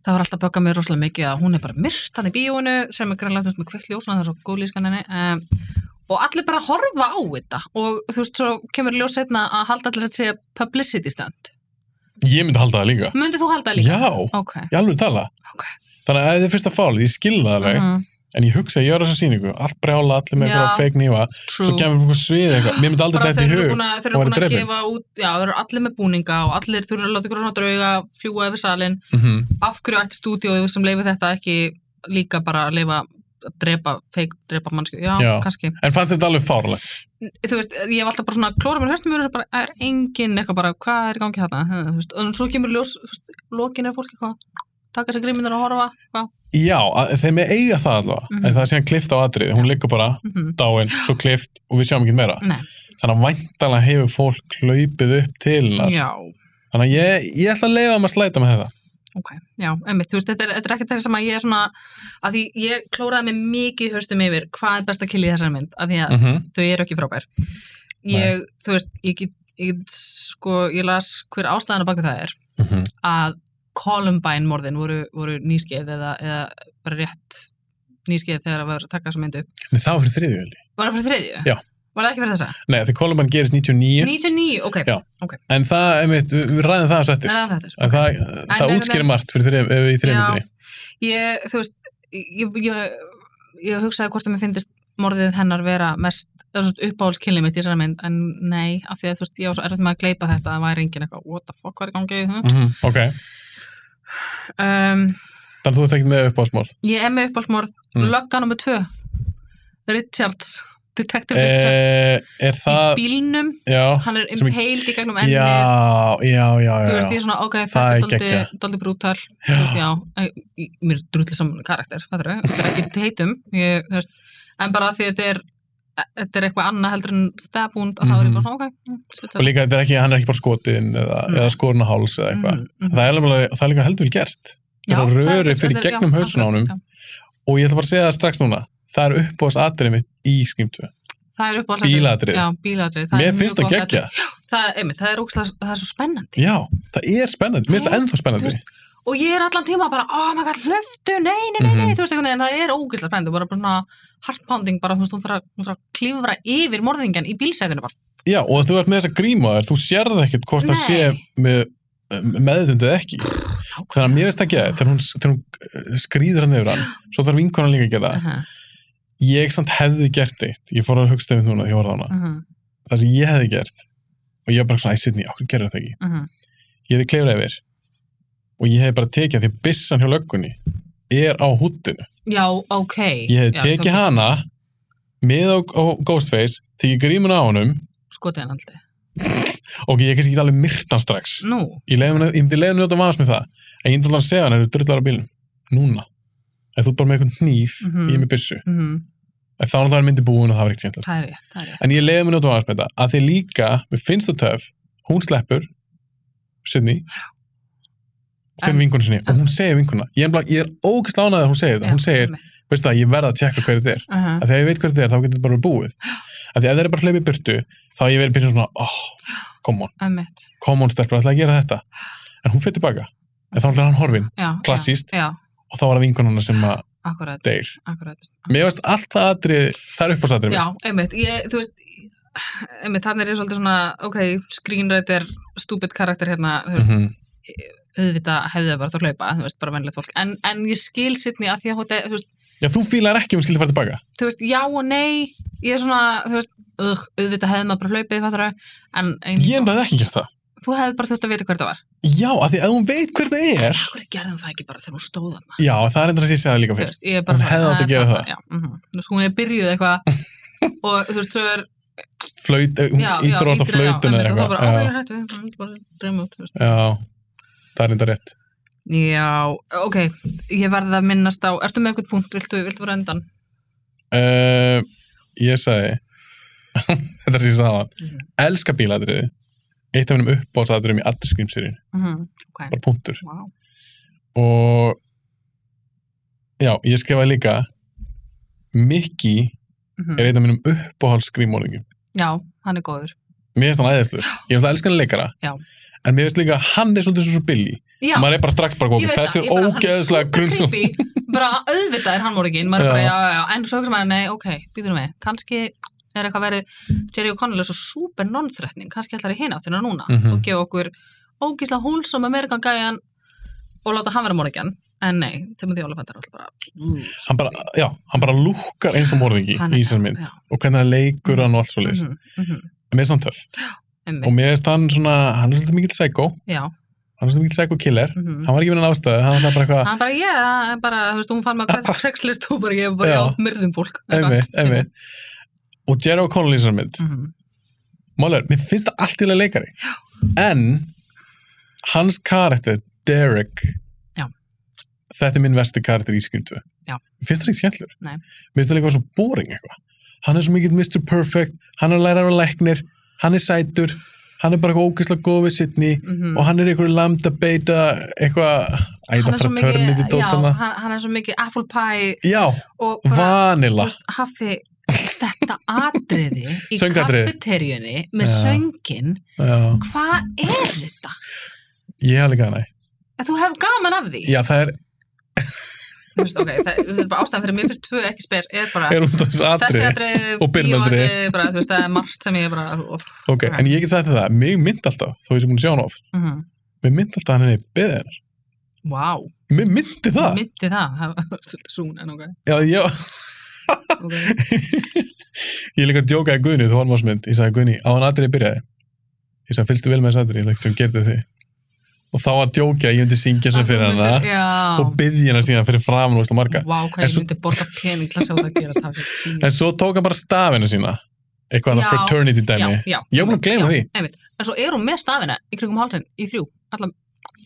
S2: það var alltaf að bögga mig rosalega mikið að hún er bara myrt hann í bíóinu sem er greinlega þú veist með kveikt ljós svona það er svo góð lískan henni um, og allir bara horfa á þetta og þú veist svo kemur ljós setna að halda allir þessi publicity stönd
S1: Ég myndi halda það líka.
S2: myndi þú halda líka?
S1: Já,
S2: ok,
S1: ég alveg tala.
S2: ok
S1: Þannig að ef þið er fyrsta fálið, ég skilði það alveg,
S2: Mhm,
S1: en ég hugsa að ég er þessa sýningu, allt brjála, allir með
S2: Já.
S1: eitthvað feik nýfa, svo
S2: true
S1: kemur eitthvað svið eitthvað, mér myndi aldrei
S2: bara
S1: dætt í
S2: þeir eru
S1: hug.
S2: búin að, þeir eru
S1: og væri
S2: búin að
S1: drepin.
S2: gefa út já, þeir eru allir með búninga og allir þurfa að láta ykkur svona drauga fljúa yfir salin
S1: Mm
S2: af hverju ætti stúdíóið sem leifi þetta ekki líka bara að leifa að drepa, feik drepa mannsku, já,
S1: Já.
S2: kannski
S1: En fannst þetta alveg fárlega?
S2: þú veist, ég hef alltaf bara svona klóra mér höstum mér og bara, er engin eitthvað bara hvað er í gangi þarna, þú veist, og svo kemur ljós þú veist, lokin er fólk eitthvað taka sér grímyndar og horfa, hvað
S1: Já, að- þeir með eiga það allavega,
S2: Mhm.
S1: en það er síðan klift á atriði, hún liggur bara
S2: mm -hmm.
S1: dáin, svo klift og við sjáum ekki meira.
S2: Nei,
S1: Þannig að væntalega hefur fólk hlaupið upp til hennar.
S2: já,
S1: Þannig að ég, ég ætla að leifa um að slæta með þetta.
S2: ok, já, emmitt, þú veist, þetta er, þetta er ekkert það sem að ég er svona, að því ég klóraði mig mikið höstum yfir hvað er best að killi þessari mynd, að því að
S1: Mm
S2: þau eru ekki frábær ég, þú veist, ég get, ég get sko, ég las hver ástæðan að baka það er
S1: -hmm.
S2: að Columbine morðin voru, voru nýskeið eða, eða bara rétt nýskeið þegar að vera að taka þessa mynd upp
S1: Nei, það var fyrir þriðju, held ég.
S2: var það fyrir þriðju?
S1: Já.
S2: var það ekki fyrir þessa?
S1: Nei, þegar Columbine gerist 99,
S2: 99, ok,
S1: Já. en það, einmitt, við við ræðum það svo eftir.
S2: eða þetta er
S1: En það, það
S2: En-
S1: útskýrir margt fyrir þrejum, í þrejum
S2: Já.
S1: myndinni.
S2: ég, þú veist, ég, ég, ég hugsaði hvort að mér finnist morðið hennar vera mest uppáhaldskilni mitt í þessari mynd en nei, af því að þú veist, ég var svo erfitt með að gleypa þetta það væri engin eitthvað, what the fuck, hvað er í gangi mm.
S1: Mm Ok,
S2: um,
S1: þannig að þú ert ekki með uppáðsmál.
S2: ég er með uppáhaldsmorð
S1: Mm.
S2: lögga nummer tvö Richards, Detective Richards
S1: Eh, er
S2: í
S1: það,
S2: bílnum,
S1: já,
S2: hann er
S1: sem ég-
S2: impaled í gegnum
S1: já,
S2: ennið
S1: já, já,
S2: þú
S1: já,
S2: veist, ég
S1: já.
S2: er svona, ok,
S1: Það er
S2: þetta
S1: geggjað.
S2: er daldi brútal, þú
S1: Já.
S2: veist, já eh, í- mér er drullið saman karakter, það er það er ekki heitum, ég, þú veist en bara því þetta er þetta er eitthvað annað heldur en stabúnd að það er ég bara svona, ok mm,
S1: Mhm. Og líka, þetta er ekki, hann er ekki bara skotin eða,
S2: Nei.
S1: eða skorna háls eða eitthvað.
S2: mm,
S1: Það, er alveg, það er líka heldur vel gert.
S2: Já,
S1: Það er röri
S2: þetta-
S1: fyrir
S2: þetta er-
S1: gegnum
S2: já,
S1: hausun á
S2: akkurat,
S1: honum
S2: já.
S1: og ég ætla bara að segja það strax núna. Það er uppáðs atrið mitt í skýmtu.
S2: það er upp
S1: Bílaatriði.
S2: já, bílatrið,
S1: Mér finnst það geggja.
S2: það, er- einmitt, það, er ógeðslega- það er svo spennandi
S1: Já, það er spennandi. Mér finnst það ennþá spennandi.
S2: og ég er allan tíma bara, oh my god, hlöftu, nei, nei, nei, nei,
S1: Mhm.
S2: þú veist einhvern veginn, það er ógeðslega spennandi, bara bara svona heart pounding, bara þú veist, hún þarf að- hún þarf að klifra yfir morðingjan í bílsæðinu bara,
S1: Já, og þú ert með þessa gríma á þér, þú sérð ekkert hvort það
S2: Nei.
S1: sé með meðutundið ekki. Þannig að mér finnst það ekki það, þegar hún, þegar hún eh, skrýður hann yfir hann, svo þarf vinkonan líka að gera það.
S2: Aha,
S1: Ég samt hefði gert eitt, ég fór að hugsa um núna, ég horfði á hana,
S2: aha,
S1: það sem ég hefði gert, og ég var bara svona, æ, Sidney, okkur gerir það ekki.
S2: aha.
S1: Ég hefði klefrað yfir, og ég hefði bara tekið, því að bissan hjá löggunni er á húttinu.
S2: Já, ok.
S1: Ég hefði
S2: Já,
S1: tekið
S2: þú-
S1: hana, með á, á Ghostface, tekið grímuna á honum,
S2: Skotið hann aldrei.
S1: og ég hef kannski ekki alveg myrtan strax.
S2: Nú,
S1: ég leiði hann, ég myndi leiði hann út að vaðast með það en ég myndi alltaf að segja hann, eru drullar á bílum núna, ef þú ert bara með eitthvað nýf
S2: Mhm.
S1: ég er með byssu,
S2: mm
S1: en þá er hann myndi búin og það var ekkert skemmtilegt
S2: það er ég, það er ég.
S1: en ég leiði hann út að vaðast með það, að því líka mér finnst það töf, hún sleppur Sydney
S2: En-
S1: fyrir vinkonu sinni, og hún segir vinkona ég er, bara- ég er ógæst lánað að hún segir það hún segir, veistu það, ég verð að tjekka hver þetta er
S2: Uh
S1: að þegar ég veit hver þetta er, þá getur þetta bara verið búið að því að það er bara hleypið burtu þá hef ég verið byrjað svona, oh, come on
S2: -huh.
S1: come on stelpur, ætla að gera þetta en hún fyrir tilbaka, en þá ætla hann horfin
S2: Já,
S1: Klassískt.
S2: Já, já
S1: og þá var það vinkonuna sem að
S2: akkurat,
S1: deyr.
S2: akkurat.
S1: Mér veist allt það atrið, það er uppástatrið
S2: Já, einmitt, ég, þú veist, einmitt, þannig er ég svolítið svona, ok, screenwriter, stupid karakter hérna, þú veist,
S1: -hmm.
S2: auðvitað hefði það bara átt að hlaupa, þú veist, bara vennilegt fólk. En, en ég skil sittni að því að hún, de- þú veist,
S1: Já, þú fílar ekki um skildi fara tilbaka.
S2: þú veist, já og nei, ég er svona, þú veist, ugh, auðvitað hefði maður bara hlaupið, fattar en eins
S1: Ég hefði ekki gert það.
S2: þú hefði bara þurft að vita hver það var.
S1: Já, af því að hún veit hver það er.
S2: Akkur gerðum það ekki bara þegar hún stóð hann.
S1: Já, það er endur að sé það líka
S2: Þú
S1: fyrst.
S2: veist, ég er bara
S1: Hún hefði átt að gera
S2: bara-
S1: það.
S2: já, mhm. Þú veist, hún er byrjuð eitthvað og þú veist, svo er
S1: Flaut, eh, hún
S2: já, já,
S1: ítur á þetta
S2: ýtir henni á,
S1: flautuna eða
S2: einmitt, og þá
S1: eitthvað.
S2: bara, ok,
S1: Já,
S2: ég hættu, ég myndi bara dreyma út þú veist.
S1: já, það er endur rétt.
S2: já, ok ég verði að minnast á, ertu með eitthvað punkt viltu, viltu vera endan?
S1: Uh, ég sagði, þetta sé ég sagði hann,
S2: Mhm.
S1: elska bílatriði. Eitt af minnum uppbásatriðum í allri skrimsýrin,
S2: Mhm, ok,
S1: bara punktur.
S2: wow
S1: og já, ég skrifaði líka Mickey
S2: mhm.
S1: er einn af mínum uppáhaldsgrímóningum
S2: já, hann er góður
S1: mér finnst hann æðislur, ég finnst að elska hann leikara
S2: Já.
S1: en mér finnst líka að hann er svolítið svo billi
S2: já,
S1: maður er bara strax bara
S2: ég
S1: góð
S2: veit
S1: þessi er
S2: það, ég bara, hann
S1: ógeðslega
S2: super
S1: grunnsum
S2: creepy. bara auðvitað er hann morgin maður er bara,
S1: Já.
S2: já, já, já, en svo ekki sem að nei, ok, býtum við, kannski er eitthvað verið Jerry O'Connell er svo super non-threatning kannski ætlar í hina áttina núna
S1: Mhm.
S2: og gefa okkur ógíslega húlsum Amerikan gæjan og láta hann vera morgin en nei, Timothy Oliphant er alltaf bara mm,
S1: hann bara, já, hann bara lúkkar eins og morðingi
S2: Hann-
S1: í sér mynd
S2: já.
S1: og hvernig hann leikur hann og allt svo leis
S2: mhm, mhm,
S1: mér finnst hann töff og
S2: einmitt,
S1: mér finnst hann svona, hann er svolítið mikill psycho
S2: já
S1: hann er svolítið mikill psycho killer
S2: mhm.
S1: hann var ekki minn ástæðu, hann var bara eitthvað
S2: hann bara, ég, hann bara, þú veist, hún fann maður krekslist og bara, ég bara,
S1: Já.
S2: já, myrðum fólk
S1: einmitt, einmitt og Jerry O'Connell í sér mynd
S2: Mhm,
S1: Málega, mér finnst það allt í lagi leikari en hans karakter, Derek
S2: Já.
S1: þetta er minn vesti karakter í skjöndu
S2: Já.
S1: mér finnst það ekki skemmtlur
S2: Nei.
S1: mér finnst það líka svo boring eitthvað hann er svo mikill Mr. Perfect, hann er lærar á læknir hann er sætur, hann er bara eitthvað ógeðslega góð við sittni
S2: mhm.
S1: og hann er eitthvað lambda beta eitthvað,
S2: Hann
S1: æða
S2: er svo
S1: frá
S2: mikið-
S1: törnið í
S2: já,
S1: dótana
S2: hann, hann er svo mikið apple pie
S1: já,
S2: og bara, þú
S1: vanilla
S2: veist, hafi þetta atriði í
S1: Söngatriði.
S2: kaffeterjunni með
S1: Já.
S2: söngin
S1: já.
S2: hvað er þetta?
S1: ég hef líka hann
S2: Að þú hef gaman af því
S1: já, það er,
S2: Þú veist, okay, það, það er bara ástæðan fyrir mér finnst tvö ekki spes er bara
S1: er út af þessu
S2: þessi
S1: atriði
S2: atriði,
S1: og byrjunatriði.
S2: bíóatriði, bara, þú veist, það er margt sem ég er bara of,
S1: ok, en ég get sagt þér það, mig mynd alltaf þó ég sem búin að sjá hann of
S2: mm
S1: mér myndi alltaf að hann hefði beðið hennar
S2: wow,
S1: mér myndi það
S2: myndi það það var svolítið sún en ok
S1: já, já.
S2: ok.
S1: Ég líka djókaði Guðni, þú hormásmynd, ég sagði Guðni, á hann atriði byrjaði. Ég sagði, fylgstu vel með þess atriði, þú gerðu þið. Og þá að djóka, ég myndi syngja sem fyrir hana og
S2: Já,
S1: byggja hana síðan fyrir framan og marga.
S2: vá, hvað
S1: En
S2: ég
S1: svo-
S2: myndi borga pening til að sjá það gerast það
S1: En
S2: fyrir
S1: svo tók hann bara stafina sína, eitthvað
S2: Já,
S1: það fraternity
S2: já,
S1: dæmi.
S2: já,
S1: Ég var búin að gleyma
S2: já,
S1: því.
S2: einmitt. En svo er hún með stafina í krigum hálsinn í þrjú, allan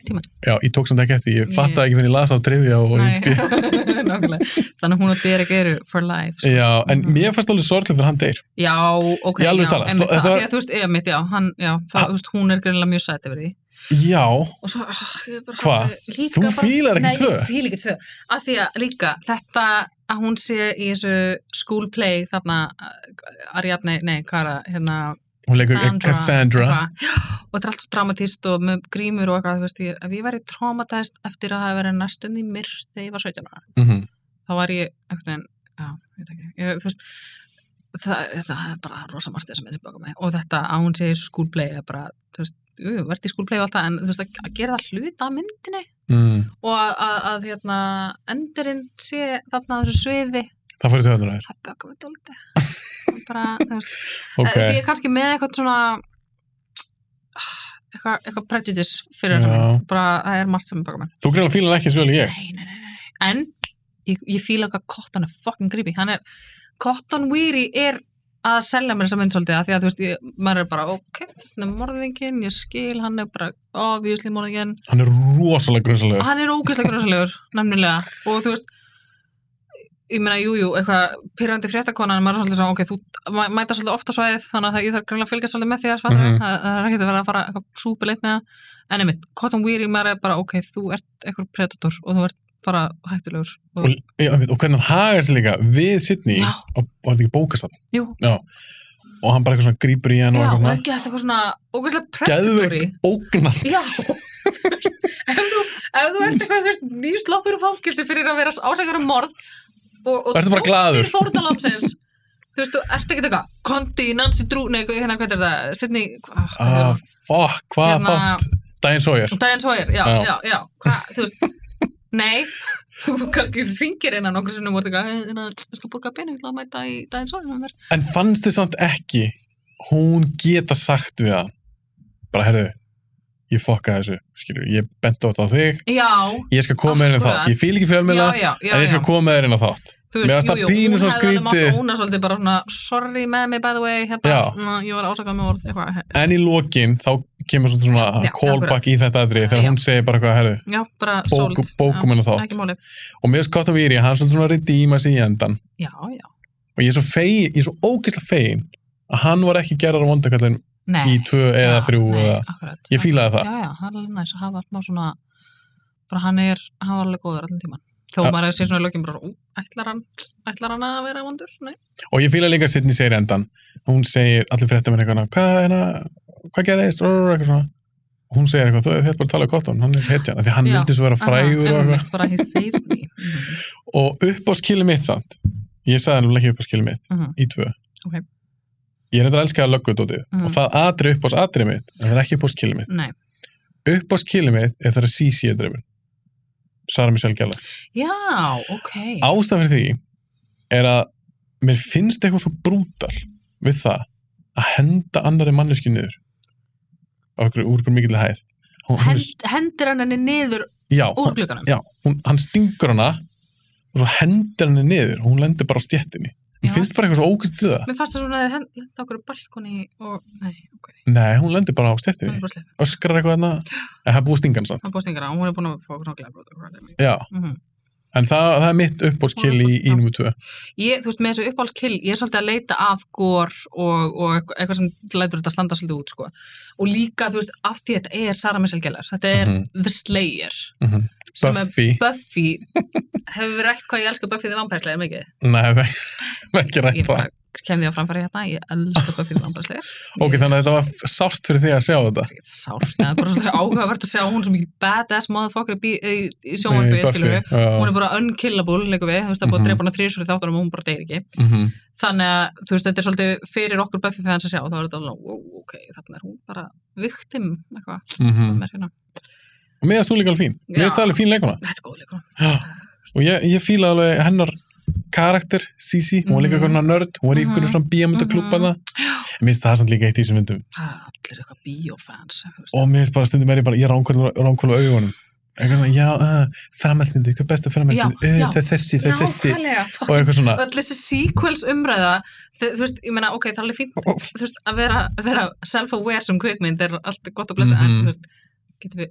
S1: Já, ég tók samt ekki eftir, ég
S2: Nei.
S1: fattaði ekki fyrir ég las á trivia og
S2: Nei,
S1: ég
S2: nákvæmlega. Þannig að hún og Derek eru for life. sko.
S1: Já, en
S2: Mhm.
S1: mér fannst alveg sorglega þegar hann deyr.
S2: Já, ok,
S1: Í
S2: já,
S1: alveg talað,
S2: einmitt,
S1: þó-
S2: það,
S1: þetta var-
S2: því að þú veist, einmitt, já, hann, já, það,
S1: Ha-
S2: þú veist, hún er greinilega mjög sætt yfir því.
S1: Já,
S2: Og svo, ah, ég bara...
S1: Hva?
S2: hafði líka
S1: Þú
S2: bara-
S1: fílar ekki tvö?
S2: Nei, ég fílar ekki tvö. Af því að líka, þetta að hún sé í þessu school play, þarna, uh, Ariadne, nei, hvað er það, hérna,
S1: hún leikur eh, Cassandra.
S2: eitthvað. og þetta er allt svo dramatist og með grímur og eitthvað, þú veist, ég, ef ég væri traumatæst eftir að hafa verið næstum því myrkt þegar ég var 17 ára,
S1: Mhm.
S2: þá var ég einhvern veginn, já, ég veit ekki, ég, þú veist, það, þetta er bara rosa margt þess að myndi baka mig og þetta að hún segir skúlplay er bara, þú veist, jú, verði skúlplay og allt það, en þú veist, að, að gera það hluta af myndinni
S1: Mm.
S2: og að, að, að hérna, endurinn sé þarna á þessu sviði,
S1: Það fór í töðunar þér.
S2: það baka mig dóldi, bara, þú veist,
S1: Ok.
S2: okay. Eh, ég er kannski með eitthvað svona eitthvað, eitthvað prejudice fyrir
S1: Já.
S2: þessa mynd bara það er margt sem er baka mig
S1: Þú greiðlega fílan ekki svo vel og ég.
S2: nei, nei, nei, nei. en ég, ég fíla eitthvað Cotton er fucking creepy hann er, Cotton Weary er að selja mér þessa mynd svolítið að því að þú veist ég, maður er bara ok, hann er morðingin ég skil, hann er bara obviously morðingin
S1: Hann er rosalega grunnsalögur.
S2: hann er ógeðslega grunnsalegur, nefnilega og þú veist ég meina, jú, jú, eitthvað pyrrandi fréttakona en maður er svolítið svona, ok, þú mæ- mæta svolítið ofta svæðið, þannig að það- ég þarf greinlega að fylgja svolítið með þér, mm
S1: Mhm.
S2: það, það er ekki að vera að fara eitthvað súpileit með það, en einmitt Cotton Weary, maður er bara, ok, þú ert eitthvað predator og þú ert bara hættulegur
S1: Og, já, einmitt, og hvernig hann hagar sig líka við Sidney
S2: Já.
S1: og var þetta ekki bókastan
S2: jú,
S1: og hann bara eitthvað svona grípur í hann og
S2: já, og
S1: eitthvað
S2: ekki alltaf eitthvað svona ógeðslega predatory
S1: geðveikt ógnan
S2: Já ef þú, ef þú ert eitthvað þú ert nýsloppur fangilsi fyrir að vera ásækjur um morð og, og
S1: Vertu bara glaður.
S2: fórnalamsins þú veist, þú ert ekkert eitthvað Kondi, Nancy Drew, nei, hérna, hvað er það Sidney, hvað
S1: ah, fuck, hvað
S2: Hérna-
S1: þátt Diane Sawyer
S2: Diane Sawyer, já,
S1: Já.
S2: já, já, hvað, þú veist nei, þú kannski ringir einan nokkru sinnum og ert eitthvað "Eh, hérna, ég skal borga pening til að mæta í Diane Sawyer með mér
S1: en fannst þið samt ekki hún geta sagt við hann bara herðu, ég fokka þessu skilur, ég bent átt á þig
S2: já,
S1: ég skal koma með þér inn á
S2: Akkurat.
S1: þátt, ég fíl ekki fjölmiðla
S2: já, já, já,
S1: en ég
S2: já.
S1: skal koma með þér inn á þátt
S2: þú
S1: Mér
S2: veist,
S1: fannst
S2: jú,
S1: það
S2: jú,
S1: pínu
S2: hún
S1: svona
S2: hefði alveg mátt
S1: skrítið.
S2: óna svolítið bara svona, sorry með mig by the way, hérna,
S1: Já.
S2: mm, ég var ásakað með orð eitthvað,
S1: en í lokin þá kemur svona, svona
S2: Já,
S1: callback í þetta aðri þegar
S2: Já.
S1: hún segir bara hvað herðu,
S2: já, bara
S1: bók,
S2: sold
S1: bókum inn á
S2: já,
S1: þátt
S2: ekki máli,
S1: og mér finnst Cotton Weary, hann svona svona redeema sig í endan
S2: já, já
S1: og ég er svo fegin, ég er svo ógeðslega fegin að hann var ekki gerðar á vondakallin
S2: nei,
S1: í tvö eða
S2: já,
S1: þrjú
S2: nei,
S1: eða,
S2: akkurat,
S1: ég fílaði það
S2: já, já, það er alveg næs að hafa smá svona bara hann er, hann var alveg góður allan tíman þó
S1: Já.
S2: maður sé svona í lögjum bara, ú, ætlar hann ætlar hann að vera vondur, nei
S1: og ég fílaði líka Sidney segir endan hún segir allir fréttamenn eitthvað hvað, hérna, hvað gerðist Rrr, eitthvað svona. hún segir eitthvað, þú þér bara að tala um Cotton hann er hetjan, af því að hann
S2: Já.
S1: vildi svo vera frægur og, eitthvað.
S2: Aha, einmitt, bara he saved me Mhm,
S1: og upp á skilið mitt samt ég sagði hann ekki upp á skilið mitt
S2: mhm.
S1: í tvö
S2: Ok.
S1: ég er þetta að elska að löggudótið
S2: Mhm.
S1: og það atri upp á atri mitt en það er ekki upp á skilið mitt
S2: nei,
S1: upp á skilið mitt er það að Sisi er drefin Sara Michelle Gellar
S2: já, ok
S1: ástæðan fyrir því er að mér finnst eitthvað svo brútal við það að henda annari mannesku niður á okkur úr okkur mikilvæg hæð hún, hún,
S2: Hend, hendir hann henni niður
S1: já,
S2: úr
S1: hún,
S2: glugganum
S1: já hún, hann stingur hana og svo hendir hann niður og hún lendir bara á stjettinni
S2: Já.
S1: mér finnst bara eitthvað svo ógæst til það
S2: Mér fannst það svona að það lenda okkur á balkoni og, nei, ok,
S1: nei, hún lendir bara á
S2: hún
S1: stjettinni
S2: er bara slepp,
S1: öskrar eitthvað hana en það er búið stingan samt
S2: hún er búið stingra og hún er búin að fá okkur svona glæbrót
S1: já,
S2: mm -hmm.
S1: en það, það er mitt uppbótskill í, í nummer 2
S2: Ég, þú veist, með þessu uppáhaldskill, ég er svolítið að leita af gór og, og eitthvað- eitthvað sem lætur þetta standa svolítið út, sko. Og líka, þú veist, af því þetta er Sara Messel Gellar, þetta er
S1: Mhm.
S2: The Slayer,
S1: Mhm.
S2: sem er
S1: Buffy,
S2: Buffy, hefur við rætt hvað ég elska Buffy the Vampire Slayer mikið?
S1: nei, við- ekki
S2: Ég
S1: rætt það
S2: bara kem því á framfæri hérna, ég elska Buffy the Vampire Slayer.
S1: ok, þannig að þetta var sárt fyrir því að sjá þetta
S2: ekkert sárt, það er bara svolítið áhugavert að sjá hún er svo mikið badass motherfucker í, bí- í, í
S1: Nei,
S2: sjónvarpi, skilur við. Hún
S1: já.
S2: er bara unkillable, leikum við, þú veist, það er búið að
S1: Mhm.
S2: drepa hana þrísur í þáttunum og hún bara deyr ekki.
S1: Mhm.
S2: Þannig að, þú veist, þetta er svolítið fyrir okkur Buffy fans að sjá, þá er þetta alveg, wow, ok, þarna er hún bara viktim, eitthvað,
S1: Mhm.
S2: með hérna.
S1: og mér finnst þú líka alveg fín mér
S2: Já.
S1: finnst það alveg fín leikuna
S2: Þetta er góð líka.
S1: og ég, ég fíla alveg hennar karakter, Sisi, hún var líka
S2: Mhm.
S1: eitthvað svona nörd, hún var í
S2: Mhm.
S1: einhvern svona bíamöndaklúpa
S2: Mhm.
S1: það, mér finnst það samt líka eitt í þessum myndum
S2: Það er allir eitthvað bíófans.
S1: og mér finnst bara stundum er ég bara, ég ránkólu augunum, eitthvað svona, já, uh, framhaldsmyndi, hvað er bestu framhaldsmyndi,
S2: Já,
S1: uh,
S2: já.
S1: það er þessi, það er þessi
S2: Nákvæmlega, fuck.
S1: og eitthvað svona,
S2: öll þessi sequels umræða þau- þú veist, ég meina, ok, það er alveg fínt þú veist, að vera, að vera self-aware sem kvikmynd er allt gott að blessa
S1: Mhm.
S2: en þú veist, getum við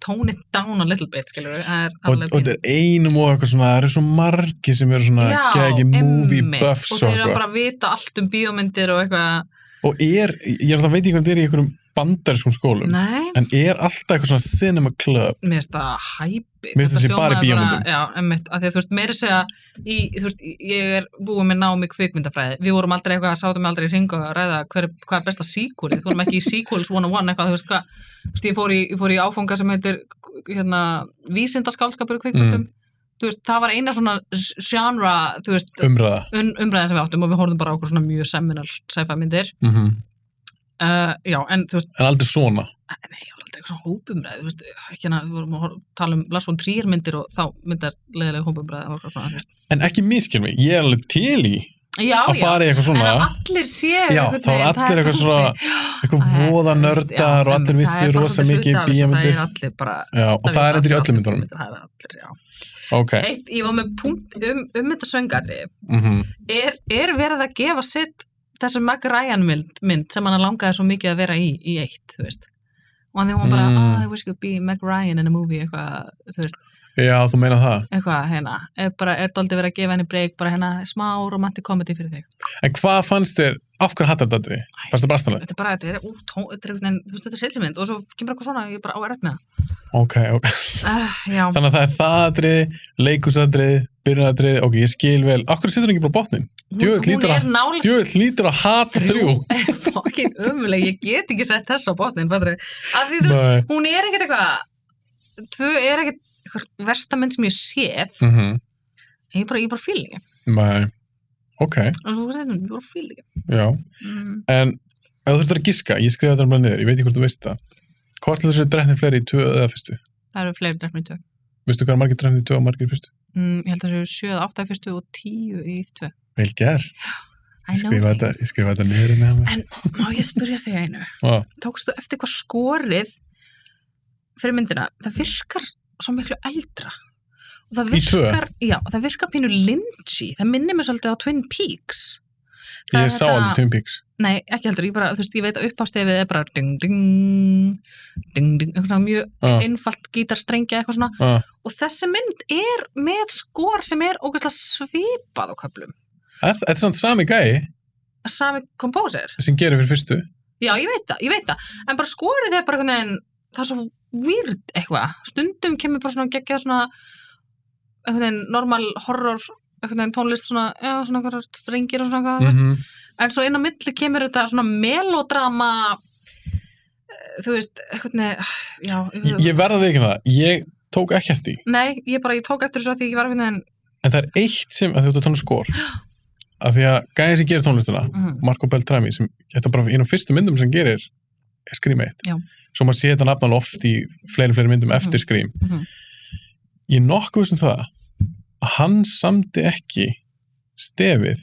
S2: tone it down a little bit, skilur við það er
S1: og,
S2: alveg
S1: og
S2: fínt.
S1: þetta er einum og eitthvað svona, það eru svo margi sem eru svona
S2: Já,
S1: geggi movie
S2: einmitt.
S1: buffs
S2: og
S1: og,
S2: þeir eru
S1: eitthvað
S2: bara að vita allt um bíómyndir og eitthvað,
S1: og er, ég er alltaf veit ekki hvernig þetta er í einhverjum bandariskum skólum,
S2: nei
S1: en er alltaf eitthvað svona cinema club
S2: mér finnst það hæpi
S1: Mér finnst það sé bara í bíómyndum.
S2: já, emmitt, að því að þú veist, meira að segja í, þú veist, ég er búið með nám í kvikmyndafræði við vorum aldrei eitthvað, sátum aldrei í ring og ræða hver, hvað er besta sequelið, þú vorum ekki í sequels 101 eitthvað, þú veist hvað þú veist, ég, fór í, ég fór í áfanga sem heitir hérna, vísindaskálskapur í
S1: Mm.
S2: kvikmyndum þú veist, það var eina svona genre, þú veist,
S1: umræða
S2: um, umræðin sem við áttum og við horfum bara á okkur svona mjög seminal sci-fi myndir
S1: -hmm.
S2: uh, já, en þú veist,
S1: en aldrei svona
S2: nei, ég var aldrei eitthvað svona hópumræði, þú veist, ekki hana, við vorum að hor- tala um Larsson trýjarmyndir og þá myndast leiðilega hópumræði og eitthvað svona, þú veist.
S1: en ekki miskinn mig, ég er alveg til í
S2: Já,
S1: að
S2: já,
S1: fara í eitthvað
S2: en
S1: svona
S2: að allir séu
S1: Já,
S2: einhvern
S1: þá var
S2: veginn, það
S1: allir
S2: er
S1: eitthvað
S2: tómt.
S1: svona- eitthvað
S2: Æ,
S1: voða
S2: þú veist, já,
S1: nördar og allir
S2: en
S1: vissi
S2: það er bara
S1: rosa
S2: svolítið
S1: mikið
S2: hluti af þessu,
S1: bíamundir
S2: Það er allir bara...
S1: Já, og það er endur í öllum myndunum
S2: Það er allir, já.
S1: ok,
S2: Eitt, ég var með punkt um, um þetta söngadri.
S1: mhm,
S2: Er, er verið að gefa sitt þessu Mac Ryan mynd, mynd sem hann langaði svo mikið að vera í, í eitt, þú veist. Og hann því hún bara,
S1: Mm.
S2: ah, I wish I could be Mac Ryan in a movie, eitthvað, þú veist.
S1: já, þú meina það
S2: eitthvað hérna, er bara, er doldið verið að gefa henni breyk, bara hérna smá romantic comedy fyrir þig.
S1: en hvað fannst þér, af hverju hattar þetta við fannst þér brastanlega,
S2: Þetta er bara, þetta er úr tón, þetta er einhvern veginn, þú veist, þetta er heilsmynd og svo kemur eitthvað svona, ég er bara á eröf með það.
S1: ok, ok
S2: Uh, já,
S1: þannig að það er það atrið, leikusatrið byrjunadrið, ok, ég skil vel af hverju situr hann ekki bara á botnin,
S2: Mm.
S1: djöfull
S2: hún, hún
S1: lítur
S2: er
S1: að-
S2: nálega
S1: djöfull lítur að hata þrjú
S2: fokkin ömuleg, ég get ekki sett þess á botnin, fattur Af því, þú veist,
S1: Nei.
S2: hún er ekkert eitthvað, tvö er ekkert eitthvað versta mynd sem ég sé,
S1: Mhm.
S2: en ég bara, ég bara fílingi.
S1: Nei. ok,
S2: Og svo segir hún, ég bara fílingi.
S1: já
S2: Mm.
S1: En ef þú þurftur að giska, ég skrifa þetta bara niður, ég veit ekki hvort þú veist það. Hvort er þessu drefnir fleiri í tvö eða fyrstu?
S2: Það eru fleiri drefnir í tvö.
S1: Veistu hvað er margir drefnir í tvö og margir í fyrstu?
S2: Mm, ég held að það eru sjöð, áttað fyrstu og tíu í tvö.
S1: Vel gert.
S2: I
S1: Ég
S2: know
S1: skrifa þetta,
S2: things.
S1: ég skrifa þetta niður hérna með mig.
S2: En má ég spyrja þig einu?
S1: Ó,
S2: Tókstu eftir hvað skorið fyrir myndina? Það virkar svo miklu eldra. Og það
S1: Í tvö?
S2: virkar, já, það virkar pínu lynchy. Það minnir mér svolítið á Twin Peaks. Það er
S1: ég sá
S2: þetta-
S1: alveg Twin Peaks.
S2: Nei, ekki heldur, ég bara, þú veist, ég veit að uppástefið er bara ding, ding, ding, ding, eitthvað svona mjög
S1: Ó,
S2: einfalt gítarstrengja eitthvað svona.
S1: ó.
S2: Og þessi mynd er með skor sem er ógeðslega svipað á köflum.
S1: Er- Þetta er samt sami gæi
S2: Sami kompóser.
S1: sem gerir fyrir fyrstu.
S2: Já, ég veit það, ég veit það. En bara skorið er bara einhvern veginn, það er svo weird eitthvað. Stundum kemur bara svona geggjað svona einhvern veginn normal horror, einhvern veginn tónlist svona, já, svona einhverjar strengir og svona eitthvað. Mm
S1: Mhm.
S2: En svo inn á milli kemur þetta svona melodrama, eh, þú veist, einhvern veginn, já.
S1: Ég- Ég verða því ekki með það. Ég tók ekki eftir því.
S2: Nei, ég bara, ég tók eftir þessu að því ég var einhvern veginn,
S1: En það er eitt sem, að þú ert að tala um skor. Af því að gæi sem gerir tónlistina,
S2: mm,
S1: Marco Beltrami sem þetta er bara einu af fyrstu myndum sem hann gerir er Scream 1
S2: Já.
S1: svo maður sé þetta nafn alveg oft í fleiri fleiri myndum eftir Scream
S2: mhm.
S1: ég er nokkuð sem það að hann samdi ekki stefið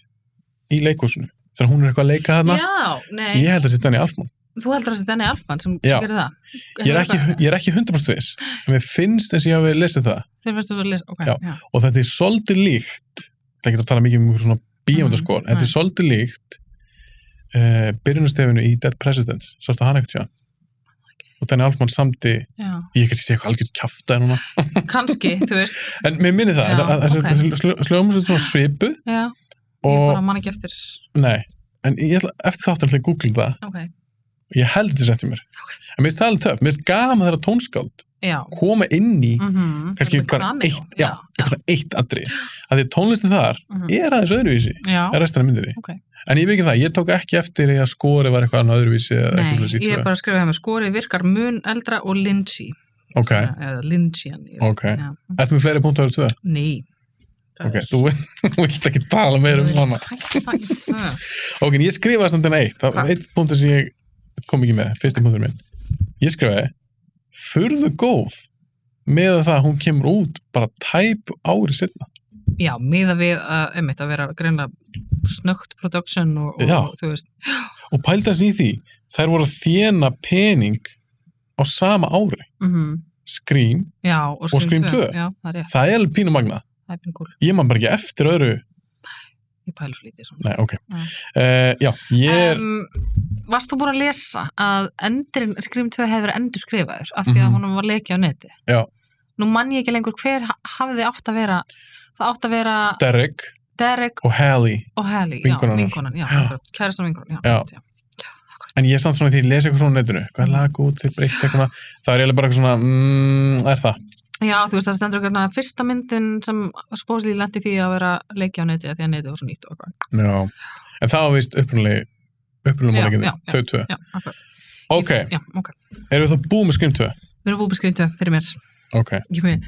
S1: í leikhúsinu þegar hún er eitthvað að leika þarna
S2: já, nei,
S1: ég held að setja hann í Alfman
S2: þú heldur þessi Danny Elfman sem
S1: Já.
S2: gerir það.
S1: ég er ekki, ég er ekki 100% viss en mér finnst eins og ég hafi lesið það
S2: Þeir verðstu að lesa, ok,
S1: Já.
S2: já.
S1: og þetta er svolítið líkt það er ekki að tala mikið um einhver svona bíómyndaskor
S2: Mhm,
S1: en þetta er
S2: nei.
S1: svolítið líkt uh, byrjunastefinu í Dead Presidents sástu hann ekkert sjá og Danny Alfman samdi
S2: já.
S1: ég kannski sé eitthvað algjörn kjafta núna
S2: kannski, þú veist
S1: en mér minni það,
S2: Já,
S1: já, það
S2: ok.
S1: okay. slögum svo svona svipu
S2: já, ég
S1: og,
S2: bara man ekki eftir
S1: nei, en ég ætla eftir þáttan að googla það,
S2: ok,
S1: ég held þetta sætti mér en mér finnst það alveg töf, mér finnst gaman þeirra tónskáld
S2: já
S1: koma inn í
S2: mm -hmm.
S1: kannski bara eitt, já, eitthvað svona eitt aðri að því að tónlistin þar
S2: mm
S1: er aðeins öðruvísi
S2: já.
S1: er restina myndir
S2: Ok.
S1: en ég veit ekki um það, ég tók ekki eftir að skori var eitthvað annað öðruvísi eða
S2: Nei,
S1: eitthvað
S2: ég er
S1: svona
S2: bara að skrifa hefum skorið virkar mun eldra og lynchy
S1: ok,
S2: eða lynchy
S1: ok, ertu með fleiri punktu að vera tvö?
S2: Nei Það
S1: ok,
S2: er-
S1: þú vilt ekki tala meira um
S2: Ég vil
S1: hana
S2: hætta í tvö.
S1: Ok, en ég skrifaði samt enn eitt. Það
S2: Hvað?
S1: var eitt punktur sem ég kom ekki með, fyrsti punktur minn. Ég skrifaði, furðu góð með það að hún kemur út bara tæp ári setna.
S2: já, miða við að, einmitt, að vera greinlega snögt production og,
S1: Já.
S2: og þú veist,
S1: og pældast í því, þær voru að þjena pening á sama ári
S2: mhm,
S1: Scream,
S2: já, og
S1: Og um Scream
S2: Scream 2.
S1: 2.
S2: Já, það er rétt,
S1: það er alveg pínu magna
S2: það er bínu cool,
S1: ég man bara ekki eftir öðru
S2: ég pælu svo lítið svona.
S1: nei, ok
S2: Já.
S1: uh, já, ég er
S2: Um, varst þú búin að lesa að endurinn Scream 2 hefur verið endurskrifaður af því að
S1: Mhm.
S2: honum var leki á neti?
S1: Já.
S2: Nú mann ég ekki lengur hver ha- hafði átt að vera, það átt að vera
S1: Derek
S2: Derek
S1: og Hallie
S2: og Hallie,
S1: Vinkonan
S2: já,
S1: hans.
S2: vinkonan, já,
S1: Já.
S2: akkurat, kærasta vinkonan, já.
S1: Já.
S2: einmitt, já.
S1: en ég er samt svona því, lesa eitthvað svona á netinu hvað
S2: Mm.
S1: er lag út, þeir breytt eitthvað svona. það er eiginlega bara eitthvað svona, mm, er það
S2: Já, þú veist, það stendur ekki að fyrsta myndin sem spósli lendi því að vera leikja á neti að því að neti var svo nýtt og eitthvað.
S1: já. en það var vist upprunalegi
S2: Já,
S1: upprunalegi
S2: já,
S1: málíkindi,
S2: já.
S1: þau tvö
S2: Já, akkurat.
S1: ok,
S2: Ég- Já, ok.
S1: eru þú búið með Scream 2?
S2: Við erum búið skrifin 2 fyrir mér.
S1: ok,
S2: Ég með,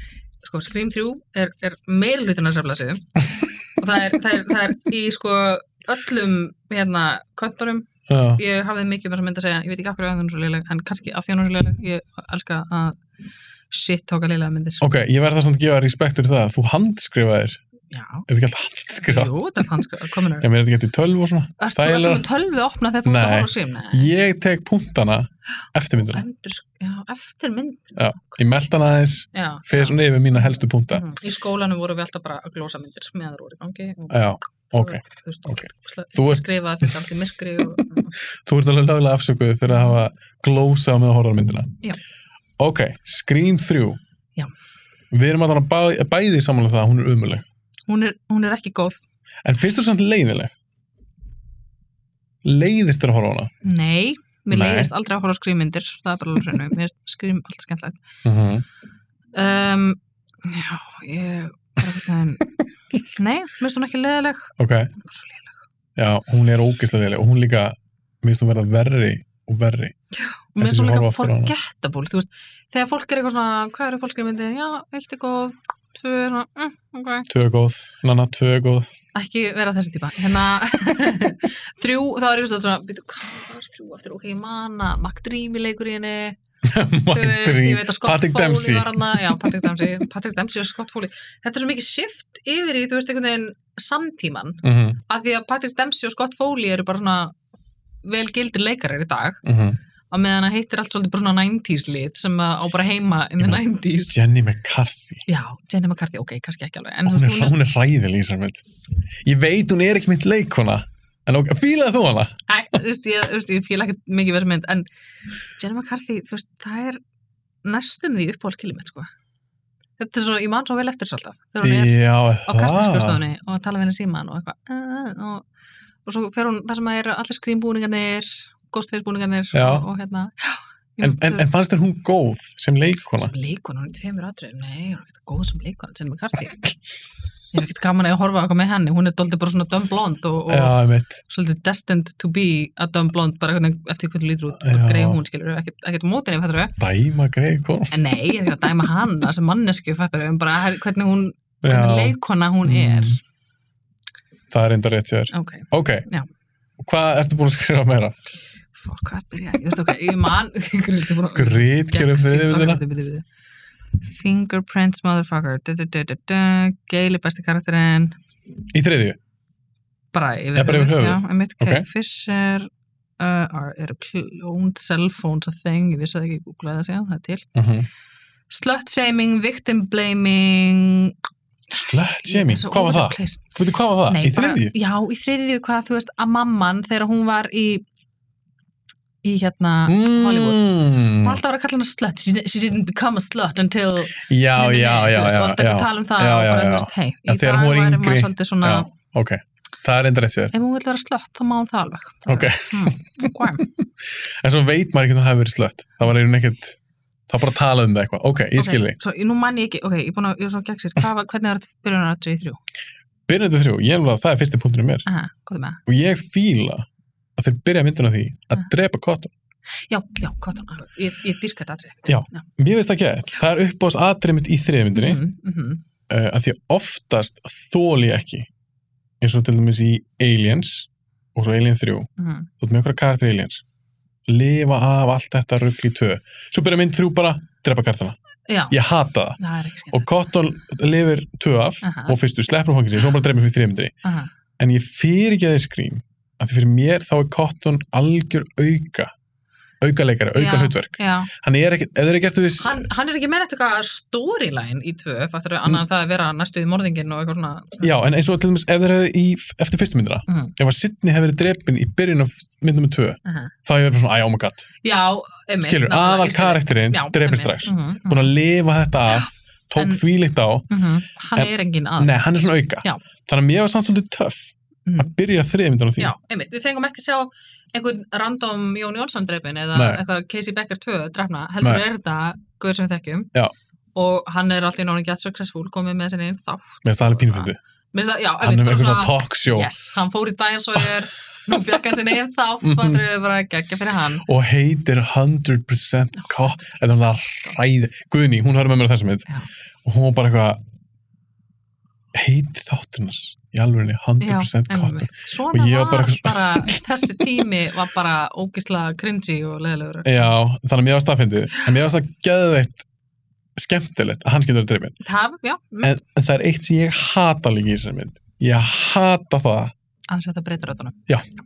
S2: sko, Scream 3 er, er meira hlutin að sefla sig og það er, það, er, það er í sko öllum hérna kvöntunum.
S1: já,
S2: Ég hafði mikið um þess að mynda að segja, ég veit ekki af hverju að það er svo leileg, en kannski af því að hún er svo leileg. Ég elska að shit tóka leilega myndir.
S1: ok, ég verð það svona að gefa respekt fyrir það, þú handskrifaðir
S2: Já,
S1: er þetta ekki alltaf handskrifa?
S2: jú, það fannst sko, komin
S1: ég meina er þetta ekki eftir 12 og svona
S2: Ertu
S1: Það er
S2: ertu
S1: eiginlega-
S2: með tölvu opna þegar þú ert að
S1: Nei.
S2: horfa á sím? Nei.
S1: ég tek punktana eftir myndina,
S2: Endur, já, eftir mynd
S1: Já. ég melda hana aðeins
S2: já,
S1: fyrir svona yfir mína helstu punkta
S2: Mhm. í skólanum vorum við alltaf bara að glósa myndir meðan það voru í gangi og
S1: já, ok,
S2: þú veist,
S1: ok.
S2: ógeðslega-
S1: Þú ert-
S2: skrifa þetta allt í myrkri og,
S1: þú ert alveg lögulega afsökuð fyrir að hafa glósa með að horfa á myndina
S2: Já.
S1: ok, Scream 3
S2: Já.
S1: við erum að bæ, bæði samanlega það að hún er umuleg
S2: hún, er, hún er ekki góð
S1: en finnst þú samt leiðileg leiðist þér að horfa á hana
S2: nei, mér
S1: Nei.
S2: leiðist aldrei að horfa á skrýmyndir það er bara alveg hreinu, mér finnst skrým allt skemmtilegt
S1: mm -hmm.
S2: um, já, ég bara einhvern veginn- nei, mér finnst hún ekki leðileg
S1: ok,
S2: hún er svo leðileg
S1: já, hún er ógislega leiðileg og hún líka, mér finnst hún verða verri og verri
S2: og
S1: Eftir
S2: mér finnst hún
S1: sem
S2: líka
S1: horfa aftur á hana.
S2: forgettable þú veist, þegar fólk er eitthvað svona hvað eru fólkskrýmyndið, já, eitt er góð tvö, er svona, mm, ok
S1: tvö er góð, nanna tvö er góð
S2: ekki vera þessi típa hérna, þrjú, þá er ég svolítið svona býtu, hvað var þrjú aftur, ok, ég mana McDreamy leikur í henni þú veist,
S1: Mætri,
S2: ég veit að Scott
S1: Patrick
S2: Foley
S1: Dempsey
S2: var hana, já, Patrick Dempsey, Patrick Dempsey og Scott Foley þetta er svo mikið shift yfir í, þú veist, einhvern veginn samtíman,
S1: mm -hmm,
S2: af því að Patrick Dempsey og Scott Foley eru bara svona vel gildir leikarar í dag,
S1: mhm.
S2: á meðan að heitir allt svolítið bara svona 90s lið sem að á bara heima in the
S1: Ég meina-
S2: 90s
S1: Jenny McCarthy
S2: já, Jenny McCarthy, ok, kannski ekki alveg en þú
S1: hún er,
S2: veist, hún
S1: hún er ræðileg í þessari mynd ég veit hún er ekki mynd leikona en ok, fílaði þú hana?
S2: Æ, þú veist, ég, þú veist, ég fíla ekkert mikið verið mynd, en Jenna McCarthy, þú veist, það er næstum því uppáhaldskilið mitt, sko. Þetta er svo, ég man svo vel eftir þessu alltaf, þegar hún er
S1: já,
S2: á kastinskjóðstofunni og að tala við henni síman og eitthvað, "Ah," og, og svo fer hún, það sem að er allir skrýmbúningarnir, ghostface-búningarnir
S1: Já.
S2: og, og hérna, já, ég
S1: en,
S2: man-
S1: en, en fannst þér hún góð sem leikona?
S2: sem leikon, hún er í tveimur atriðum, nei, hún er ekkert góð sem leikon, Jenna McCarthy. ég hef ekkert gaman að horfa á eitthvað með henni, hún er doldið bara svona döm blond og, og
S1: já, ég veit,
S2: svolítið destined to be a dumb blonde bara hvernig, eftir hvernig lítur út
S1: Já.
S2: og greið hún skilur ekkert, ekkert mótinni fættur við
S1: dæma greið kona
S2: en nei, ég er ekki að dæma hana sem mannesku fættur við bara her- hvernig hún, hvernig
S1: já,
S2: leikona hún er
S1: Mm. það er enda rétt hjá þér
S2: ok,
S1: ok,
S2: Já.
S1: hvað ertu búin að skrifa meira?
S2: fuck, hvað byrja ég, Ég veist ok, ég man Grýldi búin að-
S1: grítgerum
S2: Gegnsýtt,
S1: þriðið um myndina
S2: ok, bíddu, bíddu, bíddu. fingerprints motherfucker du, du, du, du, du. geili besti karakterinn
S1: í þriðju,
S2: bara yfir
S1: Já, bara yfir höfuð.
S2: já, einmitt,
S1: Ok.
S2: Carrie Fisher uh, are- eru cloned cell phones a thing, ég vissi það ekki, ég googlaði það síðan það er til
S1: uh -huh.
S2: Slutshaming, victim blaming
S1: slött Jamie,
S2: Svo
S1: hvað var það?
S2: overplaced.
S1: Veitu, hvað var það?
S2: Nei,
S1: í þriðju?
S2: Bara, já, í þriðju hvað, þú veist, að mamman þegar hún var í í hérna hún
S1: Mm,
S2: var alltaf að vera að kalla hana slut she, didn't- she didn't become a slut until
S1: já, já,
S2: Nei, nei, nei, þú
S1: já,
S2: veist,
S1: já,
S2: og alltaf
S1: já,
S2: að tala um það
S1: Já,
S2: og
S1: já,
S2: bara,
S1: já.
S2: þú veist, hei,
S1: En
S2: í
S1: þegar
S2: dag
S1: hún var
S2: væri
S1: yngri-
S2: maður svolítið svona
S1: já, ok það er enda rétt hjá þér
S2: ef hún vil vera slött, þá má hún það alveg
S1: Ok.
S2: hmm, okay.
S1: En svo veit maður ekki að það hafi verið slött. Það var einhvern ekkert, það var bara að tala um það eitthvað. Ok, ég skil þig.
S2: svo, nú man ég ekki, ok, ég er búin að, ég er svo gegn sér Hvað var- hvernig var þetta byrjunaratrið í þrjú?
S1: Byrjandi þrjú, ég hef að það er fyrsti punkturinn mér.
S2: Aha, hvað með það?
S1: Og ég fíla að þeir byrja myndina á því að
S2: Ah.
S1: drepa kottum.
S2: Já, já, kottan, akkurat. ég, ég dýrka þetta atrið
S1: Já, Mér veist það ekki að það er uppáðs atrið mitt í þriði myndinni, mm.
S2: mm, mm,
S1: að því oftast þóli ég ekki. Eins og til dæmis í Aliens og svo Alien 3.
S2: mm.
S1: Þú ert með okkur karakter í Aliens. Lifa af allt þetta rugl í tvö. Svo byrja mynd þrjú bara, drepa kartana.
S2: já,
S1: ég hata það
S2: það er ekki skemmt
S1: og Cotton lifir tvö af
S2: Aha.
S1: og fyrstu sleppur fangins og svo bara dreifir fyrir þreymyndri
S2: Aha,
S1: en ég fyrir ekki að þið skrým að því fyrir mér þá er Cotton algjör auka aukaleikari, auka
S2: Já.
S1: hlutverk
S2: já,
S1: hann er ekkert, ef þeir eru gert við
S2: hann, hann er ekki með eitthvað storyline í tvö, fattur við annan en það að vera næstuð í morðingin og eitthvað svona
S1: Mm. já, en eins og til dæmis ef þeir hefðu í, eftir fyrstu myndina
S2: Mhm.
S1: ef að Sidney hefði verið drefin í byrjun af myndum með tvö,
S2: Aha.
S1: þá hefur bara svona, æ, oh my god
S2: já, einmitt
S1: skilur,
S2: nákvæmlega,
S1: aðal
S2: ég skil.
S1: karakterinn
S2: Já,
S1: drefin
S2: einmitt,
S1: strax,
S2: mhm, mhm,
S1: búin að lifa þetta af tók
S2: En-
S1: þvílíkt á
S2: mhm. hann
S1: En-
S2: er engin aðal
S1: nei, hann er svona auka
S2: Já.
S1: þannig að mér var samt svolítið töff
S2: Mhm.
S1: að byrja þriðmyndan á því
S2: Já, einmitt, við fengum ekki að sjá einhvern random Jón Jónsson dreipin eða
S1: Nei.
S2: eitthvað Casey Becker 2 drefna, heldur
S1: Nei.
S2: er þetta guður sem við þekkjum
S1: Já.
S2: og hann er alltaf náttúrulega gett successful komið með sinni einn þátt
S1: mér finnst það alveg pínfindi
S2: Mér finnst það- já,
S1: hann er
S2: einmitt,
S1: með
S2: bara
S1: eitthvað svona talk show
S2: yes, hann fór í daginn svo er nú fjökk hann sinni einn þátt
S1: Mhm.
S2: fattur við bara geggja fyrir hann
S1: og heitir 100% cop eða hún það ræði Guðni, hún höfði með mér á þessum mynd
S2: Já.
S1: og hún var bara eitthvað heiti þáttunars í alveg 100% cop
S2: einmitt. Svona
S1: Og ég
S2: var
S1: var bara
S2: bara,
S1: eitthvað svona-
S2: þessi tími var bara ógislega cringy og leðilegur
S1: já, þannig að mér var staðfindið en mér var það geðveitt skemmtilegt að hann skemmtur að dreifin
S2: Það, já, mm,
S1: en, en það er eitt sem ég hata líka í þessari mynd ég hata það,
S2: aðeins að þetta breytir öllunum
S1: Eh. Já.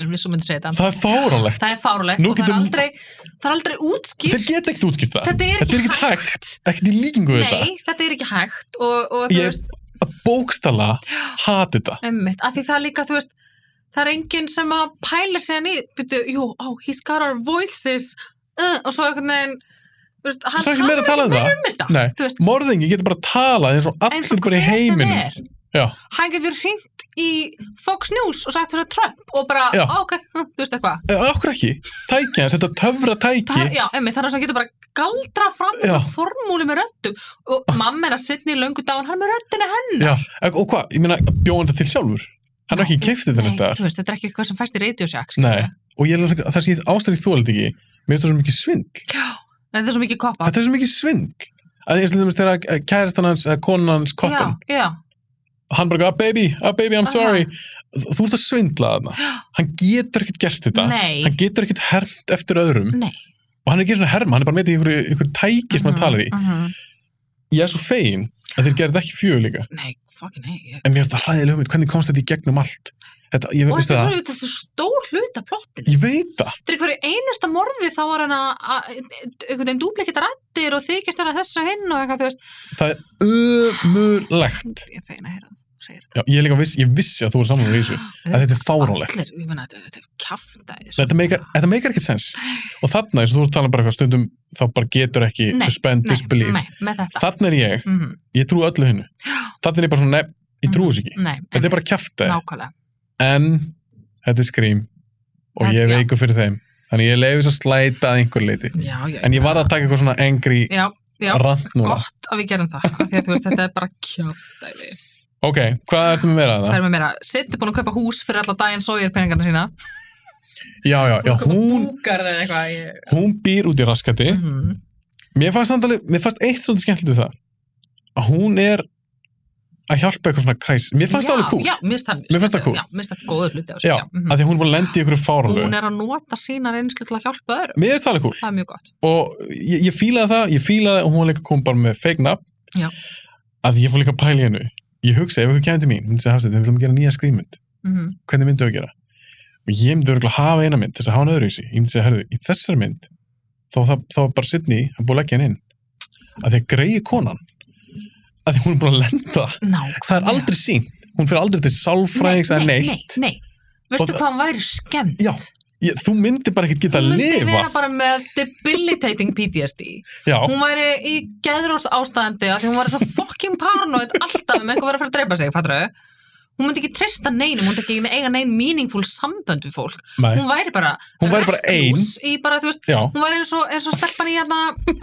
S2: Við svo myndum segja þetta
S1: það er fáránlegt
S2: Það er fárulegt
S1: Nú
S2: og það er
S1: getum-
S2: aldrei, það er aldrei
S1: þeir
S2: útskipt.
S1: geta ekkert útskipt það
S2: Þetta er
S1: þetta er
S2: ekki
S1: ekkert hægt, ekkert í líkingu við
S2: Nei, þetta er ekki hægt og, og þú
S1: Ég-
S2: veist,
S1: þetta að bókstala hati þetta
S2: ummitt, af því það er líka, þú veist, það er enginn sem að pæla sig hann í, byrju, jú, ó, he's got our voices, uh, og svo einhvern veginn, þú veist, hann
S1: það er ekki meira að tala um það
S2: um þetta,
S1: Nei.
S2: þú veist,
S1: morðingi getur bara að tala eins og
S2: eins og
S1: allir bara í
S2: hver sem
S1: heiminum
S2: er.
S1: Já.
S2: Hann getur hringt í Fox News og sagt fyrir Trump og bara,
S1: Já.
S2: ó, ok, hm, þú veist eitthvað.
S1: Eh, okkur ekki, tækja hans, þetta töfra tæki
S2: Það, já, emmi, þannig að hann getur bara galdra fram
S1: Já. Ah.
S2: formúli með röddum og mamma hennar sittni í löngu dán, hann er með röddina hennar
S1: já, og og hvað, ég meina bjóðan þetta til sjálfur hann er ekki keiftið
S2: Nei,
S1: þennan staðar
S2: þú veist, þetta er ekki eitthvað sem fæst í radiosjak
S1: Nei. og ég er alveg- það sé ástæðið þólið ekki mér finnst það svo mikið svindl
S2: þetta er svo mikið koppa
S1: þetta er svo mikið svindl að eins og þeimst þegar eh, kærastan hans, eða konan hans Cotton,
S2: já, já,
S1: hann bara, ah baby, ah baby, I'm
S2: Aha.
S1: sorry þú ert að svindla þarna hann getur ekkert gert þetta
S2: Nei.
S1: hann getur ekkert hermt eftir öðrum
S2: nei
S1: og hann er ekki svona herma, hann er bara með í einhverju, einhverju tæki sem hann talar í
S2: -hmm.
S1: ég er svo fegin að þeir gerði ekki fjögur líka
S2: nei, fucking nei ég...
S1: en mér finnst það hræðileg hugmynd, hvernig komst þetta í gegnum allt þetta, ég,
S2: og
S1: veistu
S2: þetta er
S1: það,
S2: svo, þetta er svo stór hluta plottin
S1: ég veit það
S2: þetta er hverju einasta morði þá var hann að að- einhvern veginn dúblikið rættir og þykist hann að þessu hinn og eitthvað, þú veist
S1: það er ömurlegt
S2: ég er fegin að heyra það, segir
S1: Já, ég, er líka viss, ég vissi að þú er saman með þessu
S2: þetta
S1: að þetta er fáránlegt
S2: Allir- ég meina, þetta þetta er kjaftæði sko.
S1: þetta meikar, þetta meikar ekkert sens og þarna, eins og þú ert talað bara eitthvað stundum þá bara getur ekki
S2: Nei,
S1: suspend disbelief
S2: nei, með þetta
S1: þarna er ég,
S2: mm
S1: ég trú öllu hennu þarna er ég bara svona, nefn, ég trú þessu ekki
S2: nei,
S1: þetta er
S2: einmitt,
S1: bara kjafta,
S2: nákvæmlega
S1: en þetta er skrím og
S2: Þetta-
S1: ég
S2: já.
S1: veiku fyrir þeim þannig ég leiði svo slæta að einhver leiti
S2: já, já,
S1: en ég var að taka eitthvað svona engri
S2: já, já,
S1: rant núna
S2: gott að við gerum það af því að þú veist, þetta er bara kjáftæði
S1: ok, hvað ertu með meira að
S2: það
S1: það?
S2: er með meira, Sitt er búin að kaupa hús fyrir alla daginn sógir peningarna sína
S1: já, já, já, hún,
S2: búkar það eitthvað ég...
S1: hún býr út í raskati
S2: mm -hmm.
S1: mér fannst, andali, mér fannst eitt svolítið skemmtilegt við það að hún er að hjálpa eitthvað svona kræs mér fannst það alveg cool,
S2: já, mér finnst það,
S1: Mér fannst það cool.
S2: já, mér finnst það góður hluti á
S1: Já,
S2: mhm.
S1: að því að hún var lendi í einhverju fáralögu
S2: hún er að nota sína reynslu til að hjálpa öðrum
S1: mér finnst það alveg cool
S2: það er mjög gott
S1: og ég, ég fílaði það, ég fílaði og hún var líka kom bara með fake nafn
S2: Já.
S1: að ég fór líka að pæla í hennu ég hugsa, ef einhver kemur til mín, myndi segja hafsett við viljum gera nýja skrýmynd,
S2: mm
S1: hvernig myndu við að gera og ég myndi örgulega hafa eina mynd til þess að hafa hann öðru í sig, ég myndi segja, herðu, í þessari mynd þá, þá, þá er bara Sidney hann búið að leggja hann inn að því að greiði konan að því hún er búin að lenda
S2: nákvæmlega
S1: það er aldrei sínt, hún fyrir aldrei til sálfræðings
S2: nei,
S1: eða
S2: nei,
S1: neitt
S2: nei, nei. veistu
S1: Og-
S2: hvað hann væri skemmt
S1: Já, ég, þú myndir bara ekkert geta
S2: hún
S1: að
S2: myndi
S1: lifa
S2: vera bara með debilitating PTSD
S1: já,
S2: hún væri í geðróst ástæðandi af því hún væri svo fucking paranoid alltaf um einhver verið að fara að dreipa sig, fattur hún myndi ekki treysta neinum, hún myndi ekki eiga nein meaningful sambönd við fólk
S1: nei,
S2: hún væri bara
S1: Hún væri bara ein.
S2: recluse í bara, þú veist,
S1: já,
S2: hún væri eins og, eins og stelpan í aðna,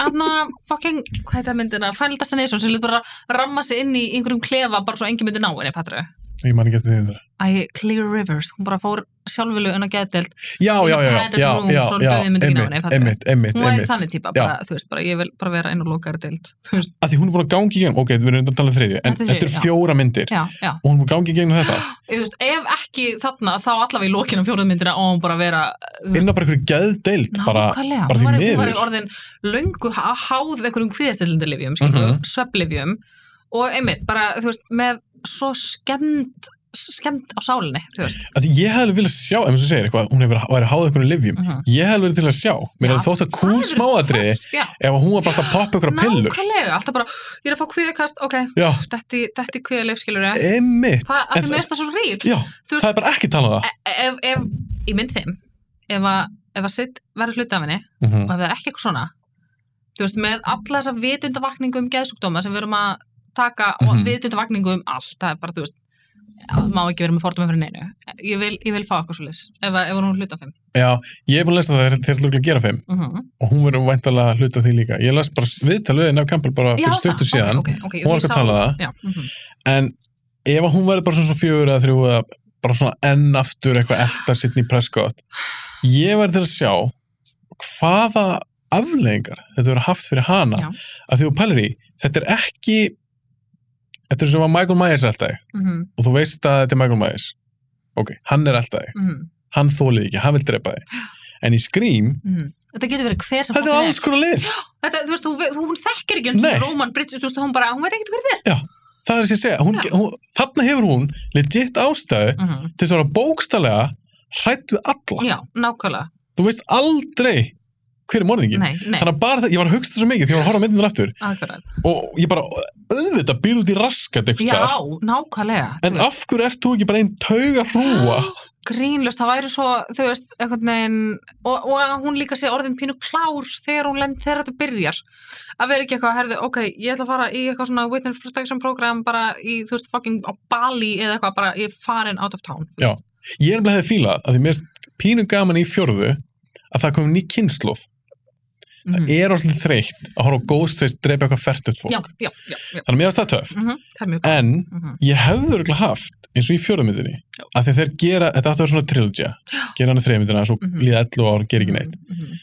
S2: aðna fucking, hvað heit það myndina, Final Destination sem lítið bara ramma sig inn í einhverjum klefa bara svo engin myndi ná henni, fattur
S1: ég man ekki eftir því um þetta
S2: Æ, Clear Rivers, hún bara fór sjálfvölu inn á geðdelt,
S1: já, já, já, já,
S2: Private
S1: já,
S2: Room,
S1: já,
S2: Son
S1: já
S2: bauð þér myndina á henni,
S1: einmitt,
S2: fattar
S1: einmitt, einmitt,
S2: hún er
S1: einmitt.
S2: þannig típa, bara, þú veist, bara, ég vil bara vera inn og lokaður deild, þú veist,
S1: að því hún er búin að gangi í gegn, ok, við erum undan að tala um þriðju en
S2: Þetta er
S1: þetta er
S2: þriðju, já.
S1: fjóra myndir
S2: já, já,
S1: og hún er búin að gangi í gegn þetta allt.
S2: þú veist, ef ekki þarna, þá allavega í lokinu á fjóruðmyndina og hún bara að vera, þú veist,
S1: inn á bara einhverju geðdeild bara,
S2: nákvæmlega,
S1: bara
S2: hún
S1: því
S2: var, hún var
S1: miður.
S2: orðin löngu há- háð einhverjum kviðastillindilifjum, skilur, uh
S1: Mhm.
S2: og einmitt, bara, þú veist, með svo skemmt, skemmt á sálinni, þú veist,
S1: að því ég hefði viljað sjá, ef þú segir eitthvað hún hefur værið háð einhverju livjum,
S2: Mhm.
S1: ég hefði verið til að sjá mér
S2: Já,
S1: hefði þótt að kúl
S2: það er
S1: smáadriði
S2: já,
S1: ef hún var bara alltaf að poppa ykkur á pillur
S2: nákvæmlega, alltaf bara, ég er að fá kviðakast, ok,
S1: já,
S2: þetta er kviðalif, skilur ég,
S1: emmitt,
S2: það,
S1: En
S2: að því
S1: það-
S2: mér er það svo rýr,
S1: já
S2: Þú veist-
S1: það er bara ekki talað um það
S2: ef, ef, í mynd 5 ef að, ef að sitt verður hluti af henni og
S1: Mhm.
S2: ef það er ekki eitthvað svona þú veist, með alla þessa vitundavakningu um geðsúkdóma sem við erum að taka
S1: Mhm.
S2: og vitundavakningu um allt, það er bara, þú veist það má ekki vera með fordóma fyrir neinu ég vil, ég vil fá eitthvað svo ef, að- ef hún er hluti af 5
S1: já, ég er búin að lesa það þegar þú að gera þeim
S2: mm
S1: og hún verður væntalega hluta því líka ég las bara viðtalið en af Campbell bara fyrir stuttu síðan
S2: okay, okay,
S1: hún var ekki að tala um það
S2: já, mm
S1: en ef að hún verður bara svona fjögur eða þrjú eða bara svona enn aftur eitthvað elda sittni preskott ég verður til að sjá hvaða afleðingar þetta verður haft fyrir hana
S2: Já.
S1: að því þú pælir í, þetta er ekki þetta er svo að Michael Myers eldaði
S2: -hmm,
S1: og þú veist að þetta er Michael Myers ok, hann er eldaði,
S2: mm -hmm,
S1: hann þólið ekki hann vil drepa þig, en í Scream
S2: mhm. þetta getur verið hver sem
S1: þetta er
S2: fucking
S1: alls konar lið
S2: þetta, þú veist, hún, ve- hún þekkir ekki eins
S1: Nei.
S2: og Roman Bridges, þú veist, hún bara, hún veit ekkert hver þetta er
S1: það er sem ég segja, hún,
S2: Já.
S1: hún, þarna hefur hún legit ástæðu
S2: mm -hmm.
S1: til þess að vera bókstallega hrætt við alla
S2: já, nákvæmlega,
S1: þú veist aldrei hver er morðingin
S2: nei, nei,
S1: þannig að bara það, ég var að hugsa svo mikið því ég var að horfa myndin vel aftur
S2: akkurat
S1: og ég bara auðvitað býð út í raskat
S2: Já,
S1: eitthvað
S2: nákvæmlega þú
S1: en
S2: veist.
S1: af hverju ert þú ekki bara einn tauga hrúa
S2: Grínlaust, það væri svo, þú veist, einhvern veginn og, og að hún líka sé orðin pínu klár þegar hún lend, þegar þetta byrjar að vera ekki eitthvað, herðu, ok, ég ætla að fara í eitthvað svona witness protection program bara í, þú veist, fucking á Bali eða eitthvað, bara ég er farin out of town þú
S1: Já.
S2: veist.
S1: ég er nefnilega hefði fílað að því mér finnst pínu gaman í fjörðu að það komum ný kynnslóð
S2: Mhm.
S1: það er alveg þreytt að horfa á Ghostface drepa eitthvað fertut fólk
S2: já, já, já, já.
S1: þannig að mér finnst það töf
S2: Mm það er mjög gott
S1: en
S2: mm -hmm.
S1: ég hefði örgulega haft eins og í fjörðumyndinni
S2: Já.
S1: að því að þeir gera, þetta átti að vera svona trilogy gera hana þrejmyndina, svo
S2: Mhm.
S1: líða 11 ára, gera ekki neitt
S2: mm -hmm.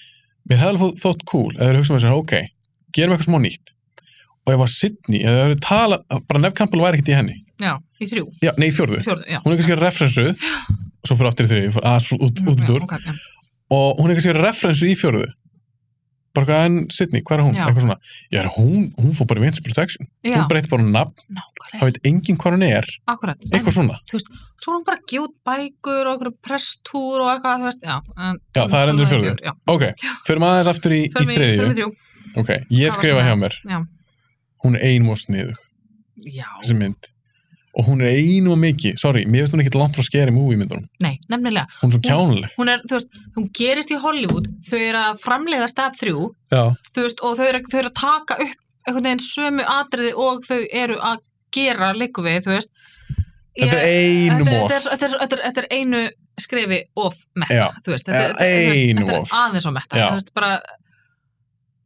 S1: mér hefði alveg þótt cool eða þeir hugsa með sér, ok, gerum eitthvað smá nýtt og ef að Sydney, eða þeir eru tala bara Nef Campbell væri ekkert í henni
S2: já, í þrjú,
S1: já, nei, í fjörðu,
S2: fjörðu, já
S1: hún er kannski referensu og svo fyrir aftur í þriði, fór aðeins út, út
S2: Mhm,
S1: út úr,
S2: ok, já.
S1: og hún er kannski referensu í fjörðu bara hvað en Sydney, hvað er hún,
S2: Já.
S1: eitthvað svona já, hún, hún fór bara í Vince Protection
S2: já,
S1: hún breytti bara um nafn,
S2: nákvæmlega,
S1: það veit engin hvað hún er
S2: akkurat
S1: eitthvað svona,
S2: svo er hún bara gjóð bækur og einhverju presstúr og eitthvað, þú veist, já en-
S1: Já, það er endur í fjórðu.
S2: Já,
S1: ok, förum aðeins aftur í, í
S2: förum í
S1: þriðju,
S2: förum í þrjú
S1: ok, ég
S2: Hvað var
S1: skrifa
S2: svona-
S1: hjá mér
S2: Já.
S1: hún er einum og sniðug
S2: Já,
S1: þessi mynd og hún er einu og mikið, sorry, mér finnst hún ekkit langt frá skeri movie myndunum,
S2: nei, nefnilega
S1: hún er svo kjánuleg
S2: hún er, þú veist, hún gerist í Hollywood þau eru að framleiða staf þrjú
S1: já,
S2: þú veist, og þau eru, þau eru að taka upp einhvern veginn sömu atriði og þau eru að gera leiku við, þú veist Ég-
S1: þetta er einum
S2: þetta-
S1: of
S2: þetta er- þetta er- þetta er- þetta er einu skrifi of metta,
S1: Já.
S2: þú veist, þetta,
S1: Eh,
S2: þetta, þú veist,
S1: einu
S2: þetta
S1: of.
S2: er aðeins of metta,
S1: Já.
S2: þú veist, bara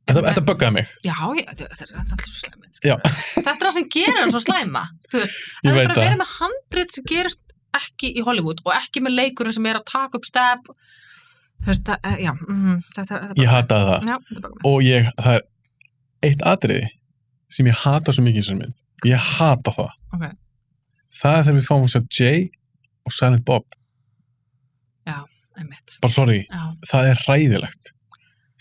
S1: þetta, þetta buggaði mig,
S2: já, ég, þetta, þetta er alltaf svo slæmið
S1: Já.
S2: þetta er það sem gerir hann svo slæma þú veist,
S1: Ég
S2: það
S1: veit
S2: er bara að
S1: það.
S2: vera með handrit sem gerist ekki í Hollywood og ekki með leikurinn sem er að taka upp step þú veist, það, er- já mm, þetta, þetta
S1: ég hataði það
S2: já, þetta bara
S1: og ég, það er eitt atriði sem ég hata svo mikið í þessari mynd, ég hata það
S2: Ok.
S1: það er þegar við fáum að sjá Jay og Silent Bob,
S2: einmitt
S1: bara sorry
S2: já,
S1: það er ræðilegt,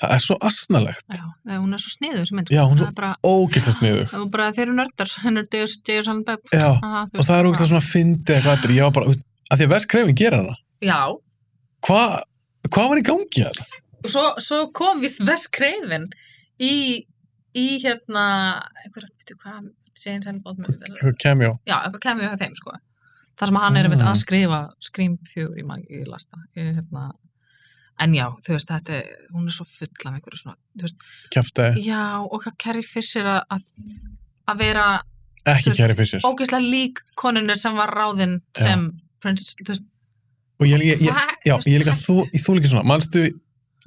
S1: það er svo asnalegt,
S2: já, það, hún er svo sniðu sem mynd sko.
S1: Já, hún er
S2: það
S1: svo-
S2: er bara,
S1: ógæslega sniðug
S2: það er bara þeir eru nördar hennar Deus, Deus, hann Beb
S1: já,
S2: Aha, þú
S1: og
S2: veist,
S1: það er ógæslega svona fyndi eitthvað atriði, ég var bara, að því að Wes Craven gerir hana
S2: já,
S1: hvað hva var í gangi hérna?
S2: og svo, svo kom vist Vess Kreifin í, í hérna einhverja, veitu hvað, James Hellbótt
S1: eitthvað cameo
S2: já, eitthvað kemur hjá þeim sko þar sem hann er einmitt
S1: Mm.
S2: að skrifa Scream 4 í mangi lasta ég, hérna, en já, þú veist, þetta er- hún er svo full af einhverju svona þú veist,
S1: kæftæði,
S2: já, og hvað Carrie Fisher að- að að vera
S1: ekki Carrie Fisher
S2: ógeðslega lík konunni sem var ráðinn
S1: Já.
S2: sem prinsess, þú veist,
S1: og ég, ég, ég,
S2: það-
S1: já,
S2: þú veist,
S1: ég er líka þú, ég þú líka svona, manstu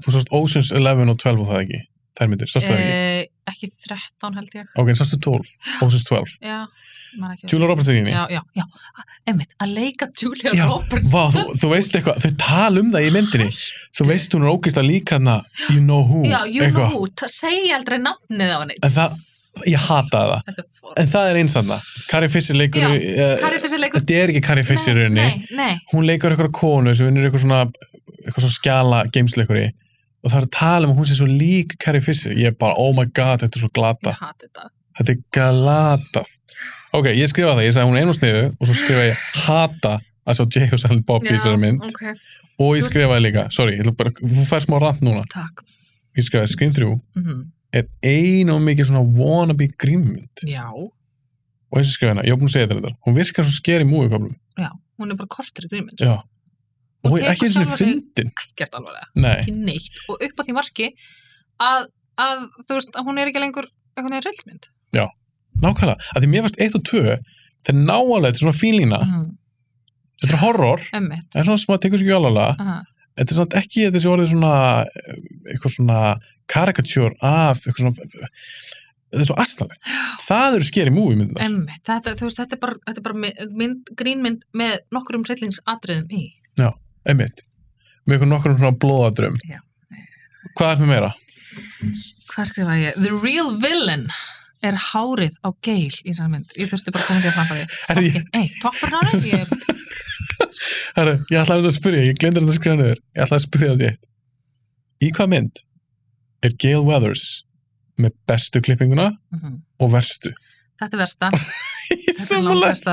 S1: þú sást Oceans 11 og 12 og það ekki, þær myndir, sástu það ekki
S2: Eh, ekki 13 held ég
S1: ok, en sástu 12, Ocean's 12
S2: já, maður ekki
S1: Julia Roberts er í henni
S2: já, já, já, einmitt, að leika Julia
S1: Já,
S2: Roberts
S1: Vá, þú, þú veist eitthvað, þau tala um það í myndinni þú veist hún er ógeðslega líka hana you know who,
S2: já, you know who, það segja aldrei nafnið á henni
S1: en það, ég hata það
S2: þetta er for...
S1: en það er eins þarna, Carrie Fisher leikur
S2: Já,
S1: uh,
S2: Kari Fissi leikur
S1: þetta er ekki Carrie Fisher í rauninni,
S2: nei, nei,
S1: hún leikur eitthvað konu sem vinnur eitthvað svona eitthvað svona skjala gamesleikur í og það er að tala um að hún sé svo lík Carrie Fisher ég er bara, oh my god, þetta er svo glata
S2: ég hati þetta
S1: þetta er glatað ok, ég skrifa það, ég sagði hún er einu sniðu og svo skrifa ég hata að sjá Jay og Silent Bob í þessari mynd
S2: ok,
S1: og ég
S2: Þú-
S1: skrifaði líka, sorry, ég ætla bara, þú fær smá rant núna
S2: takk
S1: ég skrifaði Scream 3
S2: mm
S1: er ein og mikið svona wannabe grímmynd
S2: já,
S1: og eins og skrifaði hana, ég var búin að segja þetta þetta hún virkar svo skeri múi koplum
S2: já, hún er bara kortur í gríminn
S1: já, og
S2: Hún
S1: hún er
S2: tekur
S1: ekki eins og
S2: sjálfa sig-
S1: fyndin
S2: ekkert alvarlega,
S1: nei,
S2: ekki neitt og upp á því marki að, að þú veist, að hún er ekki lengur einhvern veginn reyldmynd
S1: nákvæmlega að því mér varst 1 og 2 það er náalega, þetta er svona fílína
S2: mm.
S1: þetta er horror,
S2: emmitt
S1: það er svona sem að tekur sér ekki alvarlega
S2: Aha.
S1: þetta er samt ekki þessi orðið svona eh, eitthvað svona karikatjör af eitthvað svona þetta er svo astanlegt, það eru skeri múi myndina
S2: Emmitt, þetta, þú veist, þetta er bara, þetta er bara mi- mynd, grínmynd með nokkrum reyllingsatriðum í.
S1: einmitt með eitthvað nokkrum svona blóðadröm
S2: Já.
S1: hvað er með meira?
S2: Hvað skrifaði ég? The real villain er hárið á geil í þessari mynd. Ég þurfti bara að koma því að framfæri.
S1: Herri, ég-
S2: Nei, toppur hárið? Ég,
S1: Herru, ég ætlaði að spyrja, ég glindur þetta að skrifa niður ég ætlaði að spyrja þetta eitt í hvað mynd er Gale Weathers með bestu klippinguna
S2: Mhm.
S1: og verstu
S2: Þetta er versta.
S1: Ég
S2: Þetta er
S1: sammála.
S2: langversta.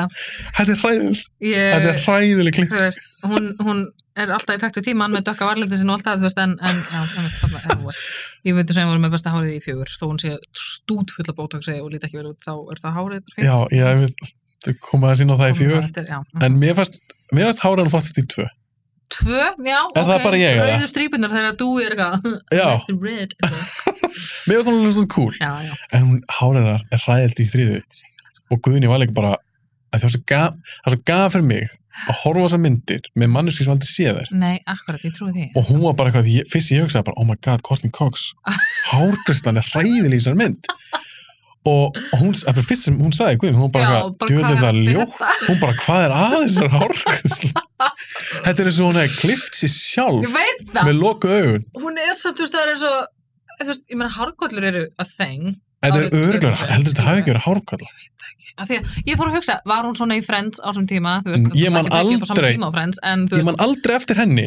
S1: þetta er hræðil þetta er
S2: Ég,
S1: hræðileg klipping
S2: þú veist, hún, hún er alltaf í takt við tíman með dökka varlindi sinni og alltaf, þú veist, en, en já, emmitt, þarna er hún verst. Ég veit þess að hún voru með besta hárið í fjögur, þó hún sé stút fulla bótóksi og líti ekki verið út, þá er það hárið. bara fínt.
S1: já, ég hef komað að sína á það í
S2: Komum
S1: fjör
S2: eftir, já.
S1: en mér fannst, mér fannst háraðan flottast í tvö
S2: Tvö, já,
S1: Er það bara ég, eða?
S2: Rauðu strípunar þegar að dúi er eitthvað.
S1: Já.
S2: Like the red.
S1: mér fannst hún svona cool
S2: já, já.
S1: en hún háraðanar er hræðilt í þriðu og Guðni var líka bara að það var svo gaf, það var svo gaf fyrir mig að horfa á þessar myndir með manneski sem aldrei sé þær
S2: Nei, akkurat, ég trúi því.
S1: og hún var bara eitthvað, ég, fyrst ég hugsaði bara oh my god, Courtney Cox hárgrislan er hræðil í þessar mynd og og hún, eftir fyrst sem hún sagði Guðni, hún var bara eitthvað, djöður það ljótt hún bara, hvað er að þessar hárgrislan þetta er eins og hún hefði klift sér
S2: Ég
S1: sjálf
S2: veit það.
S1: með loku augun
S2: Hún er samt, þú veist, það er eins og, þú veist, ég meina, hárkollur eru að þeng.
S1: þetta er
S2: Árið
S1: örgulega,
S2: 2000.
S1: heldur þetta hafi ekki verið hárgrislan
S2: Af því að ég fór að hugsa, var hún svona í Friends á þessum tíma? Þú veist,
S1: Mm, ég man
S2: náttúrulega ekki upp á sama
S1: aldrei-
S2: Tíma á Friends, en þú
S1: ég
S2: veist,
S1: man aldrei eftir henni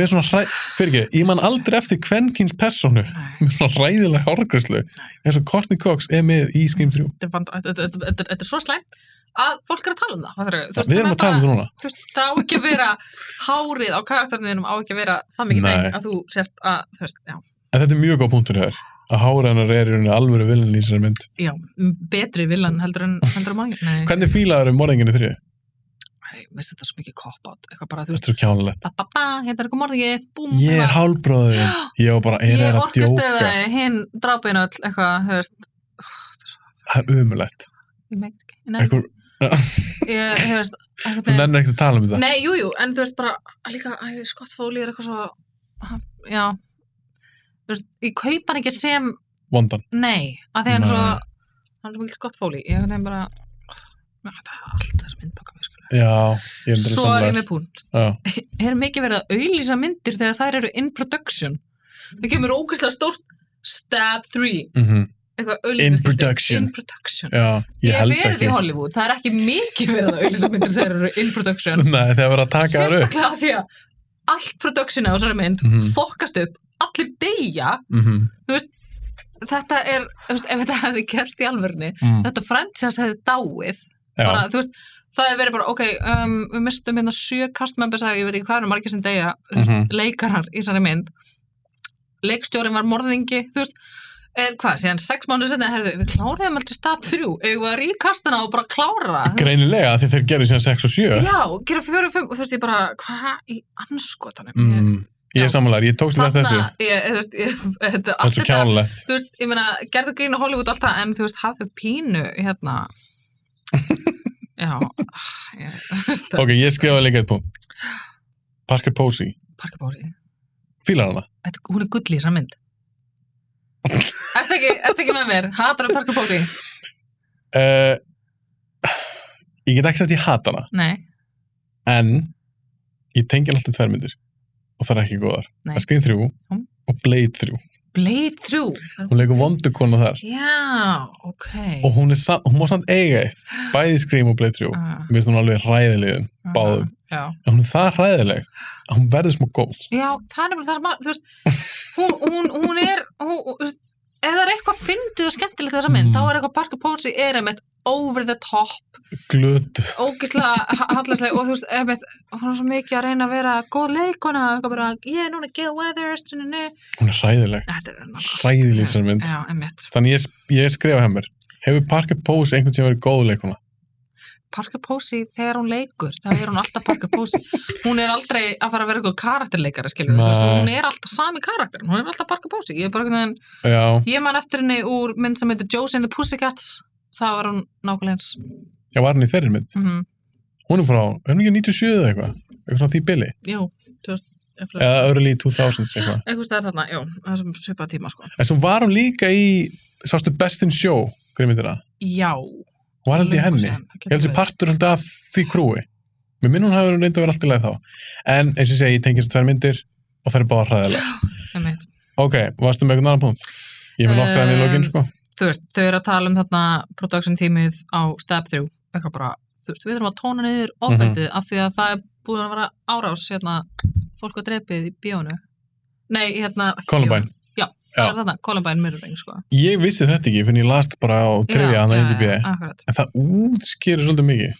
S1: með svona hræ... fyrir ekki, ég man aldrei eftir kvenkins personu
S2: Nei,
S1: með svona hræðilega hárgrislu eins og Courtney Cox er með í Scream 3
S2: þetta er vand- þetta- þetta- þetta- þetta er svo slæmt að fólk er að tala um það. fattarðu? Þú veist,
S1: við
S2: sem
S1: erum
S2: er
S1: að tala
S2: bara-
S1: um það núna
S2: þú veist, það á ekki að vera hárið á karakterinum á ekki að vera það mikið
S1: Nei.
S2: þeng að þú sért að, þú veist, já,
S1: en þetta er mjög góð punktur hér að háræðanar er í rauninni alvöru viljan í þessari mynd
S2: já, m- betri villan heldur en, heldur en morgin, nei,
S1: hvernig fílaður um morðinginu þrjú?
S2: nei, veist þetta er svo mikið cop-out, eitthvað bara, þú veist,
S1: þetta er svo kjánulegt
S2: ba ba ba, hérna er eitthvað morgi, búm,
S1: ég er hálbróðið, ég var bara er
S2: hérna, ég
S1: það að djóka,
S2: orkestraði hinn drapinu öll, eitthvað, þú veist, ó, þetta er svo,
S1: það er umulett
S2: ég meik ekki, nei,
S1: Ekkur,
S2: ég, þú veist,
S1: þú
S2: eitthvað,
S1: nennir ekkert að tala um þetta
S2: nei, jú, jú, en þú veist bara, líka, æ, Scott Foley er eitthvað svo, hann- já, þú veist, ég kaupa hann ekki sem
S1: vondan,
S2: Nei, að því hann er
S1: Nei.
S2: svo hann er svo mikil skottfóli, ég hef nefn bara Ná, þetta er allt þessi myndbaka mér skilur
S1: já, ég er
S2: Svo er ég
S1: samlega
S2: með púnt
S1: Já.
S2: Er mikið verið að auðlýsa myndir þegar þær eru in production Það kemur ógeðslega stórt stab 3
S1: Mhm.
S2: eitthvað
S1: In
S2: auglýsingaskilti.
S1: production.
S2: In production
S1: já, ég
S2: Ég
S1: held
S2: hef verið
S1: ekki
S2: í Hollywood, það er ekki mikið verið að auðlýsa myndir þegar þær eru in production
S1: Nei, þegar verið að taka þar upp
S2: Sérstaklega af því að allt productionu á þessari mynd
S1: Mhm.
S2: fokast upp, allir deyja
S1: Mhm.
S2: Þetta er, þú veist, ef þetta hefði gerst í alvörni
S1: Mm.
S2: þetta franchise hefði dáið bara,
S1: Já,
S2: þú veist, það hefði verið bara ok, um, við mistum hérna sjö castmembers að ég veit ekki hvað eru margir sem deyja mm
S1: Mhm.
S2: leikarar í þessari mynd leikstjórin var morðingi þú veist, er, hvað, síðan sex mánuð setna, herðu, við kláruðum aldrei stab þrjú eigum við að ríkastina og bara klára það?
S1: greinilega því þeir gerðu síðan 6 og 7
S2: já, gera fjóru og fimm og þú veist, ég bara, hvað í anskotanum
S1: mm. ég er
S2: Já.
S1: samlega, ég tókst þetta þessu
S2: ég, ég, þú veist, ég, þetta, allt
S1: allt svo
S2: þetta
S1: kjánulegt
S2: þú veist, ég meina, gerðu grín og Hollywood alltaf, en þú veist, hafðu pínu hérna já, ég, þú veist
S1: ok, ég skrifaði líka eitt punkt Parker Posey,
S2: Parker Bóri,
S1: fílar hana
S2: þetta, hún er gull í þessar mynd er Ertu ekki, ertu ekki með mér? Hatar að parka bóti?
S1: uh, ég get ekki sagt ég hata hana
S2: Nei,
S1: en ég tengi alltaf tvær myndir og það er ekki góðar
S2: Nei.
S1: það er Scream 3
S2: Mm.
S1: og Blade 3
S2: Blade 3
S1: hún leikur vondukona þar
S2: Já, ok
S1: og hún, er, sa- hún má samt eiga eitt bæði Scream og Blade 3 mér
S2: Ah,
S1: finnst hún alveg hræðilegin
S2: ah,
S1: báðum.
S2: Já,
S1: en hún er það hræðileg að hún verður smá góð
S2: já það er bara það sem að, þú veist hún, hún, hún er hún, þú veist, ef það er eitthvað fyndið og skemmtilegt við þessa mynd,
S1: Mm.
S2: þá er eitthvað Parker Posey er einmitt over the top
S1: glötu
S2: ógislega hallaslega og þú veist, einmitt, hún er svo mikið að reyna að vera góð leikona, eitthvað bara, yeah, núna Gail Weathers, nynni
S1: hún er hræðileg
S2: Þetta er nálgast.
S1: Hræðileg sem mynd.
S2: Já, einmitt.
S1: þannig ég, ég skrifa hemmir hefur Parker Pose einhvern sem verið góð leikuna
S2: Parker Posey þegar hún leikur þá er hún alltaf Parker Posey hún er aldrei að fara að vera eitthvað karakterleikari skilur,
S1: Nei.
S2: veist, hún er alltaf sami karakter hún er alltaf Parker Posey ég, er bara einhvern veginn-
S1: já,
S2: ég man eftir henni úr mynd sem heitir Josie and the Pussycats það var hún nákvæmlega eins
S1: ég var hann í þeirri mynd
S2: mm -hmm.
S1: hún er frá, er hún ekki 97 eða eitthvað eitthvað svona því billi,
S2: jú, þú veist, eitthvað
S1: eða early 2000s eitthvað
S2: eitthvað stæðar þarna, jú, það er sem svipaða tíma sko.
S1: en svo var hún líka í sástu Best in Show hverju myndir það,
S2: já,
S1: hún var aldrei í henni ég held
S2: heldur
S1: sér partur svolítið af því krúi mér minnum hún hafi verið reynd að vera allt í lagi þá en eins og ég segi, ég tengist tvær myndir og það er bara hræðilega
S2: part
S1: ok, varstu með einhvern annan punkt? ég vil nokkra hann í
S2: Um,
S1: lokin sko
S2: þú veist, þau eru að tala um þarna production tímið á step through eitthvað bara, þú veist, við þurfum að tóna niður
S1: Mhm.
S2: ofbeldið af því að það er búin að vera árás hérna, fólk að dreipið í bíónu nei, hérna ekki
S1: Columbine,
S2: bíónu. það er þarna, Columbine Mirroring, sko
S1: ég vissi þetta ekki fyrir ég last bara á trivia hann að IDB
S2: akkurat,
S1: en það útskýrir svolítið mikið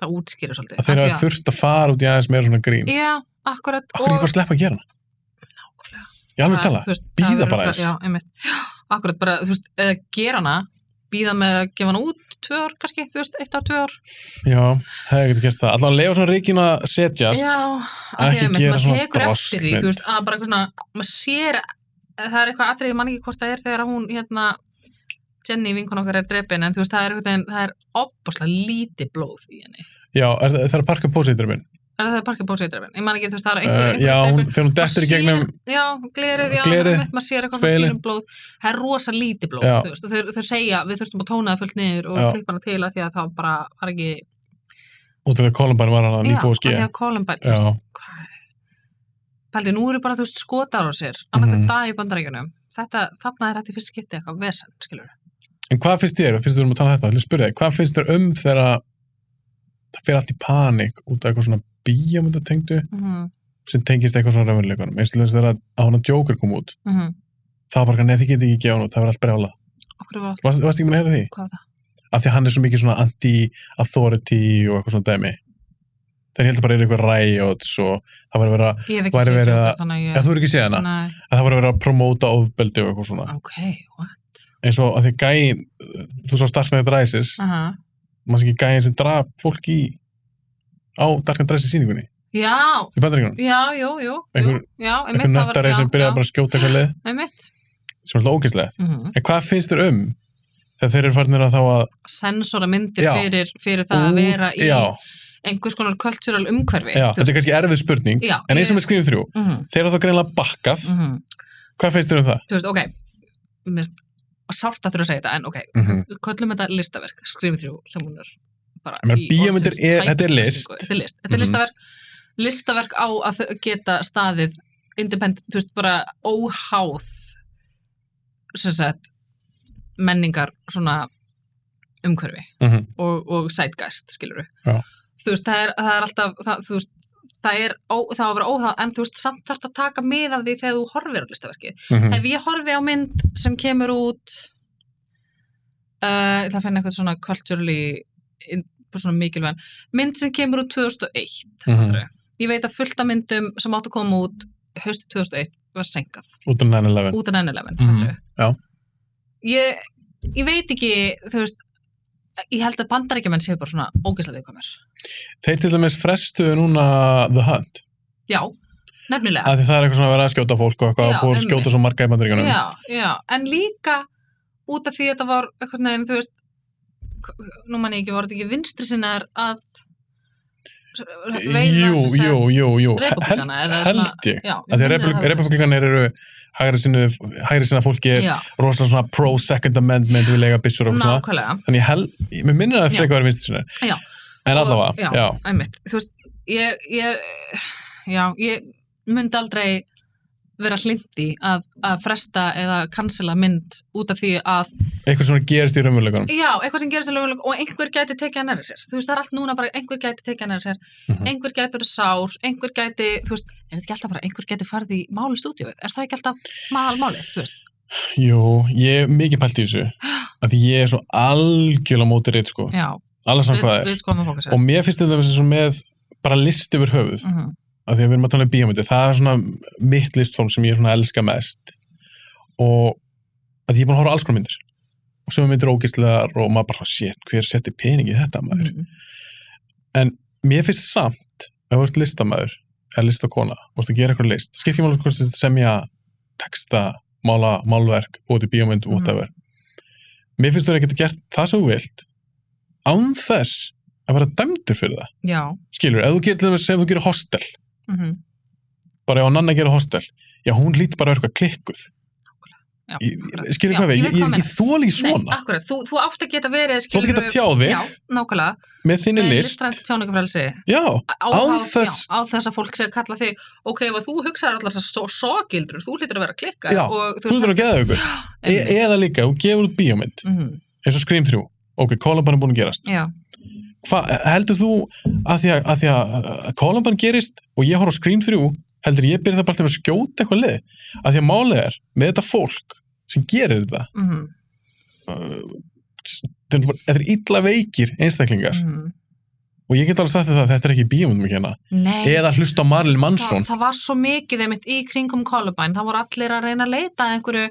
S2: það útskýrir svolítið
S1: að þeir
S2: Af
S1: hafa
S2: því
S1: þurft að fara út í aðeins meira svona grín
S2: já, akkurat
S1: okkur ekki bara sleppa að gera hana
S2: nákvæmlega.
S1: ég alveg tala,
S2: þú veist,
S1: Bíða
S2: það verður
S1: bara
S2: bara-
S1: eins.
S2: já, einmitt. akkurat bara, þú veist, eða gera hana býða með að gefa hana út tvö ár kannski, þú veist, eitt ár, tvö ár
S1: já, hefði ekki gert það allan leifa svona ríkin að setjast
S2: Já, að því
S1: Ekki
S2: að mitt,
S1: gera
S2: maður
S1: svona
S2: tekur eftir því,
S1: drasl
S2: þú veist, að bara eitthvað svona, maður sér, það er eitthvað atrið, ég man ekki hvort það er þegar að hún, hérna, Jenny vinkon okkar er drepin, en þú veist, það er eitthvað, það er opboslega lítið blóð í henni.
S1: já er, það það er parka pósitur minn
S2: Er það parkið bósið drepin? Ég man ekki, þú veist, það er einhver,
S1: uh,
S2: einhver
S1: já, hún,
S2: drepin.
S1: þegar hún dettur í
S2: Maður
S1: gegnum
S2: sér- já, glerið, já,
S1: Glerið,
S2: einmitt, maður sér eitthvað svona
S1: spegilinn.
S2: fínum blóð það er rosa lítið blóð,
S1: Já.
S2: þú veist, og þau, þau segja við þurftum að tóna það fullt niður og
S1: Já.
S2: klippa hana til að því að það bara var ekki
S1: út af því að Columbine var hann að
S2: já,
S1: nýbúið að
S2: að því
S1: skýja
S2: að Columbine, þú veist,
S1: já,
S2: Paldi, nú eru bara þú veist skotar á sér annað mm
S1: Mhm.
S2: dag í bandarækjunum þetta, þarna er þetta í fyrst skipti eitthvað vesen, skilur
S1: en hvað finnst þér, finnst þér um að tala þetta, ætlum að spyrja þig hvað finnst þér um þegar að það fer allt í panik út af eitthvað svona bíamöndatengdu
S2: mm -hmm.
S1: sem tengist eitthvað svona raunveruleikunum eins og þess þegar að að hún að Joker kom út
S2: mm -hmm.
S1: það var bara, neð þið getið ekki gefa hann út, það var allt brjála
S2: okkur var
S1: varst, varst ekki með að heyra því?
S2: hvað var það?
S1: af því að hann er svo mikið svona anti-authority og eitthvað svona dæmi þeir heldur bara er eitthvað riots og það var að vera,
S2: Ég hef ekki
S1: Væri
S2: séð
S1: verið
S2: Joker,
S1: að-
S2: þannig að ég
S1: eða þú eru ekki séð hana
S2: Nei,
S1: að það var að vera að promóta ofbeldi og eitthvað svona
S2: ok, what?
S1: eins og að því gæin þú svo Dark Knight Rises,
S2: Aha.
S1: maður sé ekki gæin sem draf fólk í á Dark Knight Rises síningunni
S2: Já,
S1: í bandaríkunum,
S2: já, jú, jú, jú
S1: Einhver-
S2: Já,
S1: eitthvað nöttari sem byrjaði bara að skjóta eitthvað leið
S2: einmitt
S1: sem er alltaf ógeðslega,
S2: mm -hmm.
S1: en hvað finnst þér um þegar þeir eru farnir að þá að
S2: Sensora myndir
S1: Já.
S2: fyrir, fyrir það að
S1: Ú,
S2: vera í
S1: já,
S2: einhvers konar kultúral umhverfi
S1: já,
S2: þú
S1: þetta er kannski erfið spurning
S2: Já,
S1: en eins
S2: ég-
S1: og með Scream 3,
S2: mm
S1: þeir eru þá greinlega bakkað hvað finnst þér um það?
S2: Þú veist, ok minnst, og sárt að þurfa að segja þetta, en ok
S1: Mhm,
S2: við köllum þetta listaverk, Scream 3 sem hún er bara
S1: Ég meina,
S2: í
S1: bíómyndir
S2: orðsins
S1: er- þetta er
S2: tæpustu
S1: list.
S2: merkingu. þetta er list, þetta er
S1: Mhm.
S2: listaverk listaverk á að þau geta staðið independent, þú veist, bara óháð sem sagt menningar svona umhverfi
S1: Mhm.
S2: og, og sætgæst, skilur
S1: Já.
S2: þú veist, það er, það er alltaf það, þú veist, það er ó, það á að vera óháð en þú veist, samt þarf að taka mið af því þegar þú horfir á listaverkið
S1: Mhm.
S2: ef ég horfi á mynd sem kemur út uh, ég ætla að finna eitthvað svona culturally in- bara svona mikilvæg mynd sem kemur út 2001
S1: Mhm.
S2: ég veit að fullta myndum sem áttu að koma út hausti 2001 var senkað
S1: út af 9-11
S2: út af 9-11
S1: Mhm,
S2: fattarðu?
S1: já.
S2: ég, ég veit ekki þú veist ég held að bandaríkjumenn séu bara svona ógeðslega viðkomir
S1: þeir til dæmis frestuðu núna The Hunt,
S2: já, nefnilega
S1: af því það er eitthvað svona að vera að skjóta fólk og eitthvað og
S2: Já,
S1: búið að
S2: einmitt.
S1: skjóta svo marga í bandaríkjunum
S2: já, já, en líka út af því að þetta var eitthvað neginn, þú veist k- nú mann ég ekki, var þetta ekki vinstri sinnar að veiða
S1: Jú,
S2: sem sagt-
S1: jú, jú, jú, held,
S2: repúblikana, eða svona-
S1: held ég
S2: Já,
S1: að því að republik- republikanir eru hægri sinna, hægri sinna fólki er
S2: Já,
S1: rosalega svona pro-second amendment við lega byssur og svona
S2: nákvæmlega
S1: þannig ég held, mér minnir að það
S2: Já.
S1: frekar verið vinstri
S2: Já.
S1: sinna en allavega,
S2: já,
S1: já,
S2: einmitt, þú veist ég, ég, já, ég myndi aldrei vera hlindi að, að fresta eða cancela mynd út af því að
S1: eitthvað svona gerist í raunveruleikunum
S2: já, eitthvað sem gerist í löguleg og einhver gæti tekið hann erið sér, þú veist það er allt núna bara einhver gæti tekið hann erið sér,
S1: Mhm.
S2: einhver gæti verið sár, einhver gæti, þú veist er þetta ekki alltaf bara, einhver gæti farið í máli stúdíóið er það ekki alltaf málmálið, þú veist
S1: Jú, ég er mikið pælt í þessu að því ég er svo algjörlega móti reitt sko,
S2: já,
S1: alveg svona hvað
S2: við,
S1: er
S2: við skoðum að fókusa
S1: og mér finnst þetta sem með bara list yfir höfuð
S2: mm -hmm.
S1: að því að við erum að tala um bíómyndir, það er svona mitt listform sem ég svona elska mest og að því ég er búin að horfa á alls konar myndir og sömu myndir ógistlegar og maður bara, shit, hver setti pening í þetta
S2: mhm,
S1: maður mér finnst samt að þú ert listamaður eða listakona, þú ert að gera eitthvað list skipt ekki máli hvort þetta semja texta, mála, málverk, bóti bíómynd
S2: Mhm.
S1: whatever mér finnst þú ekki að gert það sem þú vilt án þess að vera dæmdur fyrir það
S2: já,
S1: skilur, ef þú gerir til þess að þú gerir hostel
S2: mm
S1: bara ef Nanna gerir hostel já, hún líti bara að vera eitthvað klikkuð
S2: já
S1: Ég-
S2: akkurat.
S1: ég- skilur
S2: Já,
S1: hvað við, ég,
S2: ég veit
S1: ég, ég
S2: hvað meinar.
S1: þóli
S2: Nei,
S1: svona
S2: akkurat, þú, þú átt að geta verið
S1: þú ætti að geta tjáði
S2: Já, nákvæmlega
S1: með þinni
S2: Með
S1: list
S2: listrænt tjáningafrelsi
S1: já, Án þess-
S2: já, á þess að fólk sé að kalla þig ok, ef að þú hugsaðir allar þess að sógildrur þú hlýtur að vera klikkar
S1: Já,
S2: og,
S1: þú ert að geða ykkur e eða líka, þú gefur út bíómynd
S2: mm
S1: eins og Scream 3, ok, Columbine er búin að gerast
S2: já,
S1: Hva, heldur þú að því að, að, því að að Columbine gerist og ég horf á Scream 3 heldur ég byrja það bara alltaf að skjóta eitthvað lið að því að málið er með þetta fólk sem gerir þetta
S2: mm
S1: uh, þeir eru bara- þetta er illa veikir einstaklingar
S2: mhm.
S1: og ég get alveg sagt þér það að þetta er ekki bíumundum hérna
S2: nei
S1: eða hlusta á Marilyn Manson
S2: það, það var svo mikið einmitt í kringum Columbine, það voru allir að reyna að leita að einhverju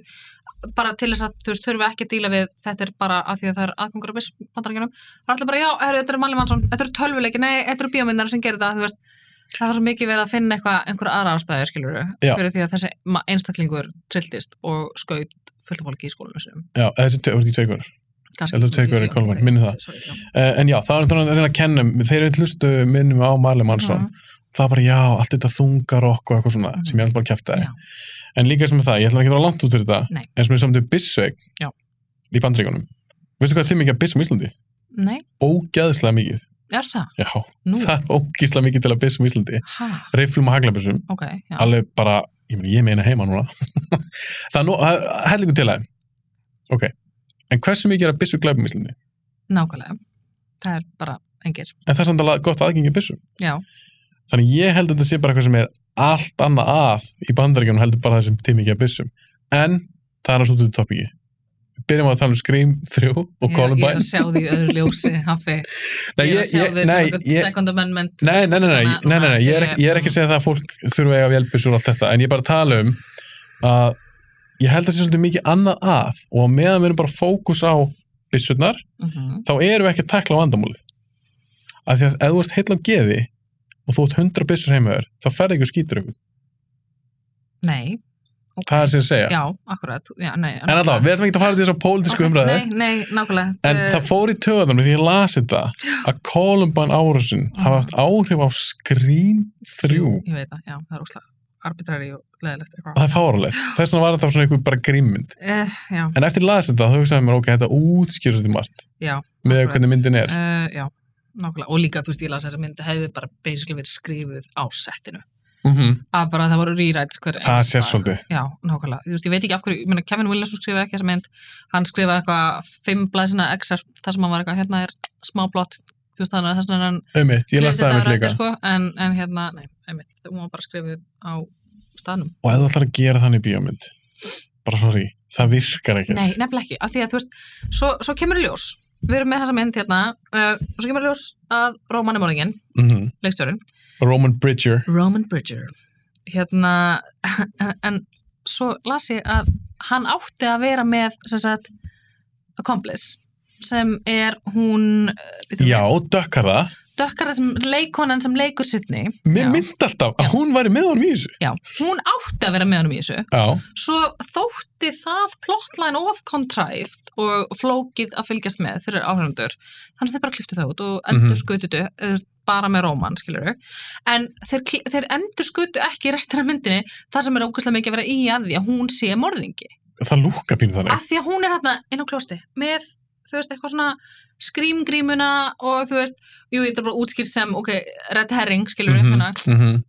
S2: bara til þess að þú veist, þurfum við ekki að díla við þetta er bara að því að það er aðgangur að bandarækjunum það er allir bara, já, heru, þetta er Malin Mansson, þetta eru tölvuleiki nei, þetta eru bíómyndar sem gerir það, þú veist það var svo mikið verið að finna eitthvað, einhverja aðra ástæði skilur
S1: Já.
S2: fyrir því að þessi ma- einstaklingur trilltist og skaut fullt af fólki í skólanum sinum
S1: já, eh, þessi tve- voru ekki tveikunar
S2: kannski
S1: Heldur tveir gaur í Columbine, minni það.
S2: Sorry, já.
S1: uh, en já, það er náttúrulega að reyna að kenna um- þeir eru hlustu minnum á Marilyn Manson
S2: Mhm.
S1: það er bara já, allt þetta þungar okkur og eitthvað svona
S2: Mhm.
S1: sem ég alveg bara kæfti
S2: Já.
S1: en líka sem er það, ég ætla ekki að vera langt út fyrir þetta
S2: Nei.
S1: en sem er samt um Bissveig
S2: Já.
S1: í bandreikunum veistu hvað þeim ekki að Bissum í Íslandi?
S2: nei,
S1: Ógæðslega mikið
S2: er það?
S1: já,
S2: Nú,
S1: það er ógæðslega mikið til að Bissum í Íslandi
S2: ha,
S1: riflum og haglabissum,
S2: ok, já
S1: alveg bara ég, meina, ég meina heima núna það er nú, hellingu til að ok, en hversu mikið er að Bissu glæpum í Íslandi?
S2: nákvæmlega, það er bara engir,
S1: en það er samt alveg gott aðgengi að Bissu
S2: já
S1: þannig ég held að þetta sé bara eitthvað sem er allt annað að í bandaríkjunum heldur bara það sem tími ekki að byssum en það er að svo til topiki byrjum á að tala um Scream 3 og
S2: Ég er
S1: Columbine
S2: að sjá því í öðru ljósi, Hafi.
S1: nei,
S2: Ég er að
S1: ég,
S2: sjá
S1: ég,
S2: því sem
S1: nei,
S2: eitthvað
S1: ég,
S2: second amendment.
S1: nei, nei, nei, nei, nei,
S2: Þannig að-
S1: nei, nei, ég er ekki, ég er ekki að segja það að fólk þurfa að eiga vélbyssur og allt þetta en ég er bara að tala um að ég held að það sé svolítið mikið annað að og á meðan við erum bara fókus á byssurnar
S2: Mhm.
S1: þá erum við ekki að takla á vandamúlið af því að ef þú ert heil á geði og þú ert 100 byssur heimaður þá ferði ekki skýtur ykkur,
S2: Nei. ok.
S1: það er sem að segja
S2: Já, akkurat. Já, nei.
S1: En allavega, við ætlum ekki að fara til þessar pólitísku okay, umræði,
S2: Nei, nei, nákvæmlega.
S1: en
S2: Eh,
S1: það fór í töðanum því ég las þetta að Columbine árusin hafa haft áhrif á Scream 3
S2: Ég veit það, já, það er óslega arbitræri og leðilegt
S1: og það
S2: eitthvað.
S1: er fáralegt, þess vegna var þetta svona einhver bara grímmynd
S2: Eh, já,
S1: en eftir ég las þetta þá hugsaði ég mér, ok, þetta útskýrur þetta margt
S2: já.
S1: með
S2: akkurat.
S1: hvernig myndin er
S2: Eh, já, nákvæmlega. Og líka, þú veist, ég las þess að myndi hefði bara basically verið skrifuð á settinu.
S1: mm
S2: Að bara það voru rewrites hver
S1: það
S2: einasta-
S1: sést svolítið
S2: Já, nákvæmlega. Þú veist, ég veit ekki af hverju, ég meina Kevin Williamson skrifaði ekki þessa mynd, hann skrifaði eitthvað fimm blæsina excerpt þar sem hann var eitthvað, hérna er smá blott, þú veist þannig að þess vegna er hann
S1: Einmitt, ég las
S2: Kristján
S1: það einmitt
S2: Dagur
S1: líka
S2: Ræddi, sko, en, en hérna, nei, einmitt, hún var bara skrifuð á staðnum.
S1: og ef þú ætlar að gera þannig bíómynd bara sorry, það virkar ekkert
S2: Nei, nefnilega ekki, af því að þú veist, svo, svo kemur í ljós, við erum með þessa mynd hérna, uh, og svo kemur í ljós að Róman er morgingin,
S1: Mhm.
S2: leikstjórinn,
S1: Roman Bridger
S2: Roman Bridger, hérna, en, en svo las ég að hann átti að vera með, sem sagt, accomplice, sem er hún, uh, bíddu,
S1: já, dökkar það
S2: dökkara sem leikonan sem leikur sittni
S1: Mér myndi alltaf að
S2: Já.
S1: hún væri með honum í þessu.
S2: Já, hún átti að vera með hann í þessu
S1: Já,
S2: svo þótti það plotline of contrived og flókið að fylgjast með fyrir áhörundur þannig að þeir bara kliftu það út og
S1: Mhm.
S2: endur skututu bara með róman, skilur en þeir, kli- þeir endur skutu ekki restina af myndinni þar sem er ógustlega mikið að vera í að því að hún sé morðingi
S1: það lúka pínu þannig.
S2: af því að hún er hérna inn á klósti með, þú veist, eitthvað svona skrýmgrímuna og þú veist jú, ég er bara útskýrt sem, ok, red herring skilur mm
S1: Mhm,
S2: hérna,
S1: mhm.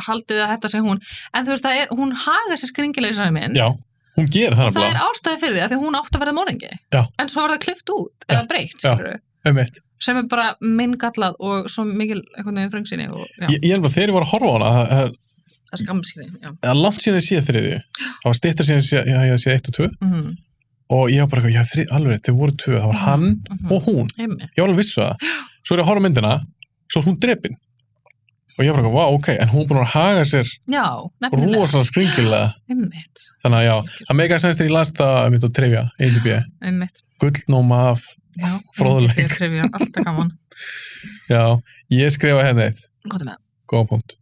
S2: haldið að þetta sé hún en þú veist, það er, hún haga þessi skringilegisari mynd
S1: Já, hún gerir það
S2: það er
S1: nefnilega.
S2: ástæði fyrir því að því að hún átti að verða morðingi
S1: Já.
S2: en svo var það klift út
S1: Já.
S2: eða breytt skilurðu,
S1: Um eitt.
S2: sem er bara minn gallað og svo mikil einhvern veginn fröngsinni og já,
S1: Ég, ég er bara, þegar ég var að horfa á hana, það- það er-
S2: það er skamskinni já.
S1: það er langt síðan ég sé þriðju. Það var stittar síðan ég sé- ég hafði séð eitt og tvö
S2: Mm,
S1: og ég var bara, eitthvað, já, þrið, alveg, rétt, þau voru tvö, það var hann
S2: mhm,
S1: og hún.
S2: einmitt.
S1: Ég var alveg vissu það. Svo er ég að horfa á myndina, svo er hún drepin. Og ég var bara, wow, ok, en hún er búin að haga sér
S2: já, nefnilega
S1: rosalega skringilega.
S2: einmitt,
S1: Þannig að já, það meika sens þegar ég las það um þetta trefja, EDB,
S2: einmitt
S1: gullnóma af,
S2: já,
S1: Fróðleik.
S2: einmitt, ég trivja, alltaf gaman
S1: já, ég skrifa henni eitt,
S2: Góðu með,
S1: góða punkt.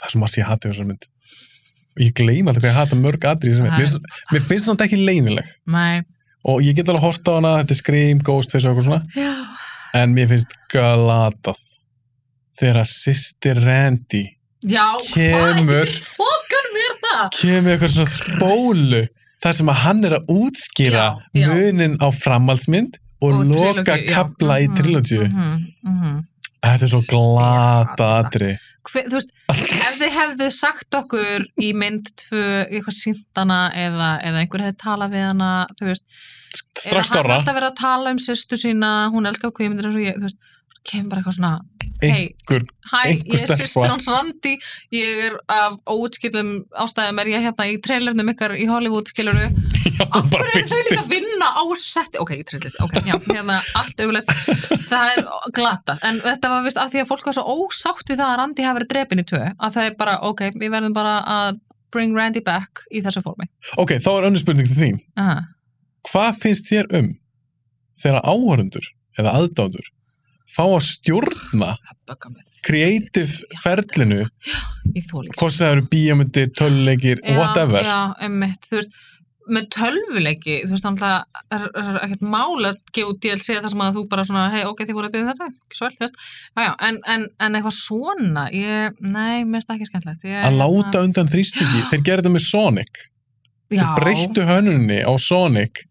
S1: Það er svo margt sem ég hati þessar mynd. Og Ég gleyma alltaf hvað ég hata mörg atrið í þessar mynd. Mér finnst- Mér finnst þetta ekki leynileg.
S2: mæ
S1: Og ég get alveg hort á hana, þetta er Scream, Ghostface og eitthvað svona.
S2: já,
S1: En mér finnst galatað þegar að sýsti Randy
S2: já
S1: Kemur.
S2: hvað fokar mér það
S1: kemur með eitthvað svona spólu þar sem að hann er að útskýra
S2: Já, já.
S1: munin á framhaldsmynd og,
S2: Og
S1: loka
S2: trilógíu, já.
S1: kapla í
S2: Mhm,
S1: trilógíu
S2: mhm, mhm.
S1: þetta er svo glata
S2: Stjarna.
S1: atri
S2: Hve- þú veist, ef þið hefðu sagt okkur í mynd tvö eitthvað síntana eða, eða einhver hefði talað við hana þú veist,
S1: strax
S2: eða hann
S1: skára,
S2: alltaf verið að tala um sýstu sína hún elskar kvímyndir eins og ég þú veist, svo kemur bara eitthvað svona hey,
S1: einhver
S2: hæ,
S1: einhver
S2: ég er
S1: stelpa."
S2: sýstur hans Randi ég er af óutskilum ástæðum er ég hérna í trailernum ykkar í Hollywood skiluru,
S1: já,
S2: af
S1: bara
S2: hverju eru þau líka að
S1: byrtist
S2: vinna á setti ok, ég trillist, ok, já, hérna allt auðvitað, það er glata en þetta var vist að því að fólk var svo ósátt við það að Randi hafi verið drepin í tvö að það er bara, ok, við verðum bara að bring Randy back í þessu formi
S1: ok, þá er önnur spurning til þín
S2: Aha.
S1: hvað finnst þér um þegar áhörundur eða aðdáður fá að stjórna
S2: það böggar mig þig.
S1: creative ferlinu
S2: Ég þoli ekki
S1: hvort sem það eru bíamöndir, töluleikir,
S2: Já,
S1: whatever
S2: já, emmitt, þú veist með tölvuleiki, þú veist náttúrulega er, er ekkert mál að gefa út DLC þar sem að þú bara svona, hei, ok, þið voru að byggja þetta ekki svo vel, þú veist, já, já, en, en, en eitthvað svona, ég, nei, mér finnst það ekki skemmtilegt Ég- hérna-
S1: að láta undan þrýstingi
S2: Já.
S1: þeir gerðu þetta með Sonic
S2: já,
S1: þeir breyttu hönunni á Sonic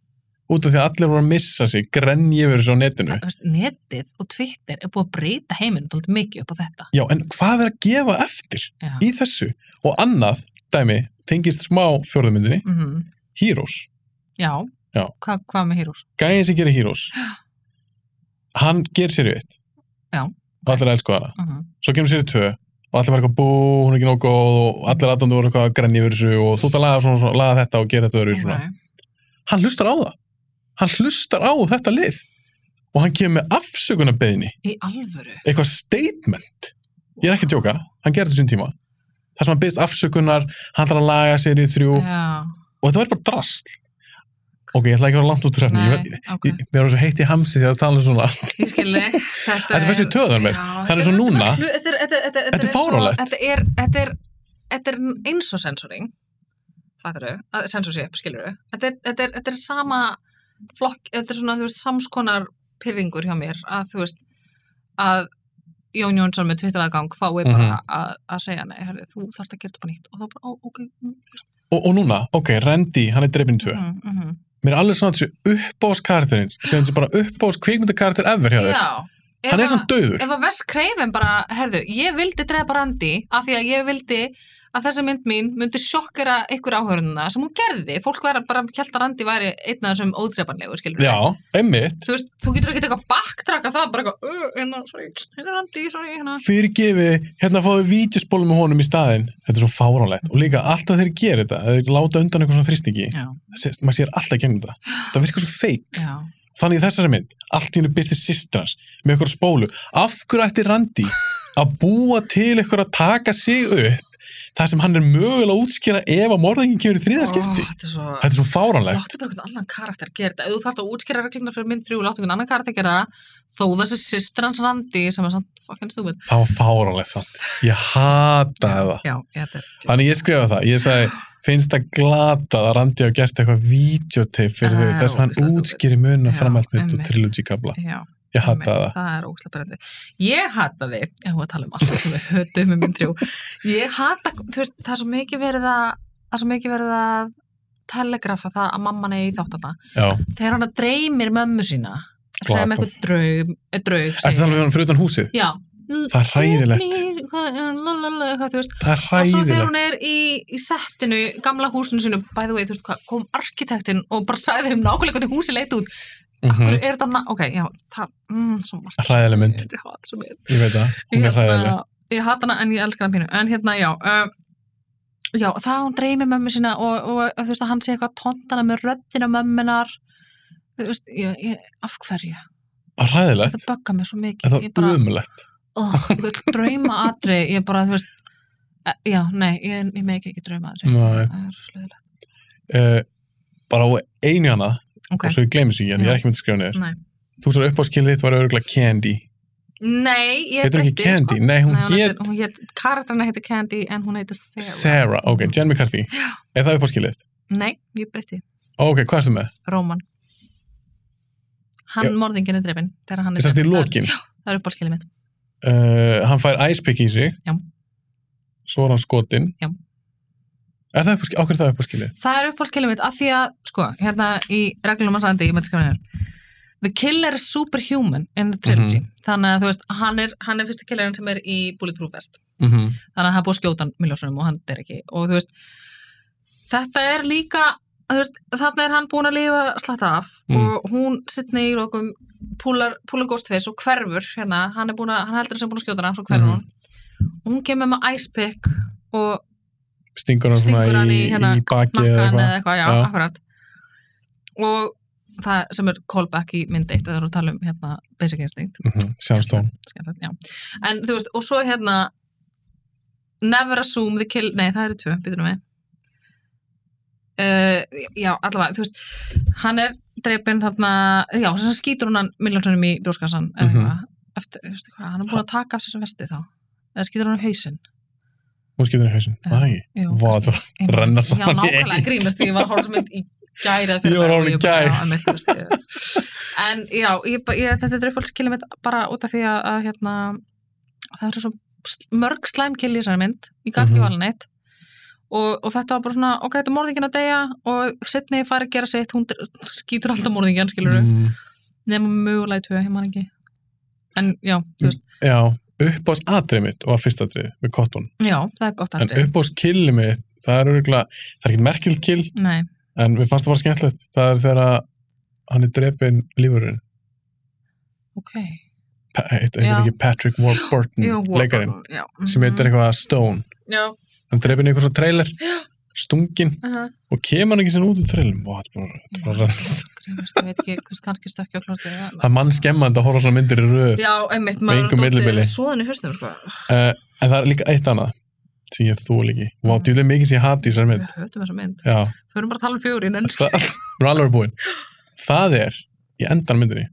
S1: út af því að allir voru að missa sig grenji yfir þessu á netinu
S2: þú veist, netið og Twitter er búið að breyta heiminn dálítið mikið upp á þetta
S1: já, en hvað er að gefa eftir
S2: já,
S1: í þessu og annað dæmi tengist smá fjórðumyndinni
S2: mm
S1: Heroes,
S2: já.
S1: Já.
S2: Hva, hvað með Heroes?
S1: gæðin sem gerir Heroes hann ger sér við
S2: Já.
S1: og allir elsku hana
S2: Mm
S1: svo kemur sér í tvö og allir var eitthvað bú, hún er ekki nóg góð og allir aðdóndu voru eitthvað að grenja yfir þessu og þú ert að laga, svona, svona, laga þetta og gera þetta öðru svona hann hlustar á það hann hlustar á þetta lið og hann kemur með afsökunarbeðni
S2: Í alvöru?
S1: eitthvað statement ég er ekki að djóka, hann gerði þessum tíma þar sem hann byrst afsökunar hann þarf að laga sér í þrjú
S2: Já,
S1: og þetta væri bara drast ok, ég ætla ekki að vera langt út úr hefni ég,
S2: nei, ok,
S1: ég, mér er svo heitt í hamsi þegar það tala um svona
S2: ég skilði Þetta
S1: þetta fyrst í töðan mér Það er
S2: þetta
S1: svo
S2: þetta
S1: núna.
S2: bara hlu- Þetta er- þetta- þetta-
S1: Þetta
S2: þetta
S1: er
S2: er svo-
S1: fáránlegt.
S2: Þetta er- þetta er- þetta er eins og sensoring Fattaru, sensorship, skilur þetta, er- þetta, er- þetta er sama flokk, þetta er svona, þú veist, samskonar pyrringur hjá mér að þú veist að Jón Jónsson með tvittaraðgang fái bara
S1: Mhm.
S2: að, að segja nei, herri, þú þarft að gera þetta bara nýtt og þá bara, ó, ok mm,
S1: og, og núna, ok, Randy, hann er dreipin tvö
S2: mhm, mhm.
S1: mér er alveg svona þessu uppbóðs karakterinn sem þessu bara uppbóðs kvikmyndakarter ever hjá þér
S2: Já, ef
S1: hann
S2: að-
S1: er svona döður
S2: ef að Wes Craven bara, herðu, ég vildi drepa Randi af því að ég vildi að þessi mynd mín myndi sjokkera ykkur áhörununa sem hún gerði, fólk verður bara held að Randi væri einn af þessum ódrepanlegu, skilur
S1: já, einmitt,
S2: þú veist, þú getur ekki eitthvað baktraka það, bara eitthvað, "Ö, hérna, sorry, hérna Randi, sorry, hérna
S1: fyrirgefi hérna fáðu vídeospólu með honum í staðinn þetta er svo fáránlegt og líka alltaf þeir gera þetta þeir láta undan eitthvað svona þrýstingi
S2: Já,
S1: Sér- maður sér alltaf í gegnum um þetta það virkar svo feik
S2: já,
S1: þannig í þessari mynd, allt í hennu byrti sýstrans með eitthvað spólu, af hverju ætti Randi að búa til eitthvað að taka sig upp það sem hann er mögulega að útskýra ef að morðingin kemur í þriða skipti
S2: Ó, þetta er svo...
S1: þetta er svo fáránlegt
S2: Láttu bara einhvern annan karakter gera þetta. Ef þú þarft að útskýra reglurnar fyrir mynd þrjú, láttu einhvern annan karakter gera það. Þó þessi systir hans randi sem er samt fucking stupid.
S1: það var fáránlegt samt ég hataði það
S2: Já, já, þetta er...
S1: þannig ég skrifaði það, ég sagði finnst það glatað að Randi hafa gert eitthvað videotape fyrir
S2: Það
S1: þau
S2: er
S1: þess að hann
S2: ógeðslega stúpid.
S1: útskýri munna
S2: Já,
S1: framhaldmynd og
S2: einmitt.
S1: trilogy kabla
S2: Já,
S1: ég hataði það
S2: það er óslega brendið. Ég hata þig, ég var að tala um allt sem við höfðum með mynd þrjú. Ég hata, þú veist, það er svo mikið verið að, það er svo mikið verið að telegrafa það að mamman eigi þáttana.
S1: já,
S2: Þegar hann dreymir mömmu sína, sem
S1: Glatað.
S2: eitthvað draug, eh, draug,
S1: ertu
S2: segir-
S1: þannig að um hann fyrir utan húsið?
S2: Já.
S1: Það er hræðilegt.
S2: Lalala, eh, hvað þú veist,
S1: það er
S2: og svo þegar
S1: ræðilegt
S2: hún er í, í settinu, gamla húsinu sinu by the way, þú veist hvað, kom arkitektinn og bara sagði þeim nákvæmlega hvernig húsi leit út
S1: mm
S2: mm. er þetta, na- ok, já, það mm, svo margt,
S1: Hræðileg mynd.
S2: ég hata svo mynd
S1: ég veit það, hún
S2: Hérna-
S1: er hræðileg
S2: ég hata hana en ég elskar hana pínu en hérna, já um, já, það hún dreymir mömmu sína og, og, þú veist að hann sé eitthvað tóndana með röddina mömmunar þú veist, ég, ég, af hverju
S1: Ah, hræðilegt,
S2: það böggar mér svo mikið
S1: þetta
S2: Ég
S1: var umulegt
S2: oh, drauma atri ég bara, þú veist eh, já, nei, ég, ég megi ekki drauma atri
S1: Nei.
S2: það er svo leiðilegt
S1: uh, bara á einu hana
S2: ok,
S1: og svo ég gleymi sig ekki, en ég er ekki myndið að skrifa niður
S2: nei,
S1: þú svo upp á skilið þitt var örgulega Candy
S2: nei ég
S1: heitur ekki
S2: breytti, sko.
S1: Candy, nei hún
S2: nei, hún
S1: hét
S2: heitir, hún hét, karakterna heitir Candy en hún heitir Sarah,
S1: Sarah, ok, Jen McCarthy er það upp á skilið? þitt?
S2: nei, ég breytti,
S1: ok, hvað ertu með?
S2: Róman hann
S1: Já.
S2: morðingin er drefin þegar hann er
S1: þessast í
S2: drepinn.
S1: lokin
S2: það, það er uppálskilið mitt
S1: uh, hann fær æspikk í sig
S2: Já.
S1: svo er hann skotin
S2: Já.
S1: er það upp á skilið? ákveð það upp á skilið?
S2: það er uppálskilið mitt af því að, sko, hérna í reglunum hans andi, ég myndi skrifa hér The killer is superhuman in the trilogy þannig að þú veist, hann er, hann er fyrsti killerinn sem er í Bulletproof Vest
S1: Mm
S2: þannig að hann er búið að skjóta hann miljósunum og hann er ekki og þú veist þetta er líka þú veist, þarna er hann búin að lifa slatta af
S1: Mm.
S2: og hún sittni í lokum púlar, púlar góstfis og hverfur hérna, hann, er búin að, hann heldur að sem búin að skjóta hann svo hverfur
S1: Mhm.
S2: hún og hún kemur með ice pick og
S1: stingur hann svona
S2: Stingur hann
S1: í,
S2: í, hérna,
S1: í baki eða eitthvað
S2: nakkan eða eitthvað, já,
S1: Já.
S2: akkurat og það sem er callback í mynd eitt, það eru að tala um hérna, basic instinct
S1: mm -hmm. sjánstón
S2: skemmtilegt, já. En þú veist, og svo hérna Never assume the kill Nei, það eru tvö, býtum við uh, Já, allavega, þú veist Hann er dreipin þarna Já, þess að skýtur hún hann Miljónsonum í brjóskassan mm
S1: Mhm.
S2: -hmm. Eftir, þú veist hvað, hann er búin að taka af sér sem vesti þá eða skýtur hann á hausinn
S1: hún skýtur hann í hausinn
S2: Já.
S1: Æ,
S2: Jú,
S1: vá, þetta var
S2: kannski.
S1: renna
S2: Já,
S1: saman í
S2: nákvæmlega
S1: eitt.
S2: grínast, ég var hálfsmynd í
S1: Ég
S2: gæri eða
S1: var
S2: fyrradag og
S1: horfin í
S2: ég bara,
S1: gær.
S2: já, einmitt, þú veist, ég- En já, ég, ba- ég, þetta er uppáhaldskilið mitt bara út af því að, að hérna, það eru svo sl- mörg slæmkill í þessari mynd, ég gæti ekki
S1: Mhm.
S2: valin eitt og, og þetta var bara svona, ok, þetta er morðingin að deyja og setni fari að gera sitt, hún dr- skýtur alltaf morðingin, skilur við,
S1: Mm,
S2: nema mögulega í tvö, ég man ekki En já, þú veist,
S1: já, uppáðs atrið mitt var fyrsta atrið með kottun
S2: já, það er gott
S1: en
S2: aðri
S1: uppáðs killið mitt, það er örgulega það er ekkert merkild kill,
S2: Nei,
S1: en við fannst það bara skemmtilegt það er þegar að hann er drepin lífurinn,
S2: ok
S1: þetta
S2: Já.
S1: er eh, ekki Patrick Warburton,
S2: Jú,
S1: Mm, leikarinn
S2: já,
S1: sem heitir
S2: mhm.
S1: eitthvað Stone
S2: Já,
S1: hann drepin í eitthvað svo trailer stungin
S2: uh
S1: og kemur hann ekki sem út úr trailerum Vá, þetta var- þetta var rann-
S2: grínast, ég veit ekki, hvers- kannski stökkja á klósti
S1: það er mann skemmandi að horfa á svona myndir í röð
S2: Já, einmitt,
S1: Með
S2: maður
S1: engu millibili.
S2: svoðan í hausnum sko.
S1: uh, en það er líka eitt annað sem ég þól ekki, vá,
S2: Mhm.
S1: djúlega mikið sem ég hati í þessar mynd
S2: Við höfum þessa mynd
S1: já,
S2: Förum bara að tala um fjóri, en
S1: það við erum alveg búin það er, í endan myndinni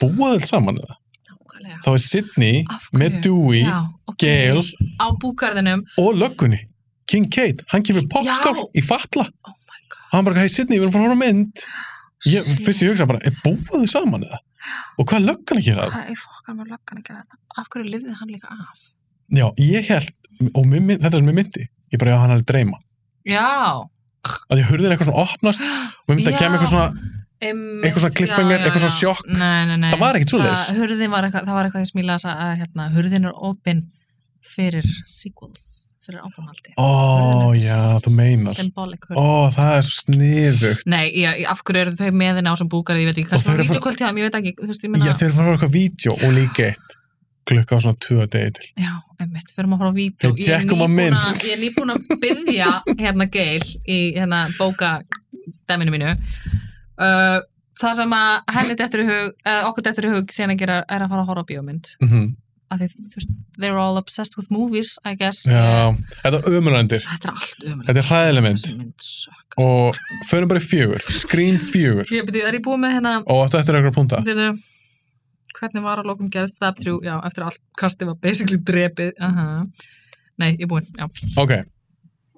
S1: búaðið saman eða?
S2: nákvæmlega
S1: þá er Sydney
S2: Af hverju?
S1: með Dewey,
S2: Já, ok.
S1: Gale
S2: Á búkarðinum
S1: og löggunni Kincaid, hann kemur popskál í fatla
S2: Oh my god
S1: hann bara, hei Sydney, við erum frá að horfa á mynd ég,
S2: shit,
S1: fyrst ég hugsa bara, er búaðið saman eða? og hvað er löggan að gera það?
S2: Hvað er fokkar með löggan að gera þetta? Af hverju lifði hann líka af?
S1: já, ég held, og mér, mynd- þetta er sem ég myndi ég bara, já, hann er að dreyma
S2: Já
S1: að ég hurðin eitthvað svona opnast og myndi að
S2: Já.
S1: kemur eitthvað svona,
S2: einmitt,
S1: Eitthvað svona cliffhanger,
S2: já, já,
S1: eitthvað svona
S2: já.
S1: sjokk.
S2: Nei, nei, nei
S1: Það var ekkert svoleiðis.
S2: Það- Hurðin var eitthvað, það var eitthvað ég smíla að hérna, hurðin er opin fyrir sequels, fyrir áframhaldi
S1: ó, já, þú meinar
S2: Symbolic hurðin
S1: ó, það er svo sniðugt
S2: Nei, já, af hverju eru þau meðin á sem búkarið, ég veit ekki,
S1: Og
S2: kannski
S1: þau
S2: það
S1: eru
S2: var
S1: að fara-
S2: vítjókvöld hjá þeim, ég veit ekki, þú veist,
S1: Já,
S2: ég meina,
S1: þeir eru að fara á eitthvað vídeo og líka eitt klukka á svona tvö að degi til.
S2: já, einmitt, förum að horfa á vítjó,
S1: Við tjekkum á mynd.
S2: ég er nýbúin að byggja hérna geil í hérna bóka dæminu mínu, uh, það sem að henni dettur í hug, eða okkur dettur í hug síðan að gera, er að fara að horfa á bíómynd
S1: Mm
S2: að því, þú veist, they're all obsessed with movies, I guess
S1: Já, þetta er ömurandir.
S2: Þetta er allt ömulegt
S1: Þetta er hræðileg mynd.
S2: Þessi mynd sökk
S1: Og förum bara í fjögur. Scream fjögur.
S2: Ég byrju, er ég búið með hérna
S1: Og áttu eftir eitthvað púnta.
S2: Við, hvernig var að lokum gerð step 3, já, eftir að allt kastið var basically drepið, aha Nei, ég er búin, já.
S1: Ok.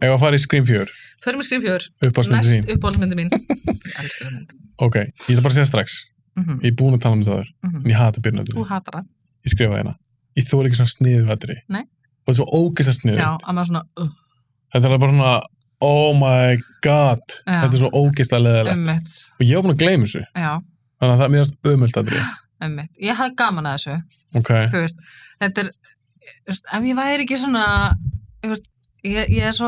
S1: Ef að fara í Scream fjögur.
S2: Förum í skrifjör,
S1: Uppásmyndi sín.
S2: næst uppáhaldsmyndi mín. Ég elska það mynd.
S1: Ok. Ég ætla bara að segja strax.
S2: Mm -hmm.
S1: Ég er búin að tala um þetta þar.
S2: Mm
S1: En ég hata byrjandi.
S2: Þú hatar það.
S1: Ég skrifa hérna. Ég þóla ekki svona sniðu vettri.
S2: Nei.
S1: Og þetta er svo ógæsta sniðu.
S2: Já, að maður svona, uh,
S1: Þetta er bara svona, oh my god.
S2: Já. Um.
S1: Þetta er svo ógæsta leðilegt.
S2: ömmet,
S1: Og ég var búin að gleyma þessu.
S2: já,
S1: Þannig að það mér erst ömult aðri.
S2: ömmet. Ég hafði gaman að þessu,
S1: Ok.
S2: þú veist. Þetta er, þú veist, ef ég væri ekki svona, þú veist, ég, ég er svo,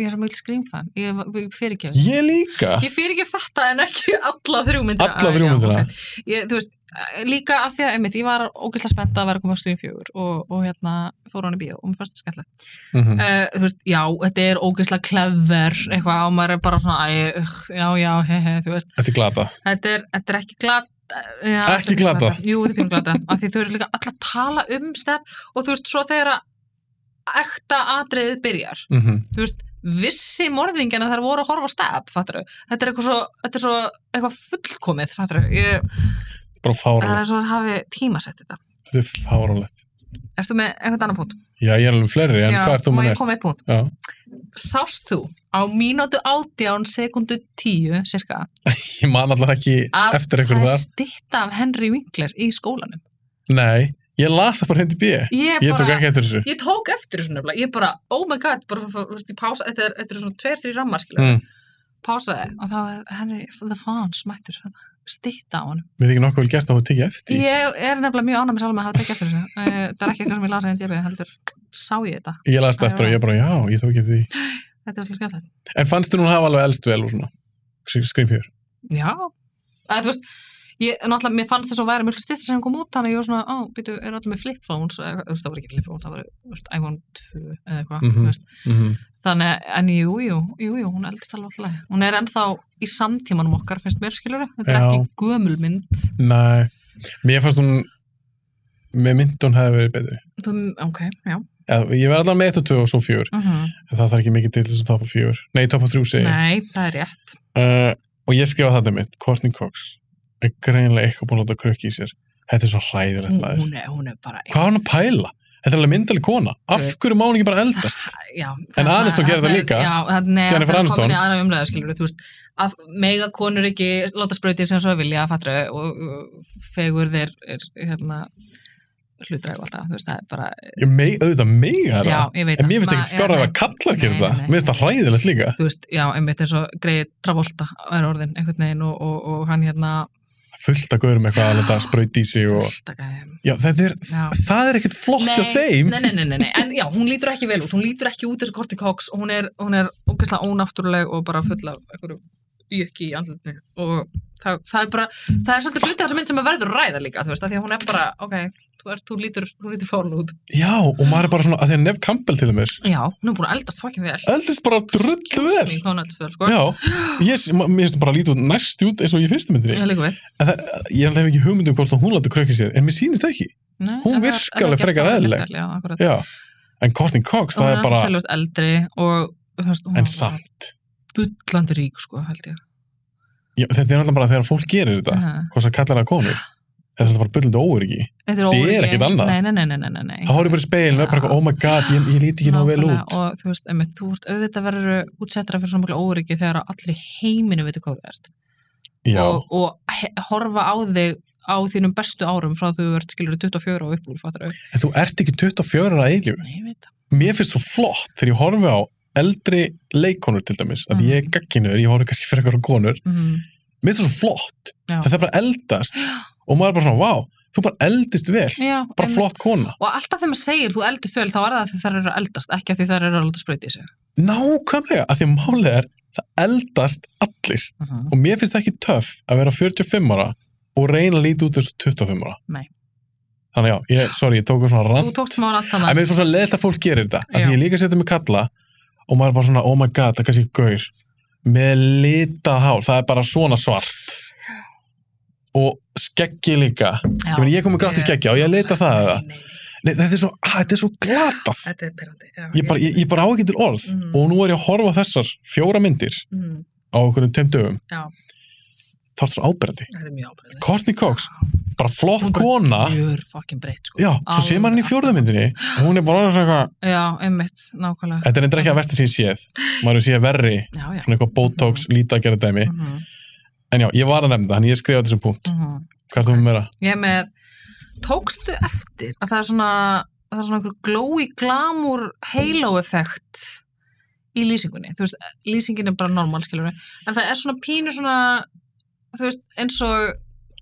S2: ég er svo mjög skrýmfan. Ég, ég fyrir ekki þessu.
S1: Ég líka.
S2: Ég fyrir ekki þetta en ekki alla þrjúmyndina.
S1: Alla þrjúmyndina.
S2: Ég, þú veist, eh, líka af því að, einmitt, ég var ógæslega spennt að vera að koma á skrýmfjögur og, og hérna fór hann í bíó og mér fannst þetta skemmtilegt.
S1: Mhm.
S2: uh, þú veist, já, þetta er ógeðslega klefver eitthvað og maður er bara svona æ, ugh, já, já, he, he, þú veist
S1: Þetta er glata.
S2: þetta er, þetta er ekki glata já,
S1: Ekki
S2: þetta er
S1: glatað.
S2: jú, þetta er pínu glata, af því þau eru líka alltaf að tala um stef og þú veist, svo þegar að ekta atriðið byrjar
S1: Mm
S2: þú veist, vissi morðingin að þær voru að horfa á stef, fattar þau þetta er eitthvað svo, þetta er svo eitthvað fullkomið fattar þau,
S1: Bara
S2: það
S1: fáránlegt.
S2: er svo að hafi tímasett þetta
S1: Þetta er fáránlegt.
S2: Erstu með einhvern annan punkt?
S1: Já, ég er alveg fleiri, en
S2: Já,
S1: hvað ert þú
S2: má
S1: með
S2: ég
S1: næst?
S2: koma með eitt punkt?
S1: Já.
S2: sást þú á mínútu átján sekundu tíu cirka,
S1: Ég man alltaf ekki
S2: að
S1: eftir
S2: það
S1: ykkur
S2: er
S1: þar.
S2: stitta af Henry Winkler í skólanum
S1: Nei, ég las það bara hindi bíu.
S2: ég,
S1: Ég tók
S2: bara,
S1: ekki eftir þessu.
S2: ég tók eftir þessu nefnilega ég bara, oh my god, bara, bara, bara, bara pása, þetta, er, þetta er svona tveir, þrjir rammar skilur
S1: Mm.
S2: pásaði og þá er Henry the Fons mættur þarna, stitta á hann
S1: Mér þykir nokkuð vel gert að þú tekið eftir. Ég,
S2: ég er nefnilega mjög ánæmis alveg að hafa tekið eftir þessu Eh, það er ekki eitthvað sem ég lasa en ég heldur sá ég þetta,
S1: ég las það eftir og ég bara, já, ég tók eftir því.
S2: þetta er svolítið skemmtilegt
S1: En fannst þú hún hafa alveg elst vel og svona? Skrimfjör.
S2: Já, að, þú veist ég, náttúrulega, mér fannst þess að væri mjög styrst sem kom út, þannig að ég var svona, á, býtu, eru allir með flip phones, eða eitthvað, þú veist, það voru ekki flip phones það voru, þú veist, iPhone 2 eða eitthvað
S1: Mhm.
S2: þú veist.
S1: Mm -hmm.
S2: þannig, að- en jú, jú, jú, jú hún eldist alveg alltaf, hún er ennþá í samtímanum okkar, finnst mér, skilur þetta er
S1: Já.
S2: ekki gömulmynd
S1: Nei, mér fannst hún, með mynd hún hefði verið betri.
S2: þú, ok, já
S1: Eða, Ég verði allavega með 1 og 2 og svo 4,
S2: mm
S1: en það þarf ekki mikið til þess að topa 4. Nei, topa 3 segi ég.
S2: nei, það er rétt
S1: uh, og ég skrifa þetta mitt Courtney Cox er greinilega eitthvað búin að láta krukki í sér þetta er svo hræðilegt
S2: hún,
S1: maður
S2: hún, er, hún er bara
S1: hvað er hann að pæla? Þetta er alveg myndaleg kona af
S2: Þú veist.
S1: hverju má hún ekki bara eldast?
S2: já,
S1: En Aniston gerir það líka.
S2: já, þannig að
S1: Jennifer
S2: það er
S1: Aniston.
S2: komin í aðra umræðu skilur þú veist að mega konur ekki láta sprautir sem svo vilja fattra og uh, fegur þeir er hérna hlutræg og alltaf, þú veist, það er bara
S1: Ég mei, auðvitað mega er
S2: já,
S1: það
S2: ég veit
S1: en
S2: það.
S1: mér finnst
S2: Ma-
S1: ekkert skára
S2: já,
S1: ef að kallar
S2: Nei,
S1: gerir
S2: nei,
S1: það
S2: nei.
S1: mér finnst það hræðilegt líka
S2: þú veist, já, einmitt eins og greið Travolta er orðin einhvern veginn og, og, og hann hérna
S1: fullt að gauður með eitthvað að láta sprauti í sig og...
S2: fullt að gæja.
S1: já, þetta er,
S2: Já.
S1: það er ekkert flott hjá þeim
S2: nei, nei, nei, nei, nei, en já, hún lítur ekki vel út, hún lítur ekki út þessu Korti Cox og hún er, hún er ógeðslega ónáttúruleg og bara full af einhverju jökki í andlutinu og það, það er bara, það er svolítið hluti af þessu mynd sem að verður að ræða líka, þú veist, af því að hún er bara, ok, þú, er, þú lítur, þú lítur fórn út.
S1: já, og maður er bara svona, að því að Nef Campbell til dæmis
S2: Já, hún er búin að eldast fokkin vel.
S1: eldast bara drullu vel
S2: Mín, hún eldast vel, sko.
S1: já, ég, ma- mér finnst bara lítið næst út eins og ég fyrstu myndinni
S2: Já, líka vel.
S1: En það, ég held hef ekki hugmynd um hvort að hún láti krökkið sér, en mér sýnist það ekki.
S2: Nei,
S1: Hún
S2: en það-
S1: virkar
S2: en það
S1: alveg
S2: gerst
S1: frekar
S2: það
S1: eðlileg.
S2: vel, Já, akkurat.
S1: Já. En Courtney Cox, það
S2: Og hún
S1: er
S2: alltaf
S1: bara,
S2: tölvöld eldri og, þú veist, hún
S1: en
S2: er bara
S1: samt.
S2: bullandi rík, sko, held ég.
S1: Já, þetta er alltaf bara þegar fólk gerir þetta,
S2: Aha.
S1: hvað sem kallar það konur. Þetta er alltaf bara bullandi óöryggi.
S2: Þetta er
S1: Þetta er
S2: óöryggi.
S1: ekkert annað.
S2: Nei, nei, nei, nei, nei, nei, nei.
S1: Það horfður bara í speilinu, bara eitthvað, oh my god, ég, ég líti ekki ná vel
S2: Nákvæmlega,
S1: út.
S2: og þú veist, einmitt, þú veist, auðvitað verður útsettra fyrir svona mjög óryggi þegar að allir í heiminu veitu hvað þú ert
S1: Já,
S2: og, og he- horfa á þig á þínum bestu árum frá þú ert skilur 24 og uppbúr fattur auðvitað
S1: en þú ert ekki 24 ára að eilífu.
S2: Nei, ég veit það.
S1: Mér finnst svo flott þegar ég horfi á eldri leikonur til dæmis, að
S2: Mhm.
S1: ég er gagginur, ég horfi kannski fyrir eitthvað konur.
S2: Mhm,
S1: Mér finnst það svo flott.
S2: Já.
S1: Þetta er bara að eldast og maður er bara svona, vá, þú bara eldist vel,
S2: Já,
S1: bara
S2: einmitt.
S1: flott kona.
S2: og alltaf þegar maður segir þú eldist vel þá er það af því þær eru að eldast ekki af því þær eru að láta spröyti í sig
S1: Nákvæmlega, að því að málið er það eldast allir og mér finnst það ekki töff að vera 45 ára og reyna að líta út þessu 25 ára
S2: Nei.
S1: Þannig já, ég, sorry, ég tók um svona
S2: Þú
S1: rand
S2: tókst maður að
S1: En mér
S2: þannig
S1: finnst svona leðilt að fólk gerir þetta að
S2: Já.
S1: því ég líka setja mig kalla og maður er bara svona, oh my god, það er kannski gaur með litað hár, það er bara svona svart og skeggi líka ég, meni, ég kom með grátt í skeggi og ég lita það eða
S2: Nei, nei, nei.
S1: Nei, þetta er svo, að, þetta er svo glatað.
S2: Þetta er pyrrandi. Já,
S1: Ég bara, ég, ég bara á ekki til orð
S2: Mhm.
S1: og nú er ég að horfa á þessar fjóra myndir
S2: Mm,
S1: á einhvernum tveim dögum.
S2: Já.
S1: Það er svo áberandi.
S2: þetta er mjög ábyrðið.
S1: Courtney Cox, bara flott
S2: Hún bara-
S1: kona.
S2: Gjör fucking breytt, sko.
S1: Já, svo sé maður hann í fjórða myndinni og hún er bara orðin svona eitthvað,
S2: Já, einmitt, nákvæmlega.
S1: þetta er endur ekki að vesti sín séð. Maður er séð verri,
S2: Já, já.
S1: svona eitthvað botox, lítagerða dæmi.
S2: Mm -hmm.
S1: En já, ég var að nefna það, en ég skrifaði þessum punkt.
S2: Mhm.
S1: Hvað er þú með meira?
S2: Ég er með, tókstu eftir að það er svona, að það er svona einhver glói glamour halo effekt í lýsingunni, þú veist, lýsingin er bara normal, skilur við, en það er svona pínu svona, þú veist, eins og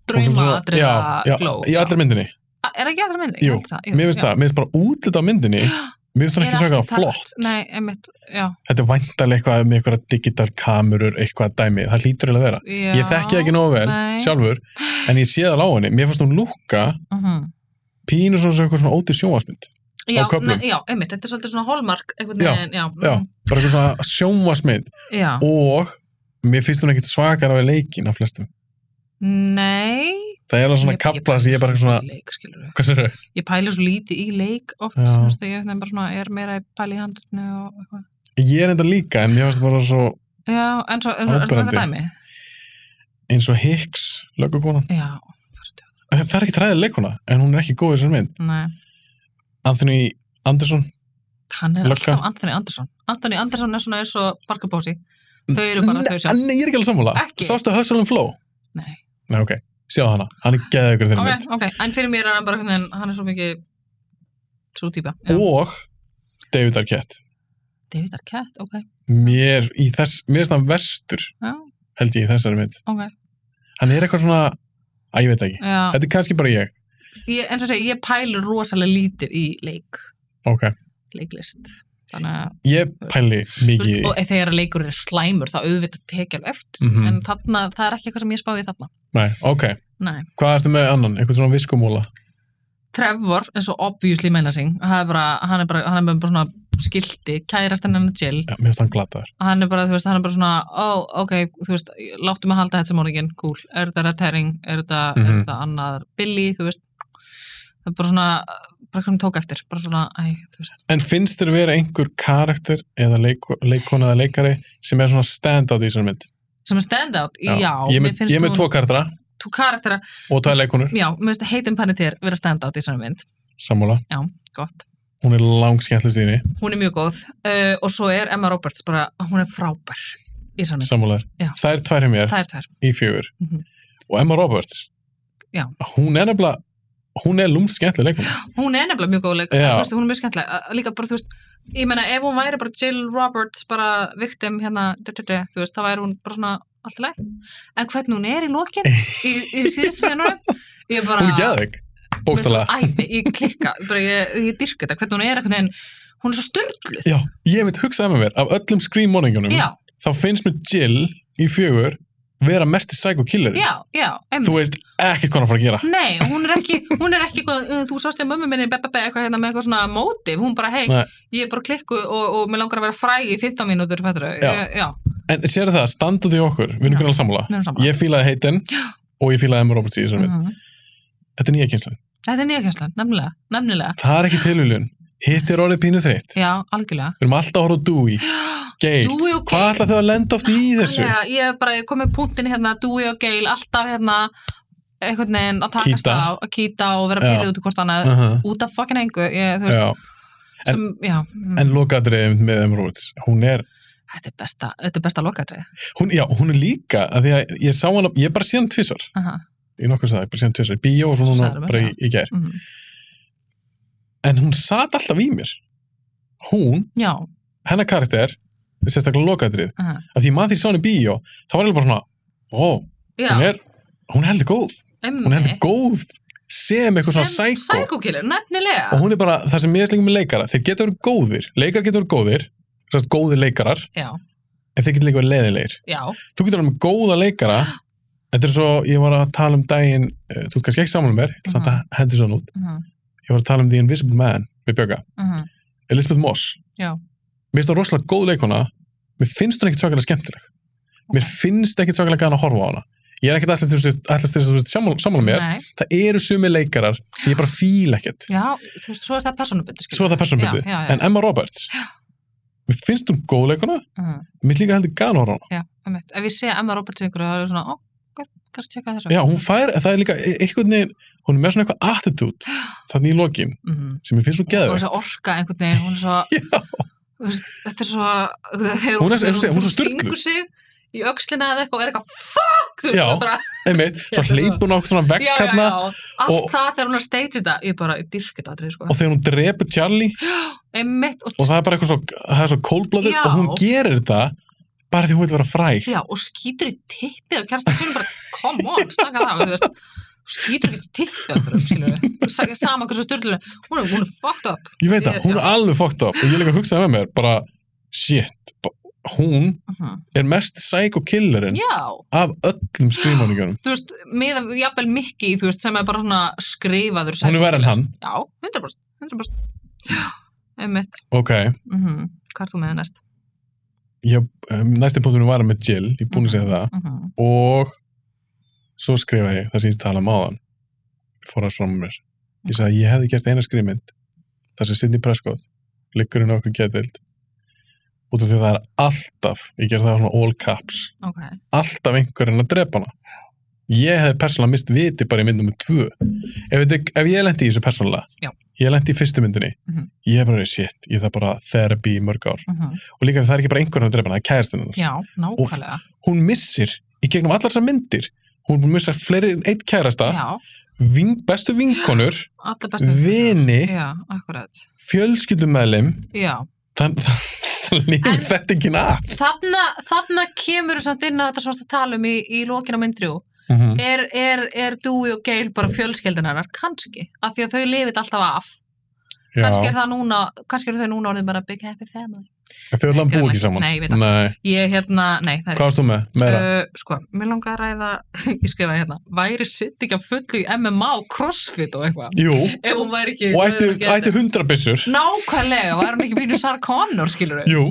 S1: Hún sem
S2: drauma
S1: svo-
S2: atriða
S1: já,
S2: gló.
S1: já, í allir myndinni.
S2: A- Ah, Er ekki aðra myndi?
S1: Jú, Mér finnst það, mér finnst bara útlit á myndinni, mér finnst það ekki svona eitthvað flott.
S2: Nei, einmitt, já.
S1: Þetta er væntalega eitthvað með eitthvað digital kamerur, eitthvað dæmi, það hlýtur eiginlega að vera.
S2: já
S1: Ég þekki það ekki nógu vel,
S2: nei.
S1: sjálfur, en ég sé það á henni. Mér fannst hún lúkka
S2: Mhm.
S1: pínu svona sem eitthvað svona ódýr sjónvarsmynd.
S2: Já,
S1: köflum.
S2: nei, já, einmitt, þetta er svolítið svona hallmark einhvern
S1: Já,
S2: veginn, já,
S1: Já, bara eitthvað svona sjónvarsmynd
S2: já. já.
S1: og mér finnst hún ekkit svakar af leikin af flestum.
S2: Nei
S1: Það er alveg svona
S2: ég- ég
S1: kapla
S2: pæli
S1: sem ég er bara
S2: svo
S1: svona,
S2: lítið í leik, skilurðu.
S1: hvað sér þau?
S2: Ég pæli svo lítið í leik oft
S1: Já.
S2: sem veist, ég er bara svona, er meira að pæli í handlutinu og eitthvað
S1: Ég er enda líka, en mér finnst bara svo
S2: Já, en svo, en svo er það
S1: Áberandi.
S2: eitthvað dæmi
S1: eins og Hicks, löggukonan.
S2: Já, fyrstu,
S1: Það er ekki træðið leikuna, en hún er ekki góð í þessar mynd.
S2: nei
S1: Anthony Anderson,
S2: Hann er
S1: Lögga.
S2: alltaf Anthony Anderson Anthony Anderson er svona eins og Parker Bósi Þau eru bara þau sjálf
S1: Nei, nei, ég er ekki alveg sammála.
S2: Ekki?
S1: Sástu Hustle and Flow?
S2: Nei,
S1: Nei, ok. Sjáðu hana, hann er geðið ykkur þeirra
S2: ok, ok, en fyrir mér er hann bara einhvern veginn, hann er svo mikið svo típa Já.
S1: mynd. Og David Arquette.
S2: David Arquette, ok,
S1: Mér, í þess, mér er svona verstur,
S2: já,
S1: held ég, í þessari mynd.
S2: ok
S1: Hann er eitthvað svona, að ég veit ekki.
S2: Já,
S1: Þetta er kannski bara ég.
S2: ég, eins og segja, ég pæli rosalega lítið í leik,
S1: Ok.
S2: leiklist Þannig að
S1: Ég pæli
S2: Þú
S1: mikið
S2: veist,
S1: í
S2: og e, þegar leikur er slæmur þá auðvitað tekja alveg eftir
S1: Mhm.
S2: en þarna, það er ekki eitthvað sem ég spáði þarna
S1: Nei, ok.
S2: Nei.
S1: Hvað ertu með annan? Eitthvað svona viskumóla?
S2: Trevor, eins og obviously meina sig hann er bara, hann er bara, hann er bara svona skilti, kærast hennan Jill
S1: Já, mér finnst hann glataður.
S2: hann er bara, þú veist, hann er bara svona ó, ok, þú veist, láttu mig að halda þetta sem orðingin, cool, er þetta Red Herring er þetta, er
S1: Mhm.
S2: þetta annar Billy, þú veist það er bara svona bara hvernig tók eftir, bara svona, æ, þú veist
S1: En finnst þér vera einhver karakter eða leik, leikona eða leikari sem er svona stand-out í þessari mynd?
S2: sem er stand out, já,
S1: ég er
S2: mér
S1: með, ég er með tvo karaktera
S2: tvo karaktera,
S1: og tvo leikonur,
S2: já, mér finnst heitin panetir vera stand out í svona mynd,
S1: sammála.
S2: gott
S1: Hún er langskemmtlust í henni,
S2: hún er mjög góð uh, og svo er Emma Roberts bara, hún er frábær í sannig,
S1: sammálaður.
S2: Já.
S1: Það er tvær hjá mér
S2: það er tvær
S1: í fjögur.
S2: Mhm.
S1: Og Emma Roberts,
S2: Já.
S1: hún er nefnilega, hún er lúmst skemmtileg leikona.
S2: hún er nefnilega mjög góð leik,
S1: Já.
S2: veist, hún er mjög skemmtileg Uh, líka bara, þú veist, ég meina ef hún væri bara Jill Roberts, bara victim hérna, du, du, du, þú veist, þá væri hún bara svona allt í leið, en hvernig hún er í lokin í, í síðustu senunum ég bara,
S1: Hún er geðveik, bókstala.
S2: æ, ég klikka, bara ég, ég dyrka þetta hvernig hún er eitthvað, en hún er svo störluð
S1: Já, ég hef mitt hugsað með mér, af öllum Scream morningunum,
S2: já,
S1: þá finnst mér Jill í fjögur vera mest psycho killer.
S2: já, já einmitt. Mhm.
S1: Þú veist ekkert hvað hann er að fara að gera.
S2: Nei, hún er ekki, hún er ekki eitthvað, "Uh, þú sást ég mömmu minni, bebebe, eitthvað hérna með eitthvað svona mótiv, hún bara, hei,
S1: Nei.
S2: ég er bara klikku og, og mér langar að vera fræg í 15 mínútur, fættur
S1: Já.
S2: já,
S1: En sér það, standað í okkur, við erum
S2: Já.
S1: hvernig alveg sammála.
S2: við erum saman.
S1: Ég fílaði heitin og ég fílaði Emma Roberts í þessari mynd.
S2: Mhm.
S1: Þetta er nýja kynslan.
S2: Þetta er nýjakenslan, nefnilega, nefnilega,
S1: Það er ekki tilhjulun. Hitt er orðið pínu þreytt.
S2: já, algjörlega.
S1: Við erum alltaf að horfa á Dewey, Gale.
S2: Dúi og
S1: Hvað ætla þau að lenda oft í þessu?
S2: Þannig að ég er bara komið punktin hérna, Dúi og Geil, alltaf hérna, einhvern veginn að takast
S1: Kýta.
S2: á, að kýta og vera
S1: Já.
S2: bílið út í hvort annað,
S1: Uh
S2: út af fokkin engu, ég, þú veist,
S1: Já, en-
S2: sem, já, mm.
S1: en lokatriðið með Emma Roberts, hún er,
S2: þetta er besta, þetta er besta lokatrið.
S1: hún, já, hún er líka, að því að ég sá hana, ég bara sé hana tvisar,
S2: Aha,
S1: í nokkur staði, bara sé hana tvisar, í bíó og svo núna
S2: Sagðirðu mér,
S1: bara í, í gær.
S2: mhm.
S1: En hún sat alltaf í mér. Hún,
S2: Já,
S1: hennar karakter, sérstaklega lokatriðið,
S2: aha.
S1: að því maður því ég sá hana í bíó, þá var ég bara svona, ó,
S2: já,
S1: hún er, hún er heldur góð. hún er heldur góð sem eitthvað svona
S2: psycho.
S1: sækó
S2: psychokiller, nefnilega
S1: og hún er bara það sem ég er slingum með leikara þeir geta verið góðir, leikar geta verið góðir svona góðir leikarar,
S2: já,
S1: en þeir geta líka verið leiðilegir
S2: já,
S1: þú getur verið með góða leikara þetta er svo, ég var að tala um daginn eh, þú ert kannski ekki saman með mér, samt að hendur svona út
S2: mhm,
S1: ég var að tala um The Invisible Man við Bjögga,
S2: mhm,
S1: Elizabeth Moss
S2: Já.
S1: mér finnst það rosalega góð leikona mér finnst hún ekkit svakalega skemmtileg mér finnst ekkit svakalega gana að horfa á hana ég er ekkert allast til þess að þú veist sammála sammála mér
S2: Nei,
S1: það eru sumi leikarar sem ég bara fíl ekkert
S2: já, þú veist, svo er það personubundi
S1: svo er það persónbyrði,
S2: Já, já, já.
S1: en Emma Roberts mér finnst hún góð leikuna
S2: mm,
S1: mér líka heldur gana horfa á hana
S2: já, einmitt. Ef ég sé Emma Roberts ykkur, það er svona, ó, hvað- kannski tjekka þessu
S1: já, hún fær, það er líka e- einhvern veginn hún er með svona eitthvað attitude þannig í lokin,
S2: Mhm.
S1: sem mér finnst svo
S2: og þessi
S1: geðvegt
S2: orka einhvern veginn hún er svo
S1: Já.
S2: þú veist, þetta er svo þegar
S1: Hún er- eins og segja, hún er svo
S2: stingur
S1: sturluð.
S2: sig í öxlina eða eitthvað og er eitthvað fuck þú veist,
S1: Já.
S2: það er bara,
S1: einmitt, svo
S2: Já, þetta er
S1: hleypur hún á eitthvað svona
S2: já,
S1: vekk
S2: já, já,
S1: hérna
S2: allt
S1: og-
S2: það þegar hún er að stage þetta ég bara, ég dyrk þetta aldrei sko
S1: og þegar hún drepur Charlie
S2: einmitt og,
S1: og það er bara eitthvað svo, það er svo cold-blooded
S2: Já.
S1: og hún gerir þetta bara því hún vil vera fræg
S2: já, og skýtur í tippið og kjærsta sínum bara, come on, snakka það þú veist, Þú skýtur ekki í tippið okkur um skilur sama hversu styrlunum hún er, hún er fucked up
S1: ég veit það,
S2: Ég-
S1: hún
S2: já.
S1: er alveg fucked up og ég líka hugsaði með mér, bara shit, ba- hún
S2: uh
S1: er mest psycho killerinn
S2: já,
S1: af öllum skrifmáningunum
S2: þú veist, með jafnvel Mikki, þú veist, sem er bara svona skrifaður
S1: hún er verið en hann,
S2: Já, 100%, 100%. Já, einmitt.
S1: ok
S2: Mm Hvað er þú með næst?
S1: ég, um, næsti punktunum var með Jill, ég er búin að segja það
S2: Mm -hmm.
S1: og svo skrifa ég það sem ég tala um áðan fór að fram mér ég sagði að ég hefði gert eina skrifmynd þar sem Sidney Prescott liggur inn á okkur getild út af því að það er alltaf ég ger það svona all caps
S2: Ok,
S1: alltaf einhverjum að drepa hana ég hefði persónulega mist viti bara í mynd nummer tvö ef, þetta- ef ég lendi í þessu persónulega
S2: Já.
S1: ég lendi í fyrstu myndinni
S2: Mhm.
S1: ég er bara shit, ég þarf bara therapy í mörg ár
S2: mm
S1: og líka það er ekki bara einhverjum að drepa hana, það er kæristinn hennar
S2: já, nákvæmlega.
S1: hún missir í gegnum allar þessar myndir hún er búin að missa fleiri en eitt kærasta
S2: Já,
S1: ving, bestu vinkonur,
S2: allir bestu.
S1: vini
S2: Já, akkurat.
S1: fjölskyldumælim
S2: Já.
S1: þannig að lífum
S2: En-
S1: þetta ekki af
S2: Þarna, þarna kemur þú samt inn að þetta svona talum í, í lokin á myndrjú. Er, er, er Dúi og Gail bara fjölskeldin hennar? Kanski. Af því að þau lifið alltaf af. Kanski er
S1: Já,
S2: það núna, kannski eru þau núna orðin bara big happy family.
S1: þau allan búið ekki saman
S2: Nei, ég veit það.
S1: Nei.
S2: Ég hérna, nei, það er
S1: hvað varst þú með? Meira?
S2: Uh, sko, mér langar að ræða ég skrifaði hérna, væri sitt ekki að fullu í MMA og CrossFit og eitthvað
S1: Jú,
S2: ef hún væri ekki
S1: og ætti,
S2: ef hún gerði-
S1: ætti hundra byssur
S2: nákvæmlega, var hún ekki pínu Sarah Connor skilur við,
S1: Jú,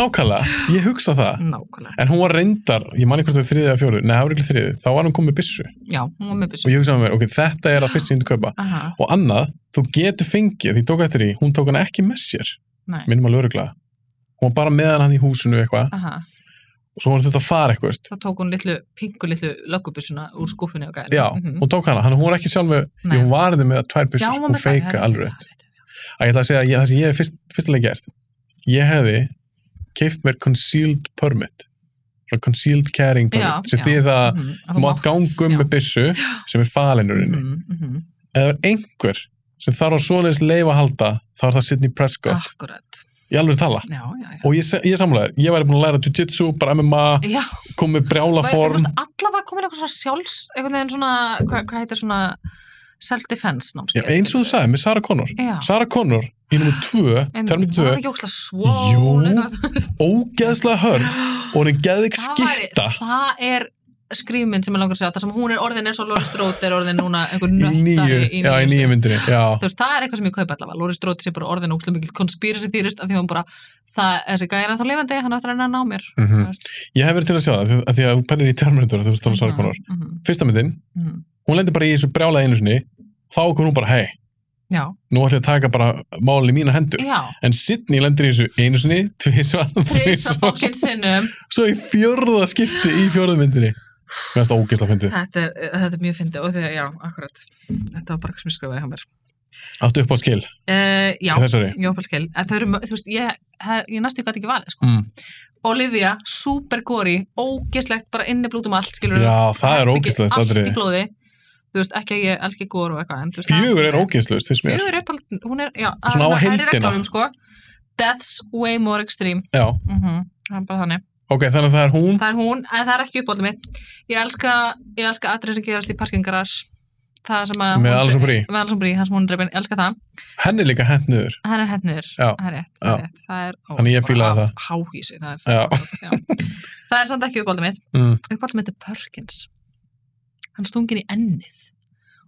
S1: nákvæmlega, ég hugsa það
S2: nákvæmlega
S1: en hún var reyndar, ég man ekki hvort þau þriðið eða fjóru nei, það var ekki þriðið, þá var hún komið með byssu
S2: já, hún var með
S1: og
S2: byssu
S1: ég hugsaði með mér, ok, þetta er að fyrst síndu kaupa
S2: Aha,
S1: og annað, þú getur fengið, því ég tók eftir því, hún tók hana ekki með sér
S2: nei,
S1: minnum alveg öruglega, hún var bara með hana hann í húsinu eitthvað,
S2: aha,
S1: og svo var hún þurft að fara eitthvað
S2: þá tók hún litlu pingu litlu löggubyssuna úr skúfunni og gæði
S1: já, hún tók hana, hann hún var ekki sjálf með
S2: Nei.
S1: jú, hún var þið með tvær byssur, Mhm. hún feika alveg rétt að ég ætla að segja, að ég, það sem ég hef fyrst, fyrstilega gert ég hefði keift mér concealed permit Svona concealed carrying
S2: Já,
S1: permit sem
S2: já.
S1: því það,
S2: Mhm,
S1: þú mátt gangum með byssu sem er falinurinn mm.
S2: byssu
S1: eða er einhver sem þarf á svoleiðis leif að halda þá er það Sidney Prescott,
S2: akkurat,
S1: ég alveg tala
S2: já, já, já
S1: og ég, se- ég samlaði, þér, ég væri búin að læra jiu-jitsu, bara MMA,
S2: já,
S1: komið
S2: Þú
S1: brjálaform
S2: veist, allavega komin eitthvað svona sjálfs, einhvern veginn svona, hvað hva heitir svona self-defense
S1: Já,
S2: námskeið.
S1: eins og þú sagði með Sarah Connor
S2: Já.
S1: Sarah Connor í nummer 2 termið 2,
S2: Það var ekki ókslega svo.
S1: Jú. ógeðslega hörð og hún er geðvig skilta
S2: Það er skrýmynd sem ég langar að segja, það sem hún er orðin eins og Lóri Strót er orðin núna einhver
S1: í nýju,
S2: nöttari
S1: já, í nýju myndinni já,
S2: Þú veist, það er eitthvað sem ég kaupa allavega. Lóri Strót sé bara orðin ókslega mikil konspírasi þýrist af því að hún bara, það, þessi gæði er ennþá lifandi, hann á eftir að reyna að ná mér.
S1: mm
S2: Þú veist.
S1: ég hef verið til að sjá það, af því að þú pennir í Terminator þú veist þannig Sarah Connor,
S2: Mhm,
S1: fyrsta myndin
S2: mhm.
S1: hún lendir bara í þessu brjála einu sinni þá kom hún bara, hei,
S2: Já,
S1: nú ætlum ég að taka bara málin í mína hendur,
S2: já,
S1: en Sidney lendir í þessu einu sinni, tvisvar,
S2: treysa
S1: tvisvar
S2: fólkinn sinnum.
S1: svo í fjörða skipti í fjörðu myndinni mér finnst það ógeðslega fyndið
S2: Þetta er, þetta er mjög fyndið og þegar, já, akkurat, þetta var bara eitthvað sem ég skrifaði hjá mér.
S1: áttu upp á skil,
S2: Uh, já,
S1: í þessari
S2: já, bara skil, en þau eru, mö- þú veist, ég, hef- ég næstu gæti ekki valið, sko.
S1: mm.
S2: Olivia, super góri, ógeslegt, bara inni blút um allt, skilur
S1: já, það er ógeðslegt
S2: Allt
S1: atriði.
S2: í blóði, þú veist, ekki að ég elski gór og eitthvað, en þú veist.
S1: fjögur er ógeðslust, finnst mér
S2: Fjögur er bara, hún er, já,
S1: Svona á
S2: það er í
S1: heildina.
S2: reglunum, sko. Death's way more extreme,
S1: já,
S2: mhm, það er bara þannig.
S1: ok, þannig að það er hún
S2: Það er hún, en það er ekki uppáldið mitt. Ég elska, ég elska atrið sem gerast í parkingarars. Það sem að...
S1: Með
S2: hún-
S1: Alison Brie.
S2: Með Alison Brí, hans hún er drefin, ég elska það.
S1: henni er líka hent niður
S2: Hann er henniður,
S1: Já,
S2: það er rétt, það er
S1: já.
S2: rétt. Það er... Ó,
S1: Þannig ég fílaði það.
S2: Háhísi, það
S1: Já.
S2: er... Já. Það er samt ekki uppáldið mitt.
S1: mm.
S2: Uppáldið mitt er Perkins. Hann stungin í ennið.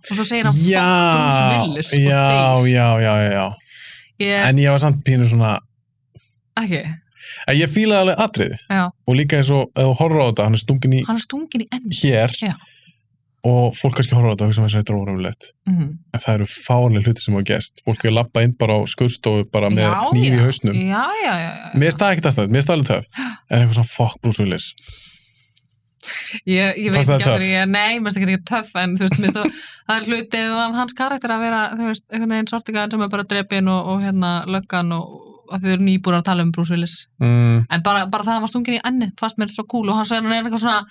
S2: Og svo segir hann
S1: já,
S2: fucking Willis og Eh.
S1: já,
S2: deyr.
S1: já, já, já, já
S2: Ég,
S1: en ég var samt pínur svona
S2: ekki,
S1: að ég fílaði alveg atriði
S2: já,
S1: og líka eins og ef þú horfir á þetta, hann er stungin í
S2: hann er stungin í enn
S1: hér
S2: Já.
S1: og fólk kannski horfir á þetta og hugsa með þess að þetta er órumlegt
S2: mm.
S1: en það eru fálega hluti sem hafa gerst fólk er labbað inn bara á skurðstofu bara með
S2: Já,
S1: nýfi í
S2: já.
S1: hausnum
S2: já, já, já, já.
S1: mér staði ekkert aðstæð, mér staði alveg töf en eitthvað svona fuck Bruce Willis
S2: ég, ég veit
S1: Fannst það
S2: ekki að
S1: töff?
S2: ég, nei, mér finnst ekki ekki töff en þú veist, mér finnst þú, það er hluti af hans karakter að vera, þú veist, einhvern veginn sortingaðin sem er bara drepin og, og hérna löggan og að þau eru nýbúin að tala um Bruce Willis
S1: mm,
S2: en bara, bara það að hann var stungin í enni fast mér svo cool og hann sagði hann er eitthvað svona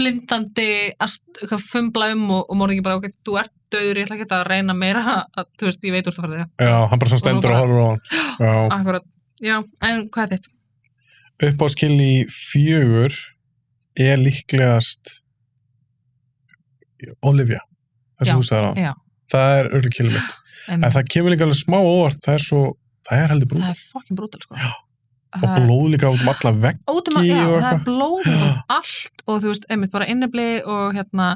S2: blindandi að st- eitthvað fumbla um og, og morðingi bara, ok, þú ert döður ég ætla ekki að reyna meira að, þú veist, ég veit úr það fyrir
S1: já, hann bara svona
S2: Og svo
S1: stendur og
S2: bara-
S1: horfir á hann já.
S2: þig akkurat, já, en hvað er þitt?
S1: upp á skilni fjögur er líklegast Olivia það
S2: Já,
S1: sem þú sagði á
S2: já.
S1: það er örlug kilum mitt
S2: Um,
S1: en það kemur líka alveg smá á óvart það er svo, það er heldur
S2: það
S1: brútal
S2: er fucking brutal, sko
S1: Já. og
S2: Það er-
S1: blóð líka út um alla vegg
S2: út um að,
S1: Gí
S2: já,
S1: og
S2: það er
S1: eitthvað.
S2: blóð út um
S1: Já.
S2: allt og þú veist, einmitt bara innibli og hérna,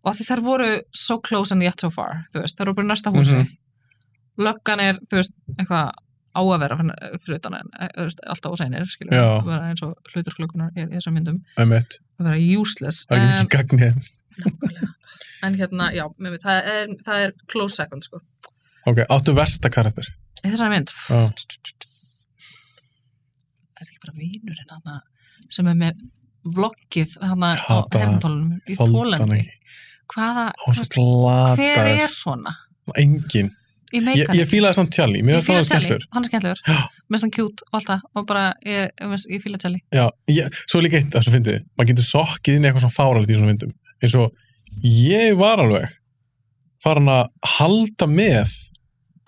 S2: og af því þær voru so close and yet so far, þú veist, þær eru bara í næsta húsi,
S1: Mhm.
S2: löggan er, þú veist, eitthvað á að vera fyrir- fyrir utan en, eh, þú veist, alltaf ósænir, skilur
S1: Já.
S2: við, vera eins og hluturklökunar er í þessum myndum,
S1: einmitt,
S2: að vera useless
S1: um það er ekki mikið gagnið
S2: nákvæmlega. en hérna, já, með mér, það er, það er close second, sko,
S1: ok, áttu versta karakter
S2: í þessari mynd
S1: Já.
S2: er ekki bara vinurinn hana, sem er með vloggið hana
S1: Ég
S2: á
S1: hata
S2: herntólunum í
S1: þoldi hann
S2: þólandi
S1: ekki.
S2: hvaða,
S1: hann var
S2: þú
S1: svo
S2: veist, hver
S1: glataður
S2: er svona
S1: engin,
S2: í
S1: ég,
S2: meikar
S1: ég fílaði samt Tjalli mér finnst það skemmtlur
S2: hann er skemmtlur,
S1: Já.
S2: mest hann kjút og allt það og bara, ég, ég, veist, ég fíla Jelly
S1: Já, ég, svo er líka eitt að svo fyndið, maður getur sokkið inn í eitthvað svona fáralegt í svona myndum eins og ég var alveg farin að halda með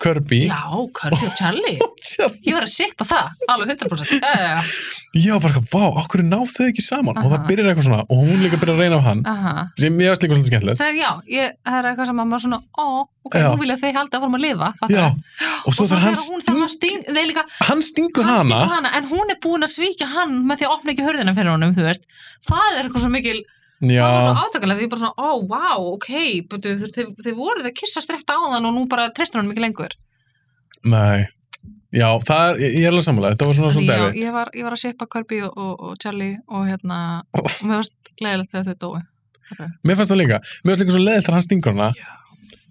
S1: Kirby
S2: já, Curly og Jelly
S1: ég
S2: ég var að sippa það, alveg 100% uh,
S1: var bara, eitthvað, vá, okkur náðu þau ekki saman og
S2: Aha.
S1: það byrjar eitthvað svona og hún líka byrjar að reyna á hann
S2: aha
S1: sem ég veist líka svolítið skemmtilegt
S2: Þegar, já, ég, það er eitthvað sem að maður svona ó, ok,
S1: Já.
S2: nú vilja þau halda að fórum að lifa fattar
S1: Já,
S2: þú?
S1: og
S2: og
S1: svo
S2: svo
S1: þarf hann,
S2: þegar hún þarf að
S1: sting-
S2: sting, þeir líka
S1: hann stingur
S2: hann
S1: hana
S2: stingur hana en hún er búin að svíkja hann með því að opna ekki hurðina fyrir honum, þú veist það er eitthvað svo mikil, það var
S1: Já,
S2: svo átakalegt því ég bara svona, ó, wow, ok butu, þú veist, þið, þið voruð að kissa strekta á þann og nú bara treystur hann mikið lengur
S1: nei Já, það er, ég ég er alveg samanlega, þetta var svona
S2: Því,
S1: svona
S2: já,
S1: David
S2: ég var, ég var að sippa Kirby og, og, og Charlie og hérna og mér varst leiðilegt þegar þau dói
S1: Mér fannst það líka, mér fannst líka svo leðilt að hann stingur hana
S2: Já.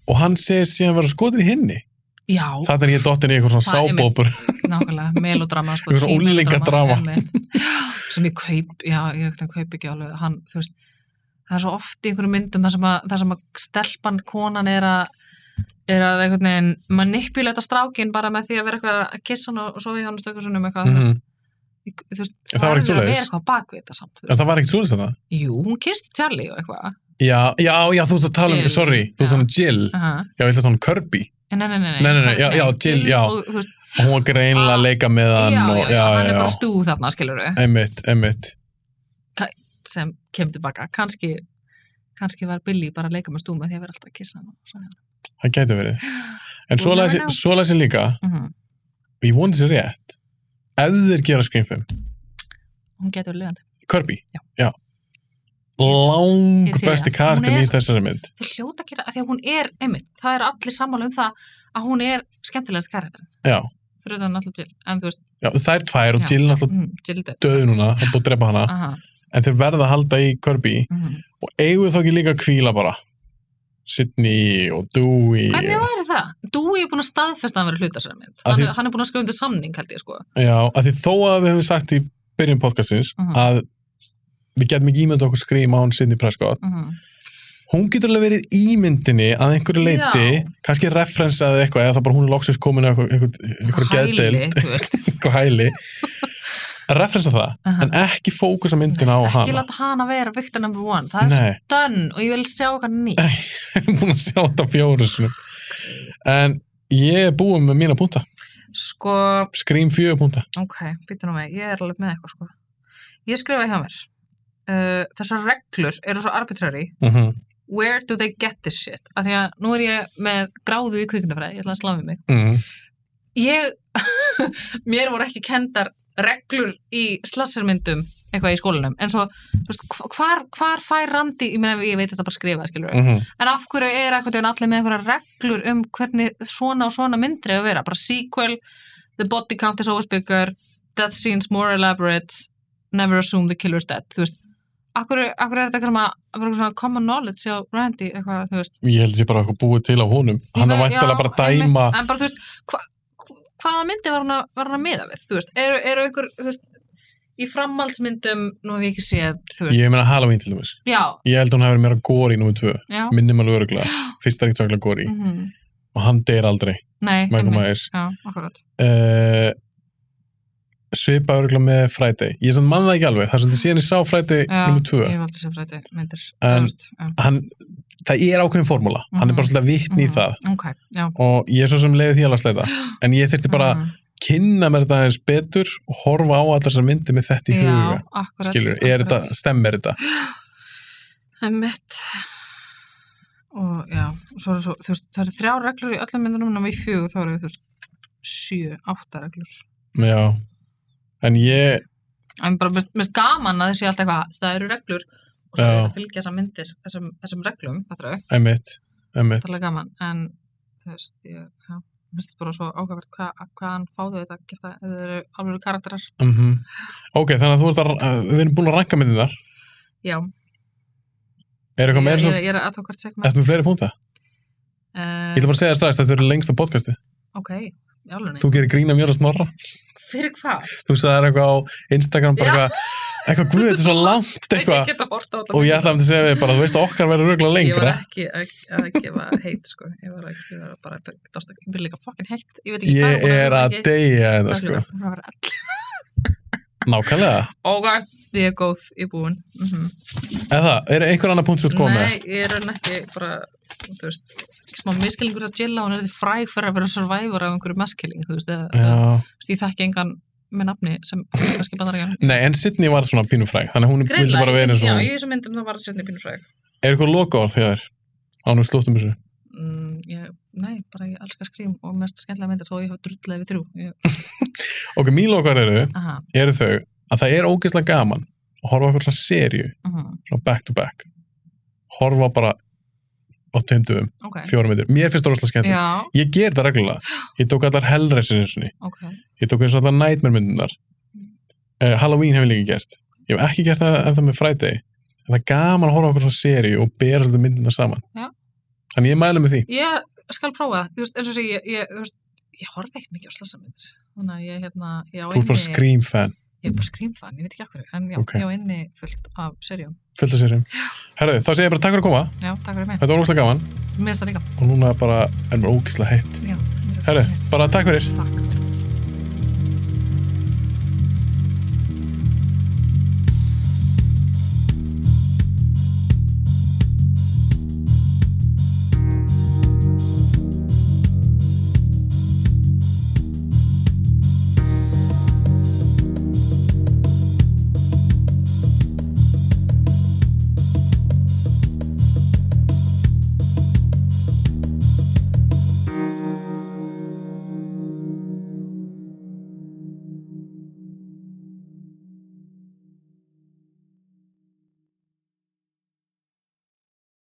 S1: og hann segir síðan vera skotin í henni
S2: já,
S1: Þannig er ég dottin í eitthvað svona
S2: Það er einmitt.
S1: sábópur
S2: nákvæmlega, melodrama sko,
S1: Eitthvað svona
S2: í melodrama,
S1: unglingadrama.
S2: einmitt. sem ég kaup, já, ég einhvern veginn kaup ekki alveg hann, þú veist, það er svo oft í einhverjum myndum þar sem að, þar sem að stelpan konan er að er að einhvern veginn manipulata strákin bara með því að vera eitthvað að kissa hann og sofa í hann stökkursunum eitthvað, mm
S1: Mhm.
S2: -hmm. þú veist,
S1: En það var ekkert
S2: verður að vera
S1: svoleiðis.
S2: eitthvað bakvið þetta samt, þú
S1: En
S2: veist,
S1: það var ekkert svoleiðis þetta?
S2: jú, hún kist Charlie og eitthvað,
S1: Já, já, já, þú ert að tala um,
S2: Jill.
S1: sorry, þú ert að tala um Jill.
S2: aha,
S1: Já, ég ætla að tala um Kirby.
S2: En nei, nei, nei,
S1: Nei, nei, nei, já, já, Jill, já.
S2: og, þú veist,
S1: Og hún var greinlega
S2: Ah,
S1: að leika með
S2: já,
S1: hann
S2: já,
S1: og,
S2: já, hann er
S1: já,
S2: bara stúð þarna, skilur við
S1: Einmitt, einmitt.
S2: sem kemur tilbaka kannski, kannski var Billy bara að leika með stúma því að vera alltaf að kissa hann og svona.
S1: Það gæti verið. En
S2: We'll
S1: svo
S2: never
S1: las ég-
S2: know.
S1: svo las ég líka,
S2: Mhm.
S1: og ég voni þessi rétt, ef þeir gera skrimfum,
S2: hún getur lögandi
S1: Kirby,
S2: Já.
S1: já, lang
S2: Ég- ég til í
S1: besti
S2: það. Hún
S1: kartin
S2: er-
S1: í þessari mynd.
S2: þau hljóta að gera, af því að hún er einmitt, það eru allir sammála um það að hún er skemmtilegast karakterin
S1: Já,
S2: fyrir utan náttúrulega Jill, en þú veist
S1: já, þær tvær og
S2: Já.
S1: Jill náttúrulega
S2: mm, Jill döð
S1: döð núna, hann er búið að drepa hana,
S2: Aha,
S1: en þeir verða að halda í Kirby
S2: mm.
S1: og eigum við þá ekki líka að kvíla bara. Sydney og Dewey.
S2: hvernig
S1: og-
S2: væri það? Dewey er búin að staðfesta að hann verið hlutasæra mynd
S1: Af
S2: hann,
S1: því-
S2: er- hann er búin að skrifa undir samning held ég sko
S1: Já, að því þó að við höfum sagt í byrjun podcastins
S2: Mhm.
S1: að við getum ekki ímyndað okkur skrýma án Sidney Prescott
S2: mm.
S1: hún getur alveg verið ímyndinni að einhverju leiti,
S2: Já.
S1: kannski referensaði eitthvað eða það bara hún er loksins komin að einhverju geðdeild, einhverju hæli að referensa það en ekki fókusa myndina á
S2: ég
S1: hana
S2: láta hana vera victor number one það er
S1: Nei,
S2: stönn og ég vil sjá hvað ný
S1: ég er búin að sjá þetta fjóru sinum en ég er búin með mína púnta
S2: sko,
S1: skrým fjögur púnta
S2: ok, býtum nú með, ég er alveg með eitthvað sko ég skrifa hjá mér uh, þessar reglur eru svo arbitrary
S1: mm
S2: where do they get this shit af því að nú er ég með gráðu í kvikmyndafræði ég ætla að slá við mig
S1: mm.
S2: ég, mér voru ekki kendar reglur í slassermyndum eitthvað í skólanum en svo, þú veist, hv- hvar, hvar fær Randi ég, meina, ég veit þetta bara skrifa, skilur
S1: Mm -hmm.
S2: en af hverju er eitthvað en allir með einhverja reglur um hvernig svona og svona myndri að vera bara sequel, the body count is always bigger death scenes more elaborate never assume the killer's dead þú veist, akkur, akkur er þetta eitthvað sem að- að vera svona common knowledge á Randy eitthvað, þú veist
S1: Ég held að sé bara eitthvað búið til á honum.
S2: Ég
S1: Hann er
S2: meina,
S1: væntalega
S2: já,
S1: bara að dæma.
S2: einmitt, en bara þú veist, hva, hvaða myndi var hann að, var hann að miða við, þú veist eru, eru einhver, þú veist í framhaldsmyndum, nú hef ég ekki séð þú veist,
S1: Ég meina Halloween til dæmis.
S2: já,
S1: Ég held að hún hafi verið meira góri í nummer tvö.
S2: já
S1: Minnum alveg öruglega. Fyrst er ekkert svaklega góri.
S2: mm
S1: Og hann deyr aldrei.
S2: nei,
S1: Michael
S2: einmitt.
S1: Myers.
S2: já, akkurat
S1: Uh, svipa öruglega með Friday. Ég samt manna það ekki alveg. Það er svolítið síðan ég sá Friday
S2: já,
S1: nummer tvö.
S2: ég valdi sem fræti myndir
S1: En-
S2: þú veist, já.
S1: Hann, það er ákveðin formúla. Hann er
S2: Mhm.
S1: bara svolítið að vitni í
S2: Mhm.
S1: það.
S2: ok, já
S1: Og ég er svo sem leiði því alveg að sleita. En ég þyrfti bara
S2: Mhm.
S1: kynna mér þetta aðeins betur og horfa á allar þessar myndir með þetta í huga.
S2: já, akkurat,
S1: Skilur, er
S2: akkurat.
S1: þetta, stemmer þetta?
S2: Einmitt. Og já, og svo, er svo, þú veist, það eru þrjár reglur í öllum myndunum en við fjögur þá eru við, þú veist, sjö, átta reglur.
S1: Já, en ég,
S2: En bara mest, mest gaman að þessi alltaf eitthvað, það eru reglur og svo
S1: Já.
S2: er þetta að fylgja þessar myndir, þessum, þessum reglum, þetta er
S1: emitt, emitt,
S2: auðvitað gaman, en þú veist, ég, já, mér finnst þetta bara svo ágæfært hvað, hvaðan fáðu þetta að geta, ef þau eru alveg karakterar.
S1: mhm. Ok, þannig að þú ert að, að- við erum búin að ranka myndin þar.
S2: Já,
S1: Er
S2: ég,
S1: eitthvað meira
S2: ég,
S1: svo,
S2: ég, ég er að tókvart segma.
S1: eftir með fleiri púnta?
S2: Eh,
S1: Ég ætla bara að segja strax, þetta er lengst á podcasti.
S2: Ok, í alveg.
S1: Þú gerir grína mjög að snorra.
S2: Fyrir hvað?
S1: Þú sagðir eitthvað á Instagram, bara
S2: Já.
S1: eitthvað, eitthvað, guð, þetta er svo langt
S2: Ég
S1: eitthvað.
S2: get að horta á alla
S1: Og ég
S2: myndina.
S1: ætla að segja við bara, þú veist, okkar verður röglega
S2: Ég var
S1: lengra.
S2: ekki að, að gefa heit sko, ég var, að, ég var bara að dosta, ég byrja líka fokkin heitt, ég veit ekki hvað
S1: Ég er að deyja þetta, sko.
S2: sko.
S1: Nákvæmlega.
S2: Ok, ég er góð í búin. Mm
S1: Eða, er einhver annar punkt sem þú ert komið með?
S2: Nei, ég er enn ekki bara, þú veist, ekki smá miskilningur að Jilla, hún er þið fræg fyrir að vera survivor af einhverju maskiling, þú veist, eða, eða,
S1: Já.
S2: þú veist, ég þekki engan með nafni sem kannski bandar ekki.
S1: Nei, en Sidney var svona pínufræg, þannig að hún vildi bara vera eins og
S2: já,
S1: hún.
S2: ég er svo myndum það var að setja pínu fræg.
S1: Er eitthvað loka orð þegar? Ánum slúttum þessu.
S2: Mm, ég, nei, bara ég elska skrím og mest skemmtilega myndir þó ég hafa drullið við þrjú. Ég,
S1: Ok, mín lokar eru,
S2: aha,
S1: eru þau að það er ógeðslega gaman að horfa á eitthvað svona serju,
S2: uh
S1: svona back to back. Horfa bara á tveimdugum,
S2: ok.
S1: fjórum myndir. Mér finnst það rosalega skemmt.
S2: Já,
S1: Ég ger það reglulega. Ég tók allar Hellraiser eins og ný.
S2: ok.
S1: Ég tók eins og allar Nightmare myndunar. Uh, Halloween hef ég líka gert. Ég hef ekki gert það en það með Friday. En það er gaman að horfa á eitthvað svona serju og bera svolítið myndunar saman.
S2: Já.
S1: Þannig ég mælu með því.
S2: Ég skal prófa það, þú veist, eins og sé, ég, ég, þú veist, ég horf ekkert mikið á slassamyndir, þannig að ég, hérna, ég á
S1: Þú ert bara
S2: inni,
S1: Scream fan,
S2: ég er bara skrýmfan, ég veit ekki okkur, en já,
S1: Ok.
S2: ég á inni fullt af serjum.
S1: fullt af serjum. Herðu, þá segir ég bara takk fyrir að koma.
S2: Já, takk fyrir mig,
S1: Þetta var ógeðslega gaman
S2: mér finnst það líka.
S1: og núna bara er mér ógeðslega heitt.
S2: Já, mér er
S1: Herru, bara
S2: bara-
S1: takk fyrir.
S2: Takk.